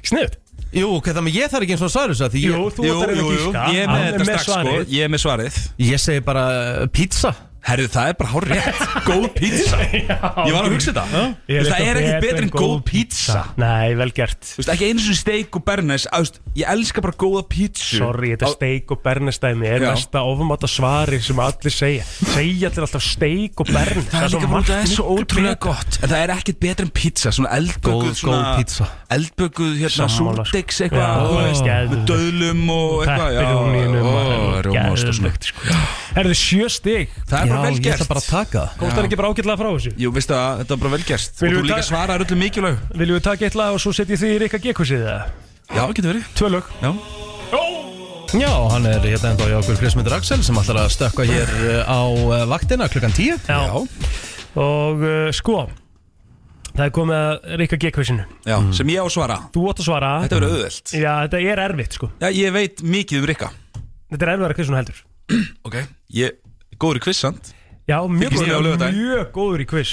Snöð Jú, hvað það með ég þarf ekki eins og að svara þessu af því ég- Jú, þú ert að reyna að giska. Ég er Hann með er þetta með strax sko svarið. Ég er með svarið Ég segi bara uh, pizza Herðu, það er bara hár <laughs> rétt Góð pizza Ég var að hugsa þetta Þú veist, Það er ekki betur en góð pizza Nei, vel gert Þú veist, ekki einu svona steik og bernes Æst, Ég elska bara góða pizza Sorry, þetta Á- steik og bernestæmi er Já. næsta ofumáta svari sem allir segja Segja allir alltaf steik og bern Það er líka bara, það er svo ótrúlega gott gott En það er ekkert betur en pizza Svona eldbökuð Góð- góð pizza. Eldbökuð, hérna, Sammála, sko. súrdeiks Já, eitthvað þú veist, geðveikt. Með Döðlum og eitthvað já, Pepperóninum og- ó, Rjómaost og svona Geðveikt, Er þið sjö stig? Það er bara vel gert Komst það ekki bara ágætlega frá þessu? Jú, veistu að þetta er bara vel gert Og Viljum þú við líka ta- svarar öllu mikilvæg Viljum við taka eitt lag og svo setjum því í Rikka Gekkusið það? Já, getur verið Tvö lög Já Já, hann er hérna enda á hjá okkur Krismundur Axel sem ætlar að stökka hér uh, á uh, vaktina klukkan 10 Já, Og uh, sko Það er komið að Rikka Gekkusinu Já, sem ég á að svara Þú átt að svara Þetta verður auðvelt. Já, þetta er erfitt sko Já, ég veit mikið um Rikka Þetta er erfitt að hversu heldur Ok Ég, góður í kvissand Já, mjög Þykist ég á góður, laugardaginn? mjög góður í quiz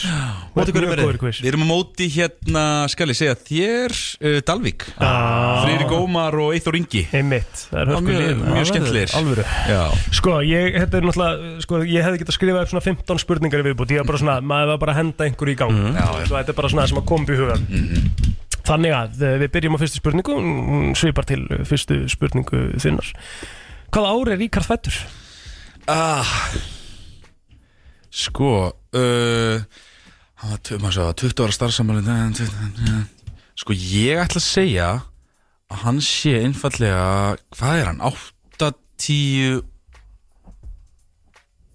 Móti hverjum Mjög er góður í þið? quiz Við erum á móti hérna, skal ég segja, þér, uh, Dalvik ah. Freyri Gómar og Eithor Ingi Einmitt, það er Já, hörku mjög- lið mjög skemmtilegir. Alvöru Já. Sko, ég, þetta er náttúrulega sko, Ég hefði getað skrifað upp svona 15 spurningar í viðbútt Ég var bara <laughs> svona, maður var bara að henda einhverju í gang Mhm. Já, já. Svo þetta er bara svona það sem að koma upp í hugan Þannig að eh, við byrjum á fyrstu spurningu Hún svipar til eh, fyrstu spurningu þinnar Hvaða ári er Ríkard fættur? ah, Sko uh, Hann var tv- maður sagði, 20 ára starfsamali Sko ég ætla að segja að hann sé einfallega hvað er hann? 8, 10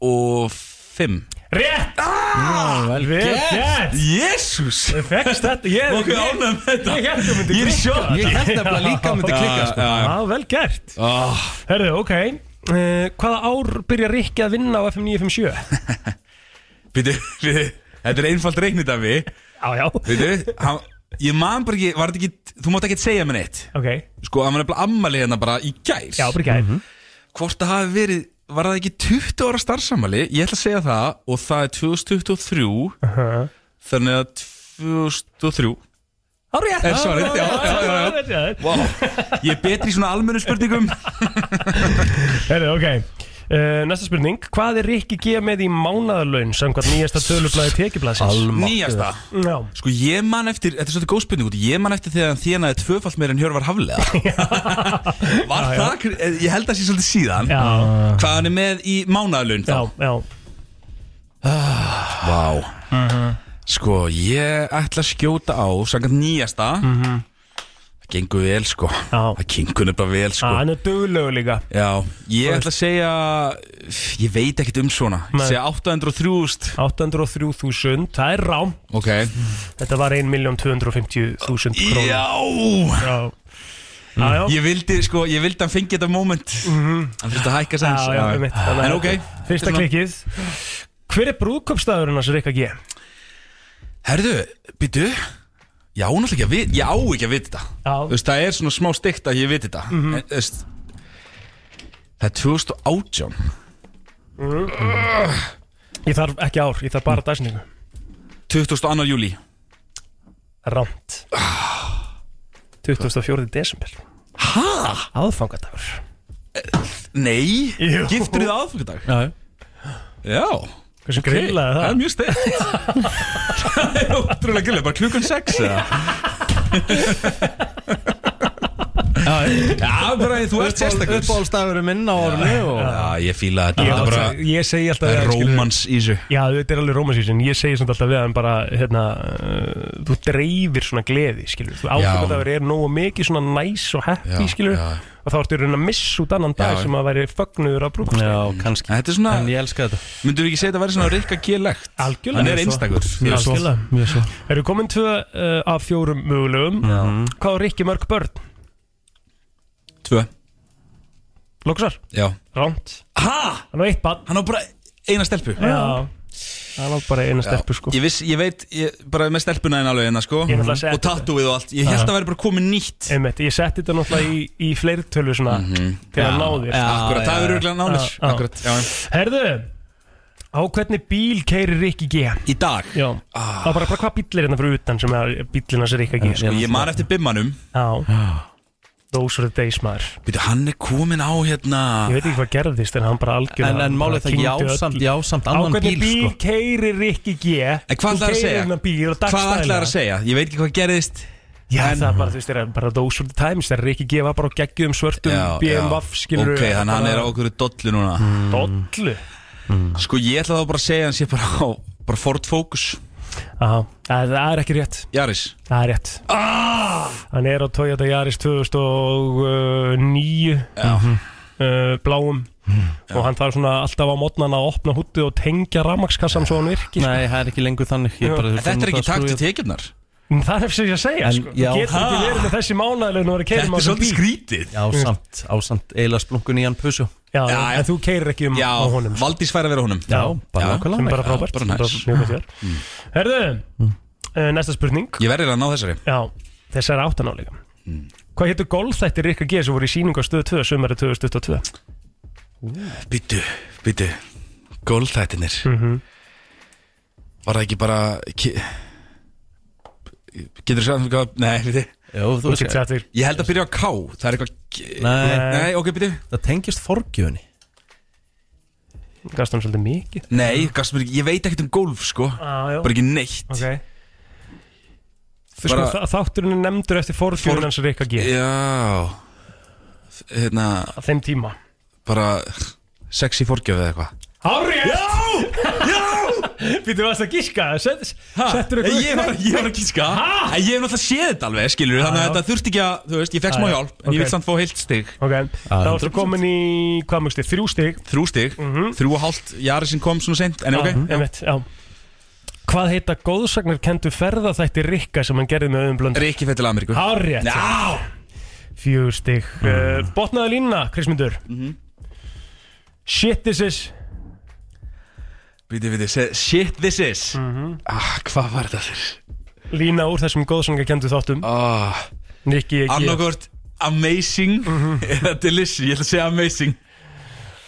og 5 Rétt! Ah, vel gert. Jésús Ég fegst þetta Ég Ok, ánægð með þetta. Ég held að þú Ég er myndi í klikka. sjokki. Ég hélt <laughs> nefnilega líka að myndi klikka, sko. Já, já, já. Já, vel gert oh. Herðu, ok Uh, hvaða ár byrja Rikki að vinna á FM 957? Býtu, býtu, þetta er einfalt reiknidafi Já, já Býtu, hann, ég man bara ekki, var þetta ekki, þú mátt ekki segja mér neitt <laughs> Ok Sko, hann var nefnilega ammali hérna bara í gær Já, bara í gær Hvort það hafi verið, var það ekki 20 ára starfsamali? Ég ætla að segja það og það er 2023 -huh. Þannig að 2003 Ári rétt Er svarið, já, já, já, já. já, já. Vá, ég er betri í svona almennu spurningum Herðu, ok uh, Næsta spurning Hvað er Rikki G með í mánaðarlaun samkvæmt nýjasta tölublaði tekjublaðsins? Nýjasta Já Sko ég man eftir, þetta er svolítið góð spurning út Ég man eftir þegar hann þénaði tvöfalt meir en Hjörvar Haflega <laughs> Var það, ég held að sé svolítið síðan Já. Hvað hann er með í mánaðalun þá Já, já Mhm. Vá Sko ég ætla að skjóta á Sangat nýjasta Það gengur vel sko Mhm. Já. Það kinkunum bara vel sko Ah, Hann er duglegu líka Já, ég Þú ætla að segja Ég veit ekkert um svona Ég Nei. segja 803.000 803.000, það er rám Ok Þetta var 1.250.000 krónur Já. Já Já, já. Mm. Ég vildi, sko, ég vildi að hann fengi þetta moment Hann þurfti að hækka sæns Já, já, einmitt. Þannig En að- ok Fyrsta Svona- klikkið Hver er brúðköpstæðurinn hans Rikka G? Herðu, byttu Ég á náttúrulega ekki að vita Ég á ekki að vita þetta Já. Þú veist, það er svona smá stygt að ég viti þetta Mhm. En, þú veist, Það er 2018 Ég þarf ekki ár, ég þarf bara dæsningu 22. júli Rámt 24. desember Hæ? Aðfangadagur Eh, Nei Jú. Giftur þið aðfangadag Já, Já Hversu Ok, grillaði það? Það er mjög stygt Það er ótrúlega grillaði Bara klukkan 6 eða? Já, bara þú ert sérstakur Uppáhaldstafurinn minn á orðinu og... Já, ég fíla þetta Ég, Þetta er bara ég, ég segi alltaf Það er við hann, rómans í þessu skilurðu. Já, þetta er alveg rómansísin Ég segi samt alltaf við hann bara hérna, uh, Þú dreifir svona gleði skilur. Þú áfengadagur er nógu mikið svona næs og happy Já, skilur, já. Og þá ertu í raun að missa út annan dag Já. sem að væri fögnuður af brúðköpstæðurinn Já, kannski En Þetta er svona En ég elska þetta Myndur ekki segja þetta að vera svona rikka gélegt Algjörlega. sko. Hann er einstakur Mjög svo. Algjörlega. Mjög svo Eru komin tvö uh, af fjórum mögulegum Mhm. Hvað er ekki mörg börn? Tvö Lóksar? Já Ránt Ha? Hann á eitt barn Hann á bara eina stelpu Já Það var bara eina stelpu sko Ég, viss, ég veit, ég, bara með stelpuna en alveg hérna sko Ég náttúrulega setti Og tattúið og allt Ég held að vera bara komið nýtt Mhm. Einmitt, Ég setti þetta náttúrulega í, í fleirtölu svona Til að Já, ná þér já, Akkurat, það já, er já. örugglega nánir. Já, já. Akkurat, já, já. Herðu, á hvernig bíl keirir Rikki G? Í dag? Já, það var bara, bara hvað bíll er hérna fyrir utan sem er bíllinn hans Rikki G sko, Ég man eftir bimmanum Já, those were the days maður Býtu, hann er komin á hérna Ég veit ekki hvað gerðist en hann bara algjörðan En, en málið það já samt, já samt Á annan hvernig bíl bíl sko keirir Rikki G En hvað ætlar að segja? hérna Hvað ætlar að segja? Ég veit ekki hvað gerðist Já, það er bara, þú veist, það er bara those were the times þegar Rikki G var bara á geggjum svörtum Já, BMW, já. skilur Ok, þannig að hann er á okkur dollu núna Mm, Dollu? Sko ég ætla þá bara að segja hans ég bara á bara Ford Focus Já, það það er ekki rétt Jaris Það er rétt Ah! Hann er á Toyota Yaris 2009 Já Mhm. uh, Bláum Og hann þarf svona alltaf á mótnan að opna húttu og tengja ramakskassan svo hann virki Nei, það er ekki lengur þannig ég bara- En þetta er ekki það takt skrúið- í tekjurnar En Það er eftir sem ég að segja En, sko. já. Þú getur ekki Ha? verið með þessi mánaðilegn og er að keira Þetta er svolítið skrítið Já, samt, ásamt eila splunkun í hann pusu Mm. Já, en þú keirir ekki um Já, á honum sko. Valdís fær að vera honum Já, bara Já, nákvæmlega. Sem bara frábært, bara sem bara næs. mjög gott hjá Mm. Herðu, Mm. uh, næsta spurning Ég verður að ná þessari Já, þessar áttanáleika mm. Hvað héttu golfþættir Rikka G sem voru í sýningu á stöðu 2 sömari 2022? Býtu, býtu Gólþættinir Mhm. Var það ekki bara ki... Getur þú sagt mér hvað Nei, býtu Jó, þú Þú getur segir. sagt mér. Ég held að byrja á K Það er eitthvað Nei. Nei ok, býtu Það tengist forgjöfni Gast hann svolítið mikið? Nei, gafst mér ekki Ég veit ekkert um gólf, sko Ah, já. Bara ekki neitt Ok Þú Bara- sko, þa- þátturinn er nefndur eftir forfjörun hans Rikka G Já Hérna Á þeim tíma Bara Sexy forgjöf eða eitthvað Hárið! Já! <laughs> Já! Býttu varst að gíska? Sett, settur eitthvað Ég var, ég var ekki ska Ha? En ég hef náttúrulega séð þetta alveg, skilur Já, Þannig að já. þetta þurfti ekki að, þú veist, ég fekk smá Já, já. hjálp En Ok. ég vil samt fá heilt stig Ok, þá ertu komin í, hvað mjög stig, þrjú stig Mhm. Þrjú stig, þrjú og hálft Jari sem kom svona seint, en Já, ok einmitt, já. Hvað heita góðsagnar kentu ferðaþætti Rikka sem hann gerði með auðum blönd? Rikki fættil Ameríku Hárið Já Mhm. Fjögur stig mm. Botnaði línuna, Krismundur Shit this is Víti, víti, se- shit this is ah, Hvað var þetta þér? Mhm. Lína úr þessum góðsagnar kentu þáttum oh. Rikki, Mhm. ég Annarkort amazing Eða delicious, ég ætla að segja amazing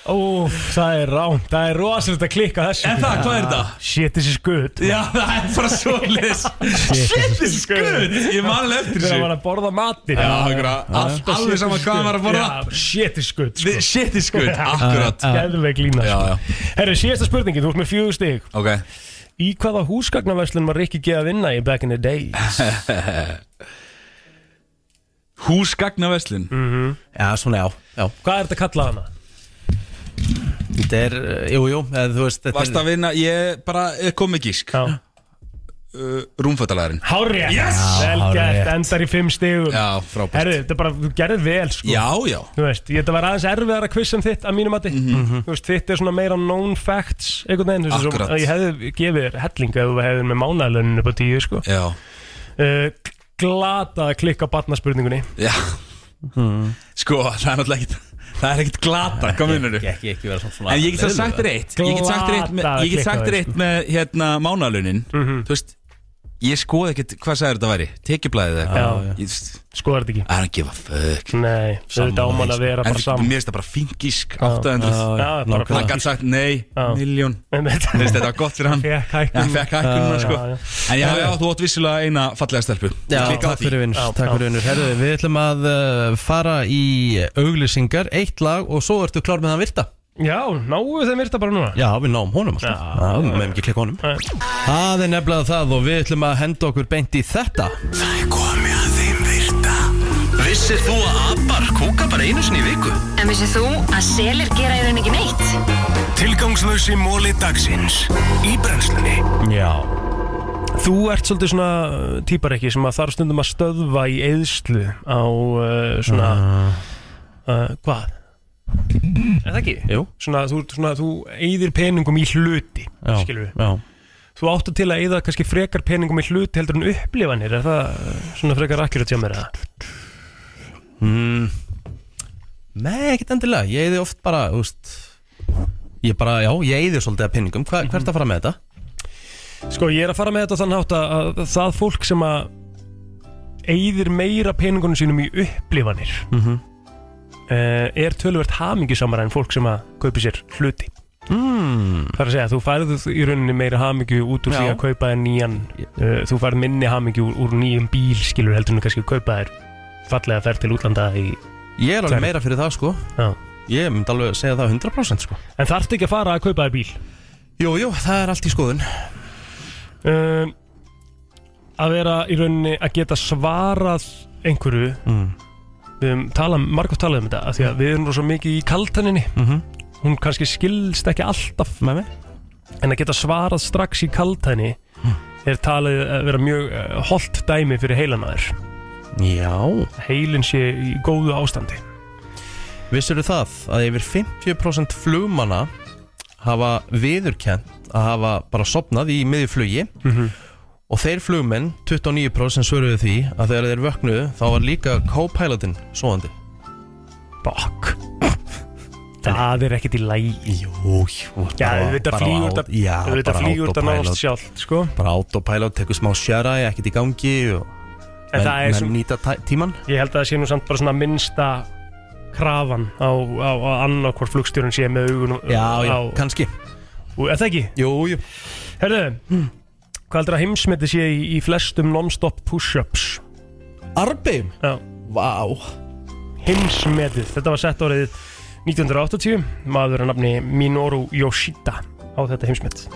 Ó, það er rám, það er rosalega að klikka á þessu En það, hvað er þetta? Shit, this is good Já, það er bara <laughs> svoleiðis Shit, this is good Ég man alveg eftir Þegar þessu hann var að borða matin Já, akkurat. Allt- alveg sama hvað hann var að borða. Shit is good sko. The- shit is <laughs> good, akkurat. Gæðveik lína Já, já. Herri, síðasta spurningin, þú ert með fjögur stig Ok Í hvaða húsgagnaverslun var Rikki G að vinna í back in the days? <laughs> Húsgagnaverslun Já, svona já, já Mhm. Hvað er þetta kallað hana? Þetta er, eh, jú, jú, eða, þú veist þetta Varst er- að vinna, ég bara ég kom með gísk Já uh, Rúmfötalæðurinn Hárið Yes! Vel gert, endar í fimm stigum Já, frábært Herri, þetta er bara, þú gerðir vel sko Já, já Þú veist, ég, þetta var aðeins erfiðara quiz en þitt að mínum mati Mhm. Þú veist, þitt er svona meira known facts einhvern veginn, þú veist, Akkurat. svo, ég hefði gefið þér helling ef þú hefðir með mánalönnu upp á tíu, sko Já uh, Glata að klikka á barnaspurningunni Já Sko, það er náttúrulega ekkit Það er ekkit glata, hvað minnur Hmm. Ekki, ekki, ekki vera svona- svona En ég get það sagt þér eitt Ég get sagt þér eitt með, ég get sagt þér eitt með hérna mánalunin Mhm. Þú veist Ég skoði ekkit hvað sagður þetta væri Tekjublaðið eða Já, eitthvað já. Ég, þú veist, Skoðar þetta ekki I don't give a fuck sko. Nei, auðvitað áman að vera bara En saman mér finnst það bara sko. fíngísk Já. Já, já, 800 bara fín Hann gætt sagt nei, miljón Þú veist, Þetta var gott fyrir hann Fekk hækkun. Hann fekk hækkununa Já, sko já, já. En já, já, þú átt vissulega eina fallega stelpu Já, Ég klikkaði á takk því. fyrir vinnur, takk fyrir vinnur Herðu, við ætlum að uh, fara í auglýsingar, eitt lag og svo ertu klár með það virta Já, náu þeim virta bara núna Já, við náum honum alltaf Já, við meðum ekki klikka honum Það er nefnilega það og við ætlum að henda okkur beint í þetta Það er komið að þeim virta Vissir þú að abar kúka bara einu sinni í viku? En vissið þú að selir gera í rauninni ekki neitt? Tilgangslösi móli dagsins Í brennslunni Já Þú ert svolítið svona uh, típar ekki sem að þarf stundum að stöðva í eðslu á uh, svona uh, hvað? Er það ekki? Jú Svona þú, svona, þú eyðir peningum í hluti Já, skilur við já. Þú áttu til að eyða kannski frekar peningum í hluti heldur en upplifanir er það uh, svona frekar akkurat hjá mér eða? mm. Nei, ekkert endilega Ég eyði oft bara, þú veist Ég bara, já, ég eyði svolítið að pinningum Hva, Hvert að fara með þetta? Sko ég er að fara með þetta þann hátt að, að það fólk sem að eyðir meira peningunum sínum í upplifanir Mhm. eh, er tölvert hamingjusamara en fólk sem að kaupi sér hluti Hmm. mm. Það er að segja, þú færðu í rauninni meira hamingju út úr því Já. að kaupa þér nýjan uh, Þú færð minni hamingju úr, úr nýjum bíl skilur heldur en kannski að kaupa þér fallega ferð til útlanda í Ég er alveg meira fyrir það sko Já. Ég myndi alveg segja það 100% sko En þarftu ekki að fara að kaupa þér bíl? Jú, jú, það er allt í skoðun um, Að vera í rauninni að geta svarað einhverju mm. Við höfum talað, margótt talað um þetta af Því að við erum rosa mikið í kaltaninni Mhm. Hún kannski skilst ekki alltaf Með mig En að geta svarað strax í kaltæni Mm. Er talið að vera mjög eh, Holt dæmi fyrir heilan að þér Já Heilin sé í góðu ástandi Vissur það að yfir 50% flugmanna hafa viðurkent að hafa bara sopnað í miðju flugi Mhm. og þeir flugmenn, 29% svöruðu því að þegar þeir vöknuðu þá var líka co-pilotin svoandi Bokk Það er ekkert í lægi Jú, jú Já, bara- auðvitað bara flýgur á- þetta- Já, auðvitað bara flýgur þetta nánast autopilot. sjálft, sko. Bara autopilot, tekur smá sjara, ekkert í gangi og En menn, það er menn sem- nýta tæ- tímann Ég held að það sé nú samt bara svona minnsta Krafan á, á, á annað hvort flugstjórun sé með augun Já, já, á, kannski Ú, Er það ekki? Jú, jú Herðu, hvað heldur að heimsmyndi sé í, í flestum non-stop push-ups? Arbeim? Já Vá Heimsmetið, þetta var sett árið 1980 Maður að nafni Minoru Yoshida á þetta heimsmet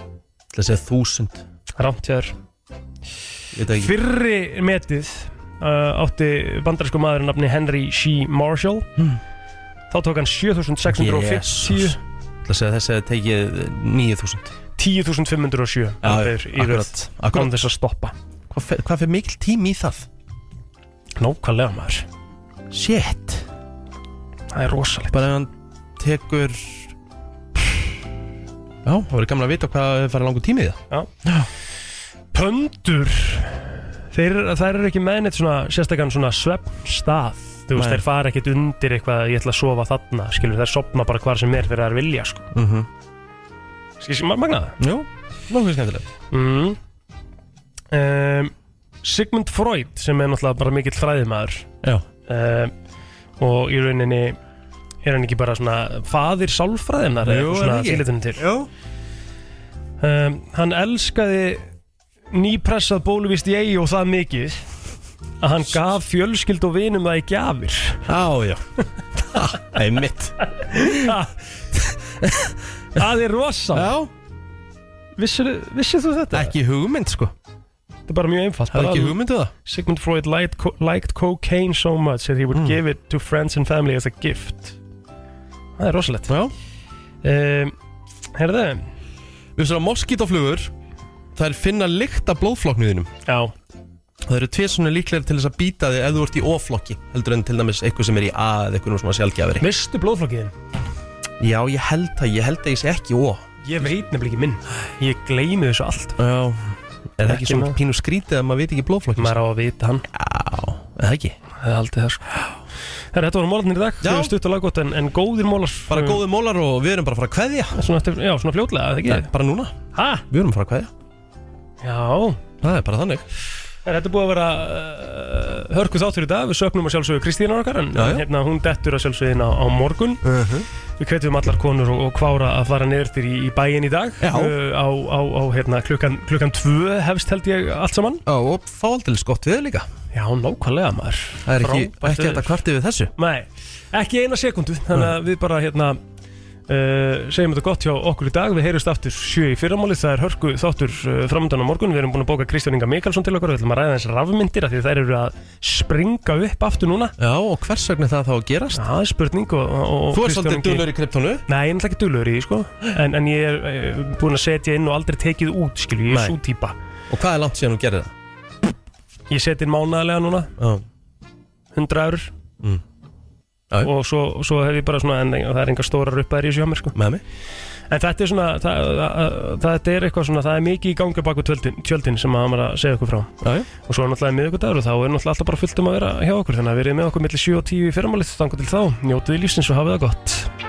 Það segja þúsund Rámt hjá þér Veit ekki. Fyrri metið uh, átti bandarísku maður nafni Henry C. Marshall Þá tók hann 7650 Það segja þess að tekið eh, 9000 10.507 alveg í röð, akkurat, akkurat. án þess að stoppa Hvað fer, hvað fer mikil tími í það? Nákvæmlega maður Shit Það er rosalegt Bara ef hann tekur Já, það verður gamla að vita hvað það farið langur tími í það Já. Pöndur Þeir, þær eru ekki meðnitt svona sérstakann svona svefnstað Þú veist, Nei. þeir fara ekkit undir eitthvað ég ætla að sofa þarna, skilur þær sopna bara hvar sem er fyrir þær vilja, sko mm -hmm. Skilur sem magnaða Jú, nokkuð skemmtilegt mm. um, Sigmund Freud sem er náttúrulega bara mikill fræðimæður Já. um, og í rauninni er hann ekki bara svona faðir sálfræðinar Jú, er svona það ekki? tilitinu til Jú. um, Hann elskaði nýpressað bóluvist í eigi og það mikið að hann gaf fjölskyld og vinum það í gjafir Já, já Það er mitt <laughs> Það er rosa Já Vissir, vissir þú þetta? Ekki hugmynd sko Þetta er bara mjög einfalt Hafði Bara ekki að- hugmynd um það? Sigmund Freud liked, co liked cocaine so much that he would Hmm. give it to friends and family as a gift Það er rosalegt Já um, Herðu Við séum að moskítaflugur Það er finna lykt af blóðflokknuðinum Já Það eru tvið svona líklega til þess að býta þig ef þú ert í oflokki heldur en til dæmis eitthvað sem er í A eða eitthvað nú svona sjálfgjafari Mistu blóðflokkiðin? Já, ég held það, ég held að ég sé ekki O Ég veit nefnilega ekki minn Ég gleymi þessu allt Já, er það ekki Ekki svona maður. pínu skrítið að maður veit ekki blóðflokki Maður á að vita hann Já, eða ekki Það er aldrei það sko Herra, þetta voru mólarnir í dag Já. Þau eru stutt og laggótt en, en góðir mólar Bara góðir mólar og við erum bara að fara að kveðja Svona eftir, já, svona fljótlega, eða Nei, ekki? Bara núna, Ha? við erum að fara að kveðja Já Það er bara þannig Er þetta er búið að vera uh, hörku þáttur í dag? Við söknum að sjálfsögðu Kristínar okkar en Já, Mhm. já. hérna hún dettur að sjálfsögðu inn á, á morgun. Við hvetjum allar konur og, og kvára að fara niður til í, í bæin í dag. Já. Uh, á á, á hérna, klukkan, klukkan tvö hefst held ég allt saman. Já, og þá aldrei skott við líka Já, nákvæmlega maður. Það er ekki, Frábært ekki þetta veður. kvartið við þessu Nei, ekki eina sekundu. Þannig að við bara hérna... Uh, segjum þetta gott hjá okkur í dag við heyrjumst aftur sjö í fyrramáli það er hörku þáttur uh, framöndan á morgun við erum búin að bóka Kristján Inga Mikalsson til okkar við ætlum að ræða eins rafmyndir af því þær eru að springa upp aftur núna Já, og hvers vegna það þá að gerast? Það er spurning og, og, og Þú er Kristján svolítið Ingi- dulur í kryptonu Nei, ég er náttúrulega ekki dölur í því, sko en, en ég er eh, búinn að setja inn og aldrei tekið út skilju, ég Nei. er svo típa Og hvað er langt síðan þú gerir það? Ég setja inn mánaðarlega núna Já. 100 eurur Mm. Já, já. og svo, svo hef ég bara svona en, og það er enga stóra ruppaðir í þessu hjá mér sko Með mig En þetta er svona, það, það, þetta er eitthvað svona, það er mikið í gangi baku tjöldin, tjöldin sem maður að segja okkur frá Já, já. Og svo er náttúrulega miðvikudagur og þá er náttúrulega alltaf bara fullt um að vera hjá okkur Þannig að verið með okkur millir 7 og 10 í fyrramálið, þangu til þá, njótið í lífsins og hafið það gott